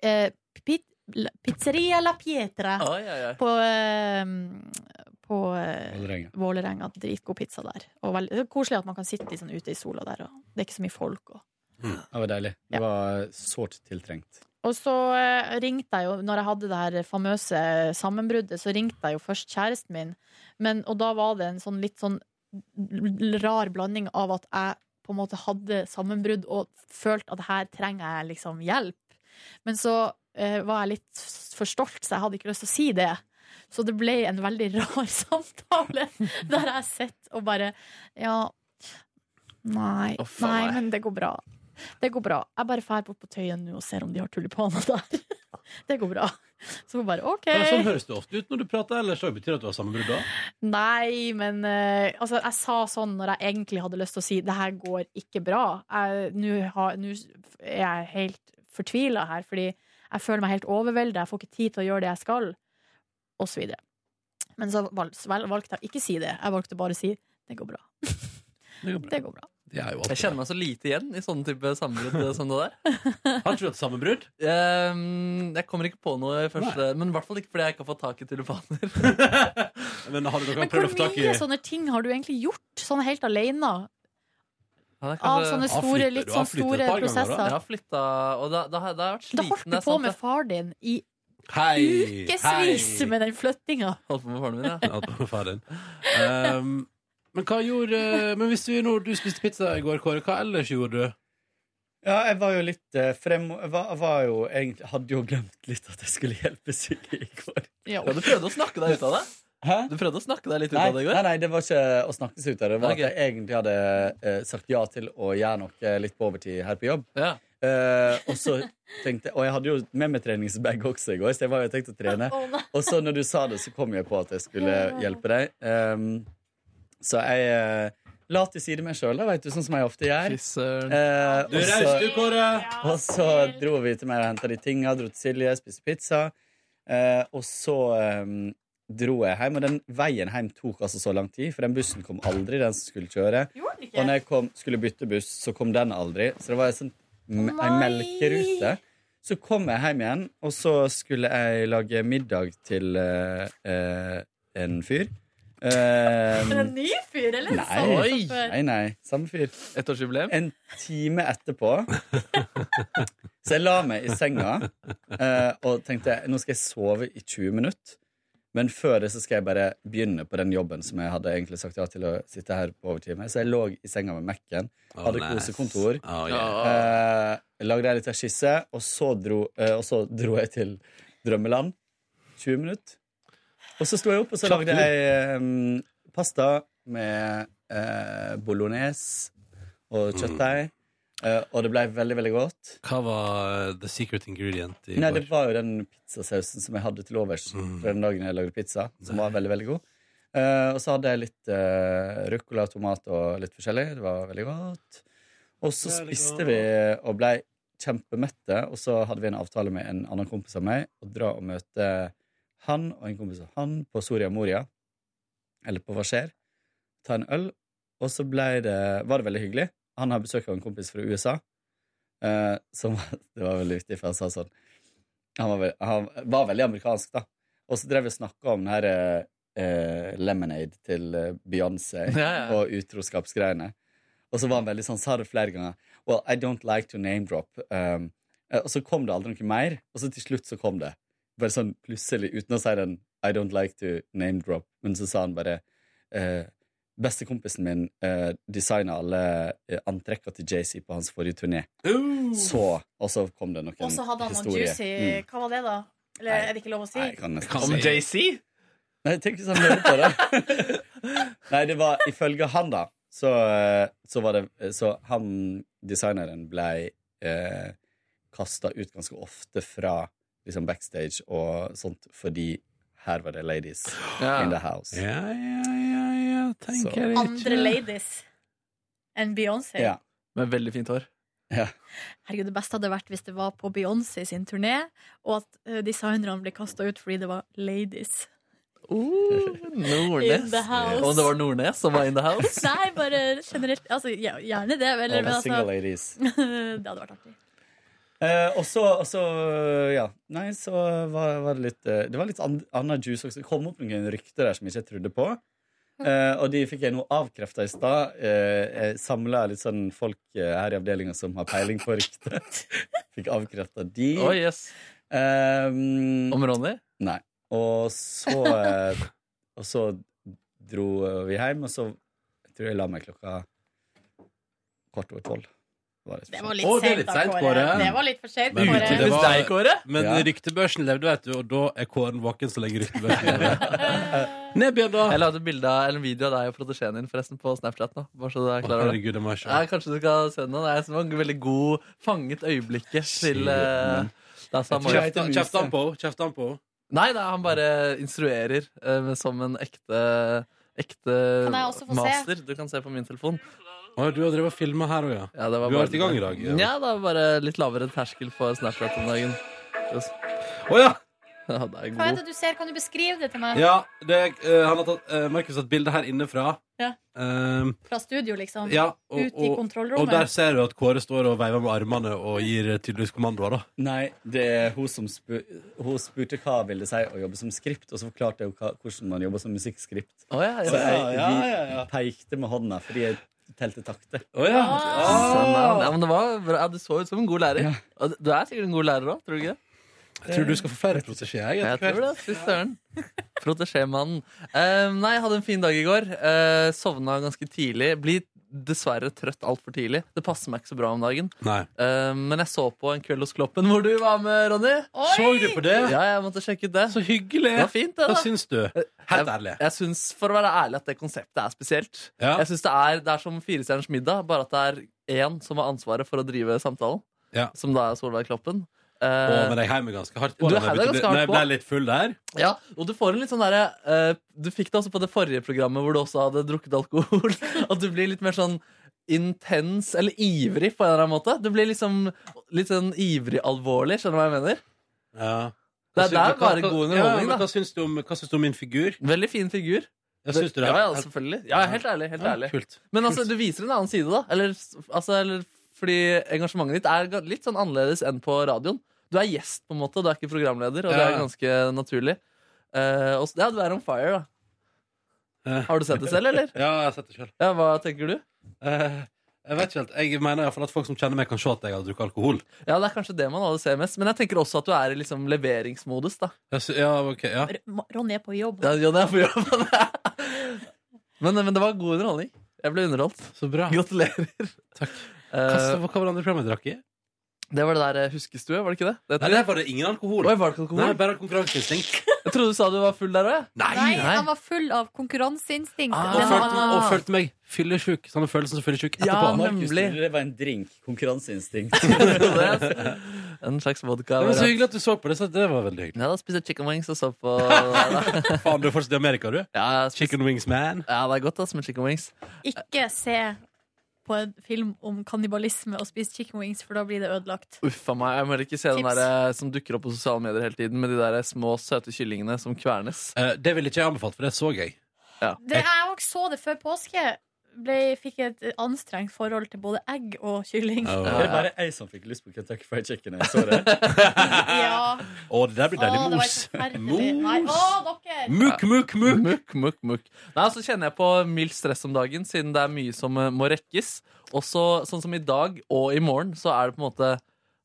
Speaker 2: Eh, pit, la- pizzeria La Pietra
Speaker 3: Oi, oi, oi.
Speaker 2: på, eh, på eh,
Speaker 12: Vålerenga.
Speaker 2: Vålerenga. Dritgod pizza der. Og veld- det er koselig at man kan sitte liksom, ute i sola der, og det er ikke så mye folk. Og
Speaker 12: Det var deilig. Det var sårt tiltrengt.
Speaker 2: Og så eh, ringte jeg jo, når jeg hadde det her famøse sammenbruddet, så ringte jeg jo først kjæresten min. Men, og da var det en sånn litt sånn l- rar blanding av at jeg på en måte hadde sammenbrudd og følte at her trenger jeg liksom hjelp. Men så eh, var jeg litt s- for stolt, så jeg hadde ikke lyst til å si det. Så det ble en veldig rar samtale, der jeg sitter og bare Ja, nei,
Speaker 11: Å, faen,
Speaker 2: nei,
Speaker 11: nei.
Speaker 2: men det går bra. Det går bra. Jeg bare drar bort på Tøyen nå og ser om de har tulipaner der. Det går bra. Så hun bare OK.
Speaker 1: Men Sånn høres det ofte ut når du prater, eller så betyr det at du har sammenbrudd da?
Speaker 2: Nei, men eh, altså, jeg sa sånn når jeg egentlig hadde lyst til å si det her går ikke bra. Jeg- Nå har- nå er jeg helt fortvila her, fordi jeg føler meg helt overveldet. Jeg får ikke tid til å gjøre det jeg skal, og så videre. Men så val- vel- valgte jeg å ikke si det. Jeg valgte bare å si det går bra.
Speaker 1: Det går
Speaker 2: bra.
Speaker 3: Jeg kjenner meg så lite igjen i sånne type sammenbrudd eh, som det der. Ehm,
Speaker 1: Har ikke du hatt sammenbrudd?
Speaker 3: jeg kommer ikke på noe i første Men i hvert fall ikke fordi jeg ikke har fått tak i tulipaner.
Speaker 1: men har dere
Speaker 2: Men hvor mye sånn sånne ting har du egentlig gjort, sånn helt aleine? av
Speaker 3: Altså,
Speaker 2: sånne store- litt sånn store prosesser.
Speaker 3: Jeg har flytta, og da, da, har jeg- da har jeg vært
Speaker 2: Da
Speaker 3: sliten.
Speaker 2: holdt
Speaker 3: det
Speaker 2: du
Speaker 3: er
Speaker 2: på
Speaker 3: sant,
Speaker 2: med
Speaker 3: det.
Speaker 2: far din i
Speaker 1: Hei!
Speaker 2: ukevis med den flyttinga.
Speaker 3: Holdt på med faren min, ja.
Speaker 1: Alt på faren. Ehm, men hva gjorde Men hvis du, når du spiste pizza i går, Kåre, hva ellers gjorde du?
Speaker 12: Ja, jeg var jo litt eh, frem... Jeg var, jeg var jo egentlig Hadde jo glemt litt at jeg skulle hjelpe syke i går.
Speaker 2: Ja,
Speaker 3: du prøvde å snakke deg ut av det. Du prøvde å snakke deg litt ut
Speaker 12: Nei,
Speaker 3: av det i går.
Speaker 12: nei, nei, det var ikke å snakke seg ut av det. Det var
Speaker 3: Ok.
Speaker 12: at jeg egentlig hadde eh, sagt ja til å gjøre noe litt på overtid her på jobb.
Speaker 3: Ja.
Speaker 12: Eh, og så tenkte jeg Og jeg hadde jo med meg treningsbag også i går, så jeg var jo tenkt å trene.
Speaker 2: Å, nei.
Speaker 12: Og så når du sa det, så kom jeg på at jeg skulle hjelpe deg. Ehm, så jeg eh, la til side meg sjøl, vet du, sånn som jeg ofte gjør. Eh,
Speaker 1: Du
Speaker 12: og
Speaker 1: er
Speaker 12: så-
Speaker 1: raus, du, Kåre.
Speaker 12: Og så dro vi til meg og henta de tinga, dro til Silje, spiste pizza. Eh, og så eh, dro jeg hjem, og den veien hjem tok altså så lang tid, for den bussen kom aldri, den som skulle kjøre. Og når jeg kom, skulle bytte buss, så kom den aldri. Så det var en sånn me- ei
Speaker 13: Nei.
Speaker 12: melkerute. Så kom jeg hjem igjen, og så skulle jeg lage middag til eh, eh, en fyr. Eh,
Speaker 2: Men en ny fyr, eller? Samme
Speaker 12: Nei,
Speaker 2: som før.
Speaker 12: nei, nei. Samme fyr.
Speaker 3: Ettårsjubileum?
Speaker 12: En time etterpå. Så jeg la meg i senga eh, og tenkte nå skal jeg sove i 20 minutter. Men før det så skal jeg bare begynne på den jobben som jeg hadde egentlig sagt ja til å sitte her på overtid med. Så jeg lå i senga med Mac-en,
Speaker 1: Oh,
Speaker 12: hadde
Speaker 1: nice.
Speaker 12: kosekontor.
Speaker 1: Oh,
Speaker 12: eh, lagde ei lita skisse, og så, dro, eh, og så dro jeg til drømmeland. 20 minutter. Og så sto jeg opp, og så
Speaker 13: Slapp
Speaker 12: lagde
Speaker 13: du?
Speaker 12: jeg eh, pasta med eh, bolognese og kjøttdeig. eh, og det ble veldig, veldig godt.
Speaker 1: Hva var the secret ingredient i
Speaker 12: Nei,
Speaker 1: går? Mm.
Speaker 12: det var jo den pizzasausen som jeg hadde til overs fra den dagen jeg lagde pizza, som var veldig, veldig god. Eh, og så hadde jeg litt uh, ruccola, tomat og litt forskjellig. Det var veldig godt. Og så
Speaker 13: Veldig
Speaker 12: spiste vi og ble kjempemette, og så hadde vi en avtale med en annen kompis av meg å dra og møte han og en kompis av han på Soria Moria, eller på Hva skjer? Ta en øl, og så ble det, var det veldig hyggelig. han har besøk av en kompis fra USA. eh, som, det var veldig viktig, for han sa sånn Han var, vel- han var veldig amerikansk, da. Og så drev vi og snakka om den her eh, eh, Lemonade til eh, Beyoncé
Speaker 3: Ja, ja.
Speaker 12: og utroskapsgreiene. Og så var han veldig sånn, sa det flere ganger Well, I don't like to name drop um, eh, Og så kom det aldri noe mer Og så til slutt så kom det Bare sånn plutselig, uten å si den I don't like to name drop Men så sa han bare eh, Bestekompisen min uh, designet alle eh, antrekka til Jay-Z på hans forrige turné Så, og så kom det noen
Speaker 2: Mm. Og så hadde han noe
Speaker 12: historier.
Speaker 2: juicy
Speaker 12: Mm.
Speaker 2: Hva var det, da? Eller er det ikke lov å si?
Speaker 12: Nei, jeg kan nesten
Speaker 3: Om
Speaker 12: si-
Speaker 3: Jay-Z?
Speaker 12: Nei, sånn, tenk hvis han hører på det. Nei, det var ifølge han, da, så, eh, så var det Så han designeren blei eh, kasta ut ganske ofte fra liksom backstage og sånt fordi her var det ladies in the house.
Speaker 1: Ja, ja, ja, ja.
Speaker 12: tenker
Speaker 1: jeg
Speaker 2: Andre ladies enn Beyoncé.
Speaker 3: Med veldig fint hår.
Speaker 2: Herregud, Det beste hadde vært hvis det var på Beyoncé sin turné, og at eh, designerne ble kasta ut fordi det var ladies.
Speaker 3: Nordnes.
Speaker 2: In the house.
Speaker 3: Om det var Nordnes som var in the house?
Speaker 2: Nei, bare generelt. Altså, ja, gjerne det. Eller,
Speaker 12: Alle
Speaker 2: men altså,
Speaker 12: single ladies.
Speaker 2: det hadde vært artig.
Speaker 12: Eh, og så, og så, ja Nei, så var, var det litt eh, Det var litt an- annet juice også. Det kom opp noen rykter der som jeg ikke trodde på. Eh, og de fikk jeg nå avkrefta i stad. Eh, jeg samla litt sånn folk eh, her i avdelinga som har peiling på rykter. fikk avkrefta de.
Speaker 3: Oi, yes.
Speaker 12: Om
Speaker 3: Ronny?
Speaker 12: Nei. Og så eh, Og så dro vi hjem, og så jeg tror jeg la meg klokka kvart over tolv.
Speaker 2: Det var litt
Speaker 1: Å, det er
Speaker 2: sent,
Speaker 1: litt
Speaker 2: da,
Speaker 1: sent, Kåre.
Speaker 2: Kåre. Det var litt for sent,
Speaker 1: Men,
Speaker 2: Kåre.
Speaker 1: det var- men
Speaker 12: Ja.
Speaker 1: ryktebørsen levde, vet du, og da er Kåren våken så lenge ryktebørsen lever. Ned, Bjørn, da.
Speaker 3: Jeg la ut et bilde av- eller en video av deg og protesjeen din forresten på Snapchat. nå Bare så du er klar over
Speaker 1: herregud, det må jeg se.
Speaker 3: Nei, Kanskje du skal se den? nå. Det er som en veldig god fanget øyeblikket til eh, da sa Mario-
Speaker 1: Kjeft kjeft han på henne. Kjeft han på henne.
Speaker 3: Nei, det er han bare instruerer eh, men som en ekte, ekte
Speaker 1: Kan jeg også få se?
Speaker 3: master. Du kan se på min telefon.
Speaker 1: du har drevet og filma her òg, ja.
Speaker 3: det var
Speaker 1: Du har
Speaker 3: bare-
Speaker 1: vært i gang i dag.
Speaker 3: Ja, det var bare litt lavere terskel for Snapchat om dagen. Å
Speaker 1: ja!
Speaker 3: det er
Speaker 2: Hva er
Speaker 3: god.
Speaker 2: det du ser? Kan du beskrive det til meg?
Speaker 1: Ja, det, eh, han har tatt, eh, Markus har tatt bilde her inne fra.
Speaker 2: Ja.
Speaker 1: Ehm,
Speaker 2: Fra studio, liksom?
Speaker 1: ja, og,
Speaker 2: Ut i
Speaker 1: og,
Speaker 2: kontrollrommet?
Speaker 1: og der ser du at Kåre står og veiver med armene og gir eh, tydeligvis kommandoer, da.
Speaker 12: Nei, det er hun som spu hun spurte hva ville det si å jobbe som skript, og så forklarte jeg jo hva, hvordan man jobber som musikkskript.
Speaker 3: Å, ja, ja.
Speaker 12: Så jeg
Speaker 3: Ja, ja, ja, ja.
Speaker 12: vi pekte med hånda fordi jeg telte takter.
Speaker 3: Sånn, ja. ja, men det var bra. Ja, Du så ut som en god lærer. Og Du er sikkert en god lærer òg, tror du ikke?
Speaker 1: Jeg tror du skal få flere protesjeer. jeg,
Speaker 3: Jeg
Speaker 1: etter
Speaker 3: tror det. Fy søren. Protesjémannen. Eh, nei, jeg hadde en fin dag i går. Uh, sovna ganske tidlig. Blir dessverre trøtt altfor tidlig. Det passer meg ikke så bra om dagen.
Speaker 1: Nei.
Speaker 3: Eh, men jeg så på En kveld hos Kloppen, hvor du var med, Ronny.
Speaker 1: Oi! Så du på det?
Speaker 3: Ja, jeg måtte sjekke ut det.
Speaker 1: Så hyggelig.
Speaker 3: Det var fint, det, da.
Speaker 1: Hva syns du? Helt ærlig.
Speaker 3: Jeg syns, for å være ærlig, at det konseptet er spesielt.
Speaker 1: Ja.
Speaker 3: Jeg synes det, er, det er som Firestjerners middag, bare at det er én som har ansvaret for å drive samtalen.
Speaker 1: Ja.
Speaker 3: Som da er Solveig Kloppen. Eh,
Speaker 1: Å, men jeg heier meg ganske hardt på
Speaker 3: Du
Speaker 1: den. Jeg
Speaker 3: heier deg
Speaker 1: vet
Speaker 3: ganske hardt
Speaker 1: Når jeg ble
Speaker 3: på.
Speaker 1: litt full der.
Speaker 3: ja, og du får en litt sånn derre eh, Du fikk det også på det forrige programmet hvor du også hadde drukket alkohol. At du blir litt mer sånn intens eller ivrig på en eller annen måte. Du blir liksom litt sånn ivrig-alvorlig, skjønner du hva jeg mener? Det, er- det er bare god underholdning, da.
Speaker 1: hva syns du om, min figur?
Speaker 3: Veldig fin figur.
Speaker 1: Jeg syns du det?
Speaker 3: Ja, ja, selvfølgelig. Ja, helt ærlig. Helt
Speaker 1: Ja,
Speaker 3: ærlig.
Speaker 1: kult.
Speaker 3: Men altså, du viser en annen side, da. Eller, s- altså, eller, fordi engasjementet ditt er ga- litt sånn annerledes enn på radioen. Du er gjest, på en måte. Du er ikke programleder, og det
Speaker 1: Ja,
Speaker 3: er
Speaker 1: ja.
Speaker 3: ganske naturlig. Eh, og, s- ja, du er on fire, da. Har du sett det selv, eller?
Speaker 1: Eh, ja, jeg har sett det selv. Eh,
Speaker 3: Ja, hva tenker du?
Speaker 1: jeg vet ikke helt. Jeg mener i hvert fall at folk som kjenner meg, kan se at jeg har drukket alkohol.
Speaker 3: Ja, det er kanskje det man alle ser mest. Men jeg tenker også at du er i liksom leveringsmodus, da.
Speaker 1: Jeg sy- ja, ok, ja.
Speaker 2: R- Ronny er på jobb.
Speaker 3: Ja, Johnny er på jobb. men, men det var god underholdning. Jeg ble underholdt.
Speaker 1: Så bra.
Speaker 3: Gratulerer. Eh,
Speaker 1: Hva, s- Eh, hva var det andre programmet jeg drakk i?
Speaker 3: Det var det der eh, huskestue, var det ikke det? det
Speaker 1: Nei, der var det ingen alkohol.
Speaker 3: Oi, var det ikke alkohol?
Speaker 1: Nei, bare konkurranseinstinkt.
Speaker 3: Jeg trodde du sa du var full der òg.
Speaker 1: Nei, Ah.
Speaker 2: Nei, han var full av konkurranseinstinkt.
Speaker 1: Og
Speaker 2: Den
Speaker 1: følte,
Speaker 2: var-
Speaker 1: og følte meg fyllesjuk. Samme følelsen som fyllesjuk etterpå.
Speaker 3: Ja,
Speaker 12: Markus
Speaker 3: nemlig.
Speaker 12: trodde det var en drink. Konkurranseinstinkt.
Speaker 3: En slags vodka.
Speaker 1: Det var så hyggelig at du så på det. Så det var veldig hyggelig.
Speaker 3: Ja, da spiste chicken wings og så på
Speaker 1: Faen, du er fortsatt i Amerika, du? Chicken wings man.
Speaker 3: Ja, det er godt ass, med chicken wings.
Speaker 2: Ikke se på en film om kannibalisme og spise chicken wings, for da blir det ødelagt.
Speaker 3: Uff a meg. Jeg må heller ikke se den
Speaker 2: Tips.
Speaker 3: der, eh, som dukker opp på sosiale medier hele tiden, med de der små, søte kyllingene som kvernes.
Speaker 1: Eh, det ville ikke jeg anbefalt, for det så jeg.
Speaker 3: Ja.
Speaker 2: Det, jeg også så det før påske. ble, fikk et anstrengt forhold til både egg og kylling.
Speaker 1: Eh,
Speaker 12: Det er bare jeg som fikk lyst på Kentucky Fried Chicken. Jeg så det.
Speaker 2: Ja.
Speaker 1: Å, det der blir deilig
Speaker 2: Å, det var
Speaker 1: mos.
Speaker 2: helt forferdelig.
Speaker 1: Mos.
Speaker 2: Nei, å, dere!
Speaker 1: Mukk, mukk, mukk.
Speaker 3: Mukk, mukk, mukk. Nei, så kjenner jeg på mildt stress om dagen, siden det er mye som eh, må rekkes. Også sånn som i dag og i morgen, så er det på en måte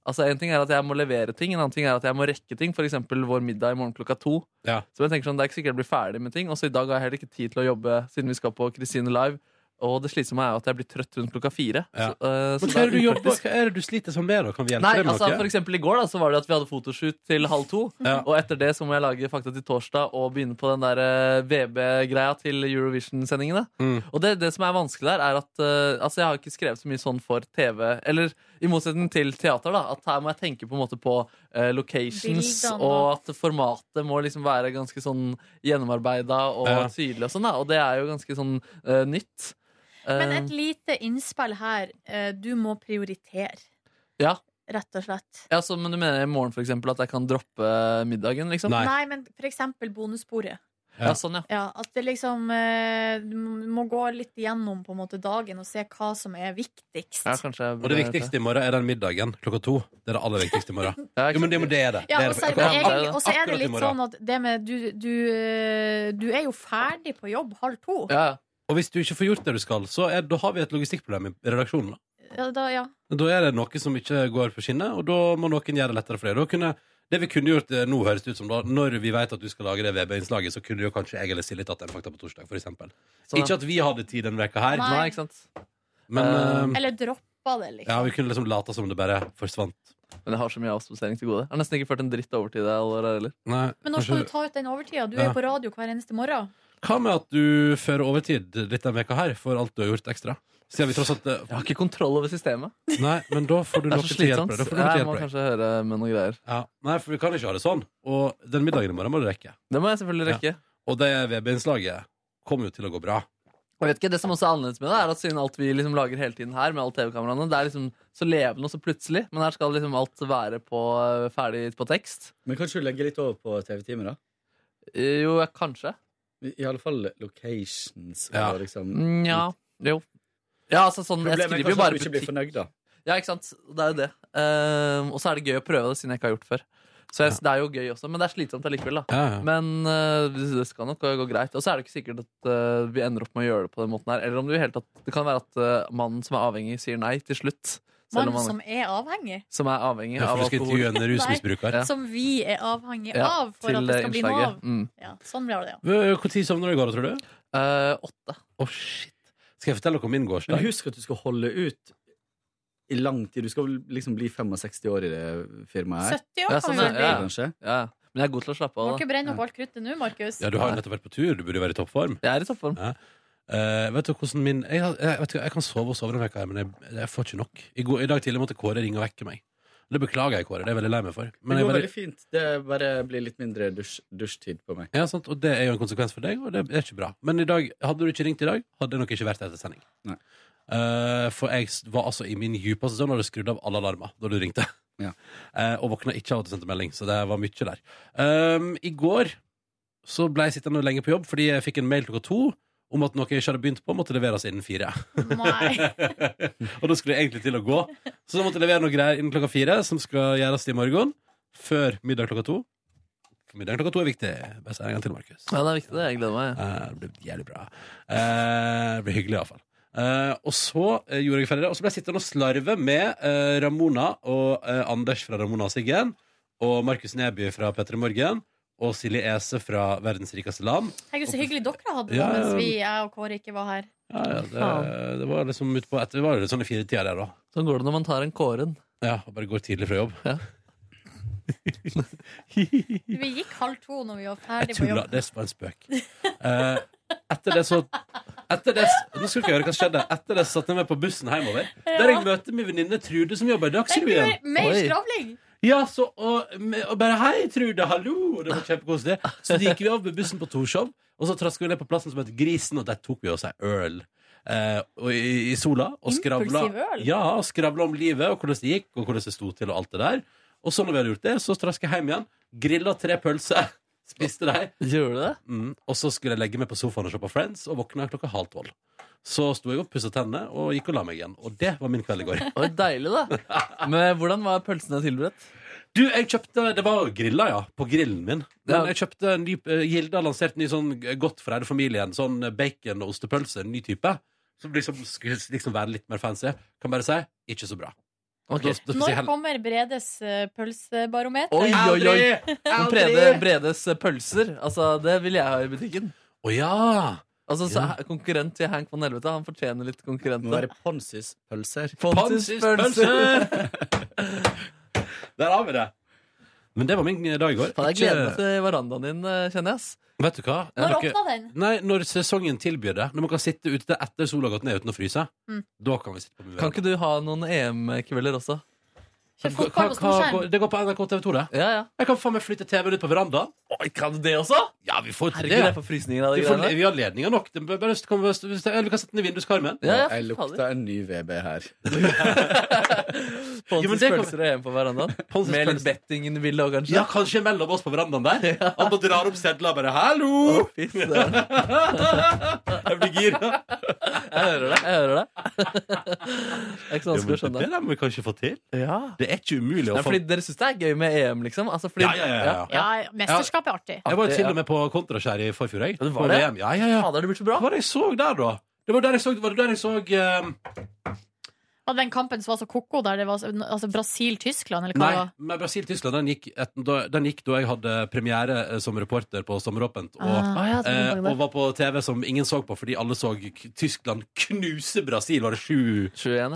Speaker 3: Altså, En ting er at jeg må levere ting, en annen ting er at jeg må rekke ting. For eksempel vår middag i morgen klokka to. Så jeg tenker sånn, det er ikke sikkert jeg blir ferdig med ting. Også i dag har jeg heller ikke tid til å jobbe, siden vi skal på Kristine Live. Og det slitsomme er jo at jeg blir trøtt rundt klokka fire.
Speaker 1: Ja.
Speaker 3: Så, eh, så
Speaker 1: Men
Speaker 3: det
Speaker 1: hva er det du
Speaker 3: upraktisk.
Speaker 1: jobber Hva er det du sliter sånn med, da? Kan vi hjelpe
Speaker 3: Nei,
Speaker 1: deg med
Speaker 3: altså
Speaker 1: noe?
Speaker 3: for eksempel i går da, så var det at vi hadde fotoshoot til halv to. Og etter det så må jeg lage Fakta til torsdag og begynne på den der eh, VB-greia til Eurovision-sendingene.
Speaker 1: Mm.
Speaker 3: Og det, det som er vanskelig der, er at eh, altså jeg har ikke skrevet så mye sånn for TV. Eller i motsetning til teater, da. At her må jeg tenke på en måte på eh, locations,
Speaker 12: Bildene.
Speaker 3: og at formatet må liksom være ganske sånn gjennomarbeida og
Speaker 1: Ja.
Speaker 3: tydelig og sånn, da. Og det er jo ganske sånn eh, nytt.
Speaker 2: Men
Speaker 3: Eh,
Speaker 2: et lite innspill her. eh, Du må prioritere,
Speaker 3: ja.
Speaker 2: rett og slett.
Speaker 3: Ja, så, men du mener i morgen for eksempel at jeg kan droppe middagen? liksom?
Speaker 2: Nei, men for eksempel bonussporet.
Speaker 3: Ja, sånn, ja.
Speaker 2: Ja, at det liksom eh, Du må gå litt gjennom på en måte dagen og se hva som er viktigst.
Speaker 3: Ja, kanskje jeg
Speaker 1: Og det
Speaker 3: burde-
Speaker 1: viktigste i morgen er den middagen klokka to. Det er det aller viktigste i morgen. jo, men det, men det er det.
Speaker 2: Ja,
Speaker 1: det er
Speaker 2: og
Speaker 1: det.
Speaker 2: så er det,
Speaker 1: Akkurat-
Speaker 2: egentlig- og så er det
Speaker 1: akkurat i
Speaker 2: litt
Speaker 1: morgen.
Speaker 2: sånn at det med du, du, eh, du er jo ferdig på jobb halv to.
Speaker 1: Og hvis du ikke får gjort det du skal, så er, da har vi et logistikkproblem i redaksjonen. da.
Speaker 2: Ja, da, ja.
Speaker 1: Da er det noe som ikke går på skinner, og da må noen gjøre det lettere for deg. Da kunne, det vi kunne gjort eh, nå, høres det ut som da, når vi vet at du skal lage det VB-innslaget, så kunne jo kanskje jeg eller Silje tatt en fakta på torsdag, for eksempel.
Speaker 3: Sånn.
Speaker 1: Ikke at vi hadde tid denne veka her,
Speaker 2: Nei. Nei,
Speaker 3: ikke sant?
Speaker 1: men eh,
Speaker 2: Eller droppa det, liksom.
Speaker 1: ja, vi kunne liksom late som det bare forsvant.
Speaker 3: Men jeg har så mye avspasering til gode. Jeg har nesten ikke ført en dritt over til deg allerede heller.
Speaker 1: Nei,
Speaker 2: Men når
Speaker 1: kanskje-
Speaker 2: skal du ta ut den overtida? Du
Speaker 1: Ja.
Speaker 2: er jo på radio hver eneste morgen.
Speaker 1: Hva med at du fører overtid litt denne veka her for alt du har gjort ekstra? Siden vi tross alt Jeg
Speaker 3: har ikke kontroll over systemet.
Speaker 1: Nei, men da får du
Speaker 3: Det er
Speaker 1: noe
Speaker 3: så
Speaker 1: til å
Speaker 3: slitsomt.
Speaker 1: hjelpe deg. Da får du noe til å
Speaker 3: Jeg må
Speaker 1: hjelpe deg.
Speaker 3: kanskje høre med noen greier.
Speaker 1: Ja. Nei, for vi kan ikke ha det sånn. Og den middagen i morgen må du rekke.
Speaker 3: Det må jeg selvfølgelig rekke.
Speaker 1: Og det VB-innslaget kommer jo til å gå bra.
Speaker 3: Og vet ikke, Det som også er annerledes med det, er at siden alt vi liksom lager hele tiden her, med alle TV-kameraene, det er liksom så levende og så plutselig. Men her skal liksom alt være på, eh, ferdig på tekst.
Speaker 12: Men kanskje du legger litt over på TV-teamet, da?
Speaker 3: Jo, kanskje.
Speaker 12: I alle fall locations og
Speaker 3: Ja.
Speaker 12: liksom
Speaker 3: Nja, jo. Ja, altså sånn, jeg
Speaker 12: Problemet er
Speaker 3: skriver
Speaker 12: kanskje
Speaker 3: jo bare
Speaker 12: at du ikke blir
Speaker 3: butikk-
Speaker 12: fornøyd, da.
Speaker 3: Ja, ikke sant? Det er jo det. Ehm, og så er det gøy å prøve det, siden jeg ikke har gjort det før. Så jeg, det er jo gøy også, men det er slitsomt allikevel. da
Speaker 1: Ja, ja.
Speaker 3: Men eh, det det skal nok gå greit. Og så er det ikke sikkert at eh, vi ender opp med å gjøre det på den måten her. Eller om det, i det hele tatt, det kan være at eh, mannen som er avhengig, sier nei til slutt. Selv om
Speaker 2: Mann
Speaker 3: han
Speaker 2: som er avhengig.
Speaker 3: som er avhengig
Speaker 1: Ja, for
Speaker 3: av
Speaker 1: du skal
Speaker 3: alkohol.
Speaker 1: intervjue en rusmisbruker.
Speaker 3: Ja.
Speaker 2: Som vi er avhengig
Speaker 3: Ja,
Speaker 2: av for at
Speaker 3: til,
Speaker 2: det
Speaker 3: eh,
Speaker 2: skal bli noe
Speaker 3: innslaget.
Speaker 2: av.
Speaker 3: Mm.
Speaker 2: Ja, sånn blir det, ja.
Speaker 1: Når sovna du i går, tror du?
Speaker 3: Eh, åtte.
Speaker 1: Å, shit. Skal jeg fortelle dere om min gårsdag?
Speaker 12: Men husk at du skal holde ut i lang tid. Du skal vel liksom bli 65 år i det firmaet her.
Speaker 2: 70 år Ja, kan sånn vi vel er- bli. ja.
Speaker 12: Kanskje?
Speaker 3: Men jeg er god til å slappe
Speaker 2: Må ikke brenne opp alt kruttet nå, Markus.
Speaker 1: Ja, du har jo nettopp vært på tur. Du burde jo være i toppform.
Speaker 3: Jeg er i toppform.
Speaker 1: Ja. Eh, vet du hvordan min jeg, har- jeg, vet du, jeg kan sove og sove denne veka, her, men jeg, jeg får ikke nok. I, går, I dag tidlig måtte Kåre ringe og vekke meg. Det beklager jeg, Kåre. Det er jeg veldig lei meg for. Men
Speaker 12: det
Speaker 1: jeg
Speaker 12: går
Speaker 1: er
Speaker 12: veldig fint. Det bare blir litt mindre dusj, dusjtid på meg.
Speaker 1: Ja, sant? Og det er jo en konsekvens for deg, og det er ikke bra. Men i dag, hadde du ikke ringt i dag, hadde det nok ikke vært etter sending. Eh, for jeg s- var altså i min djupeste søvn og hadde skrudd av alle alarmer da du ringte. Eh, og våkna ikke av at du sendte melding, så det var mye der. Ehm, I går så ble jeg sittende lenge på jobb fordi jeg fikk en mail klokka to om at noe jeg ikke hadde begynt på, måtte leveres innen fire. og da skulle jeg egentlig til å gå. Så da måtte jeg levere noen greier innen klokka fire, som skal gjøres i morgen. Før middag klokka to. For middag klokka to er viktig. Bare si det en gang til, Markus.
Speaker 3: Ja, det er viktig, det. Jeg gleder meg.
Speaker 1: Eh, Det blir jævlig bra. Eh, Det blir hyggelig, iallfall. Uh, og så eh, gjorde jeg ferdig det. Og så ble jeg sittende og slarve med eh, Ramona og eh, Anders fra Ramona og Siggen. Og Markus Neby fra P3 Morgen. Og Silje Ese fra Verdens rikeste land.
Speaker 2: Herregud, så hyggelig dere hadde det
Speaker 1: Ja, ja,
Speaker 2: mens
Speaker 1: ja.
Speaker 2: vi, jeg og Kåre ikke var her.
Speaker 1: Ja, ja, det, det var liksom ut på etter, det var jo sånn i fire tider der, da.
Speaker 3: Sånn går det når man tar en Kåren.
Speaker 1: Ja, og bare går tidlig fra jobb.
Speaker 2: Vi gikk halv to når vi var
Speaker 1: Jeg
Speaker 2: ferdig på
Speaker 1: tulla.
Speaker 2: jobb.
Speaker 1: Det var en spøk. Eh, etter det så etter det, Nå skal dere høre hva som skjedde. Etter det så satte jeg meg på bussen hjemover. Der jeg møter min venninne Trude, som jobber i Dagsrevyen.
Speaker 2: Mer skravling!
Speaker 1: Ja, så, og, og bare 'Hei, Trude, hallo!' Det var kjempekoselig. Så gikk vi av med bussen på Torshov, og så traska vi ned på plassen som het Grisen, og der tok vi oss ei øl. Eh, og i, I sola. Og skravla,
Speaker 11: Impulsiv øl.
Speaker 1: ja, og skravla om livet, og hvordan det gikk, og hvordan det sto til, og alt det der. Og så når vi hadde gjort det, så traska jeg hjem igjen, grilla tre pølser, Spiste deg.
Speaker 3: Gjorde du det?
Speaker 1: Mm. Og så skulle jeg legge meg på sofaen og se på Friends, og våkna klokka halv tolv. Så sto jeg opp, pussa tennene og gikk og la meg igjen. Og det var min kveld i går.
Speaker 3: Det var deilig, da. Men hvordan var pølsene tilberedt?
Speaker 1: Du, jeg kjøpte Det var grilla, ja. På grillen min. Men
Speaker 3: Ja.
Speaker 1: jeg kjøpte en ny eh, Gilde har lansert en ny sånn godt for hele familien. Sånn bacon- og ostepølse. En ny type. Som liksom skulle liksom være litt mer fancy. Kan bare si ikke så bra. Da- da får jeg si
Speaker 2: Når
Speaker 1: heller-
Speaker 2: kommer Bredes eh, pølsebarometer?
Speaker 3: Oi, oi, oi! Men
Speaker 2: Aldri!
Speaker 3: Brede, Bredes pølser, altså, det vil jeg ha i butikken.
Speaker 1: Å ja!
Speaker 3: Altså, så he- Konkurrent til Hank von Helvete. Han fortjener litt konkurrenter.
Speaker 12: Må være Ponsis pølser.
Speaker 3: Pontus
Speaker 1: pølser! Der har vi det. Men det var min eh, dag i går.
Speaker 3: Faen, jeg
Speaker 1: Ikke-
Speaker 3: gleder meg til verandaen din, eh, kjenner jeg. ass.
Speaker 1: Vet du hva?
Speaker 3: Når
Speaker 1: Dere-
Speaker 3: åpner den?
Speaker 1: Nei, når sesongen tilbyr det. Når man kan sitte ute etter sola har gått ned uten å fryse.
Speaker 2: Mm.
Speaker 1: Da kan vi sitte på muren.
Speaker 3: Kan ikke du ha noen EM-kvelder også?
Speaker 1: fotball på Hva- hva- storskjerm. det går på NRK TV 2, det.
Speaker 3: Ja, ja.
Speaker 1: Jeg kan faen meg flytte TV-en ut på verandaen.
Speaker 3: Oi, kan du det også?
Speaker 1: Ja, vi får til
Speaker 3: Herregud, jeg får frysninger av
Speaker 1: Vi,
Speaker 3: de
Speaker 1: får,
Speaker 3: greiene.
Speaker 1: vi har ledninger nok. Det bør- bare, kan vi, eller vi kan sette den i vinduskarmen.
Speaker 3: Ja, ja, for
Speaker 12: Jeg lukta en ny VB her.
Speaker 1: Jo, men
Speaker 3: Pontus
Speaker 1: det kan-
Speaker 3: pølser og EM på verandaen.
Speaker 1: Pontus
Speaker 3: Med litt
Speaker 1: pølser.
Speaker 3: bettingen ville òg, kanskje.
Speaker 1: Ja, kanskje mellom oss på verandaen der. At man drar opp sedler og bare 'hallo'!
Speaker 3: Fy søren.
Speaker 1: Jeg blir gira.
Speaker 3: Jeg hører det. jeg hører Det Det er ikke så
Speaker 1: Jo,
Speaker 3: vanskelig å
Speaker 1: men
Speaker 3: skjønne.
Speaker 1: Det der må vi kanskje få til.
Speaker 3: Ja.
Speaker 1: Det er ikke umulig å
Speaker 3: Nei,
Speaker 1: få
Speaker 3: fordi Dere syns det er gøy med EM, liksom? Altså, fordi,
Speaker 1: Ja, ja, ja, ja.
Speaker 2: Ja, mesterskap er artig.
Speaker 1: Jeg var jo til
Speaker 3: ja.
Speaker 1: og med på kontraskjær i forfjor. Jeg.
Speaker 3: Ja, det var
Speaker 1: På
Speaker 3: det?
Speaker 1: VM. Ja, ja, ja.
Speaker 3: Fader, det blir så bra.
Speaker 1: Hva var det jeg så der, da? Det var der jeg så, var det der jeg så eh,
Speaker 2: Og den kampen som var så koko der, det var så- altså Brasil-Tyskland, eller hva
Speaker 1: Nei,
Speaker 2: det var?
Speaker 1: men Brasil-Tyskland den, gikk et- da- den gikk da jeg hadde premiere eh, som reporter på Sommeråpent. Og,
Speaker 2: Ah. Ah, ja, det var
Speaker 1: eh,
Speaker 2: den dagen der.
Speaker 1: og var på TV som ingen så på, fordi alle så k- Tyskland knuse Brasil. Var det sju-
Speaker 3: 21, ja.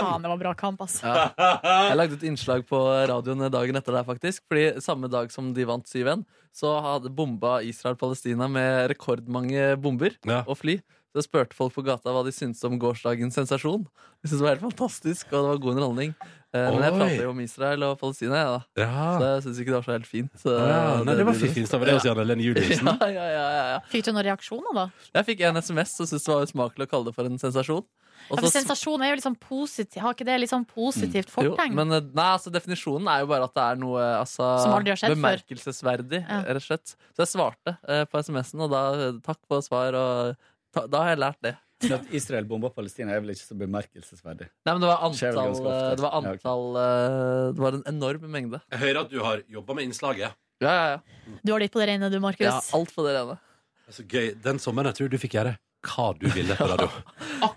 Speaker 1: 7-1?
Speaker 2: Faen, det var bra kamp, ass.
Speaker 3: Jeg lagde et innslag på radioen dagen etter der, faktisk. Fordi samme dag som de vant 7-1, så hadde bomba Israel Palestina med rekordmange bomber
Speaker 1: Ja.
Speaker 3: og fly. Så jeg spurte folk på gata hva de syntes om gårsdagens sensasjon. De syntes det var helt fantastisk, og det var god underholdning. Eh, Men jeg
Speaker 1: Oi.
Speaker 3: prater jo om Israel og Palestina, jeg, da. Så
Speaker 1: Ja.
Speaker 3: jeg syns ikke det var så helt fint. eh,
Speaker 1: Ja, nei, det var
Speaker 3: bildet.
Speaker 1: fint. Det var det hos Jan Helene Juliussen.
Speaker 3: Ja, ja, ja, ja, ja.
Speaker 2: Fikk du noen reaksjoner, da?
Speaker 3: Jeg fikk en SMS som syntes det var usmakelig å kalle det for en sensasjon. Og
Speaker 1: Altså
Speaker 2: Ja, for
Speaker 3: så-
Speaker 2: sensasjon er jo liksom positiv Har ikke det litt sånn positivt
Speaker 1: Mm.
Speaker 3: Jo,
Speaker 2: fortegn?
Speaker 3: men eh, nei, altså, definisjonen er jo bare at det er noe altså,
Speaker 2: Som aldri har skjedd før.
Speaker 3: bemerkelsesverdig.
Speaker 2: Ja.
Speaker 3: Rett og slett. Så jeg svarte eh, på SMS-en, og da eh, takk for svar. Og ta, da har jeg lært det.
Speaker 12: Men At Israel bomba Palestina er vel ikke så bemerkelsesverdig.
Speaker 3: Nei, men det var
Speaker 12: Skjer vel
Speaker 3: antall,
Speaker 12: ganske ofte.
Speaker 3: eh, det, var
Speaker 12: Ja, ok.
Speaker 3: antall eh, det var en enorm mengde.
Speaker 1: Jeg hører at du har jobba med innslaget.
Speaker 3: Ja, ja, ja.
Speaker 2: Du har litt på det rene, du, Markus.
Speaker 3: Jeg har alt på det rene.
Speaker 1: Det er så gøy. Den sommeren jeg tror du fikk gjøre hva du ville på radio.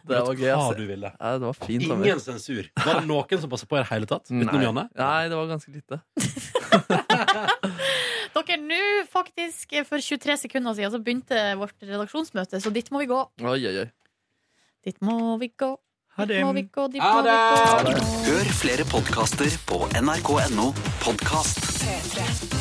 Speaker 3: Det var gøy.
Speaker 1: Hva
Speaker 3: ass.
Speaker 1: du ville.
Speaker 3: Ja, det var fint. sommer.
Speaker 1: Ingen sensur. Var det noen som passa på i det hele tatt? Utenom
Speaker 3: Nei.
Speaker 1: Janne?
Speaker 3: Nei, det var ganske lite.
Speaker 2: Dere, nå faktisk, eh, for 23 sekunder siden, så begynte vårt redaksjonsmøte, så dit må vi gå.
Speaker 3: Oi, oi, oi.
Speaker 2: Dit må vi gå.
Speaker 12: Ha
Speaker 2: Dit
Speaker 12: det.
Speaker 2: må vi gå, dit
Speaker 1: Ha
Speaker 2: må vi gå.
Speaker 4: Hør flere podkaster på nrk.no podkast.
Speaker 5: 3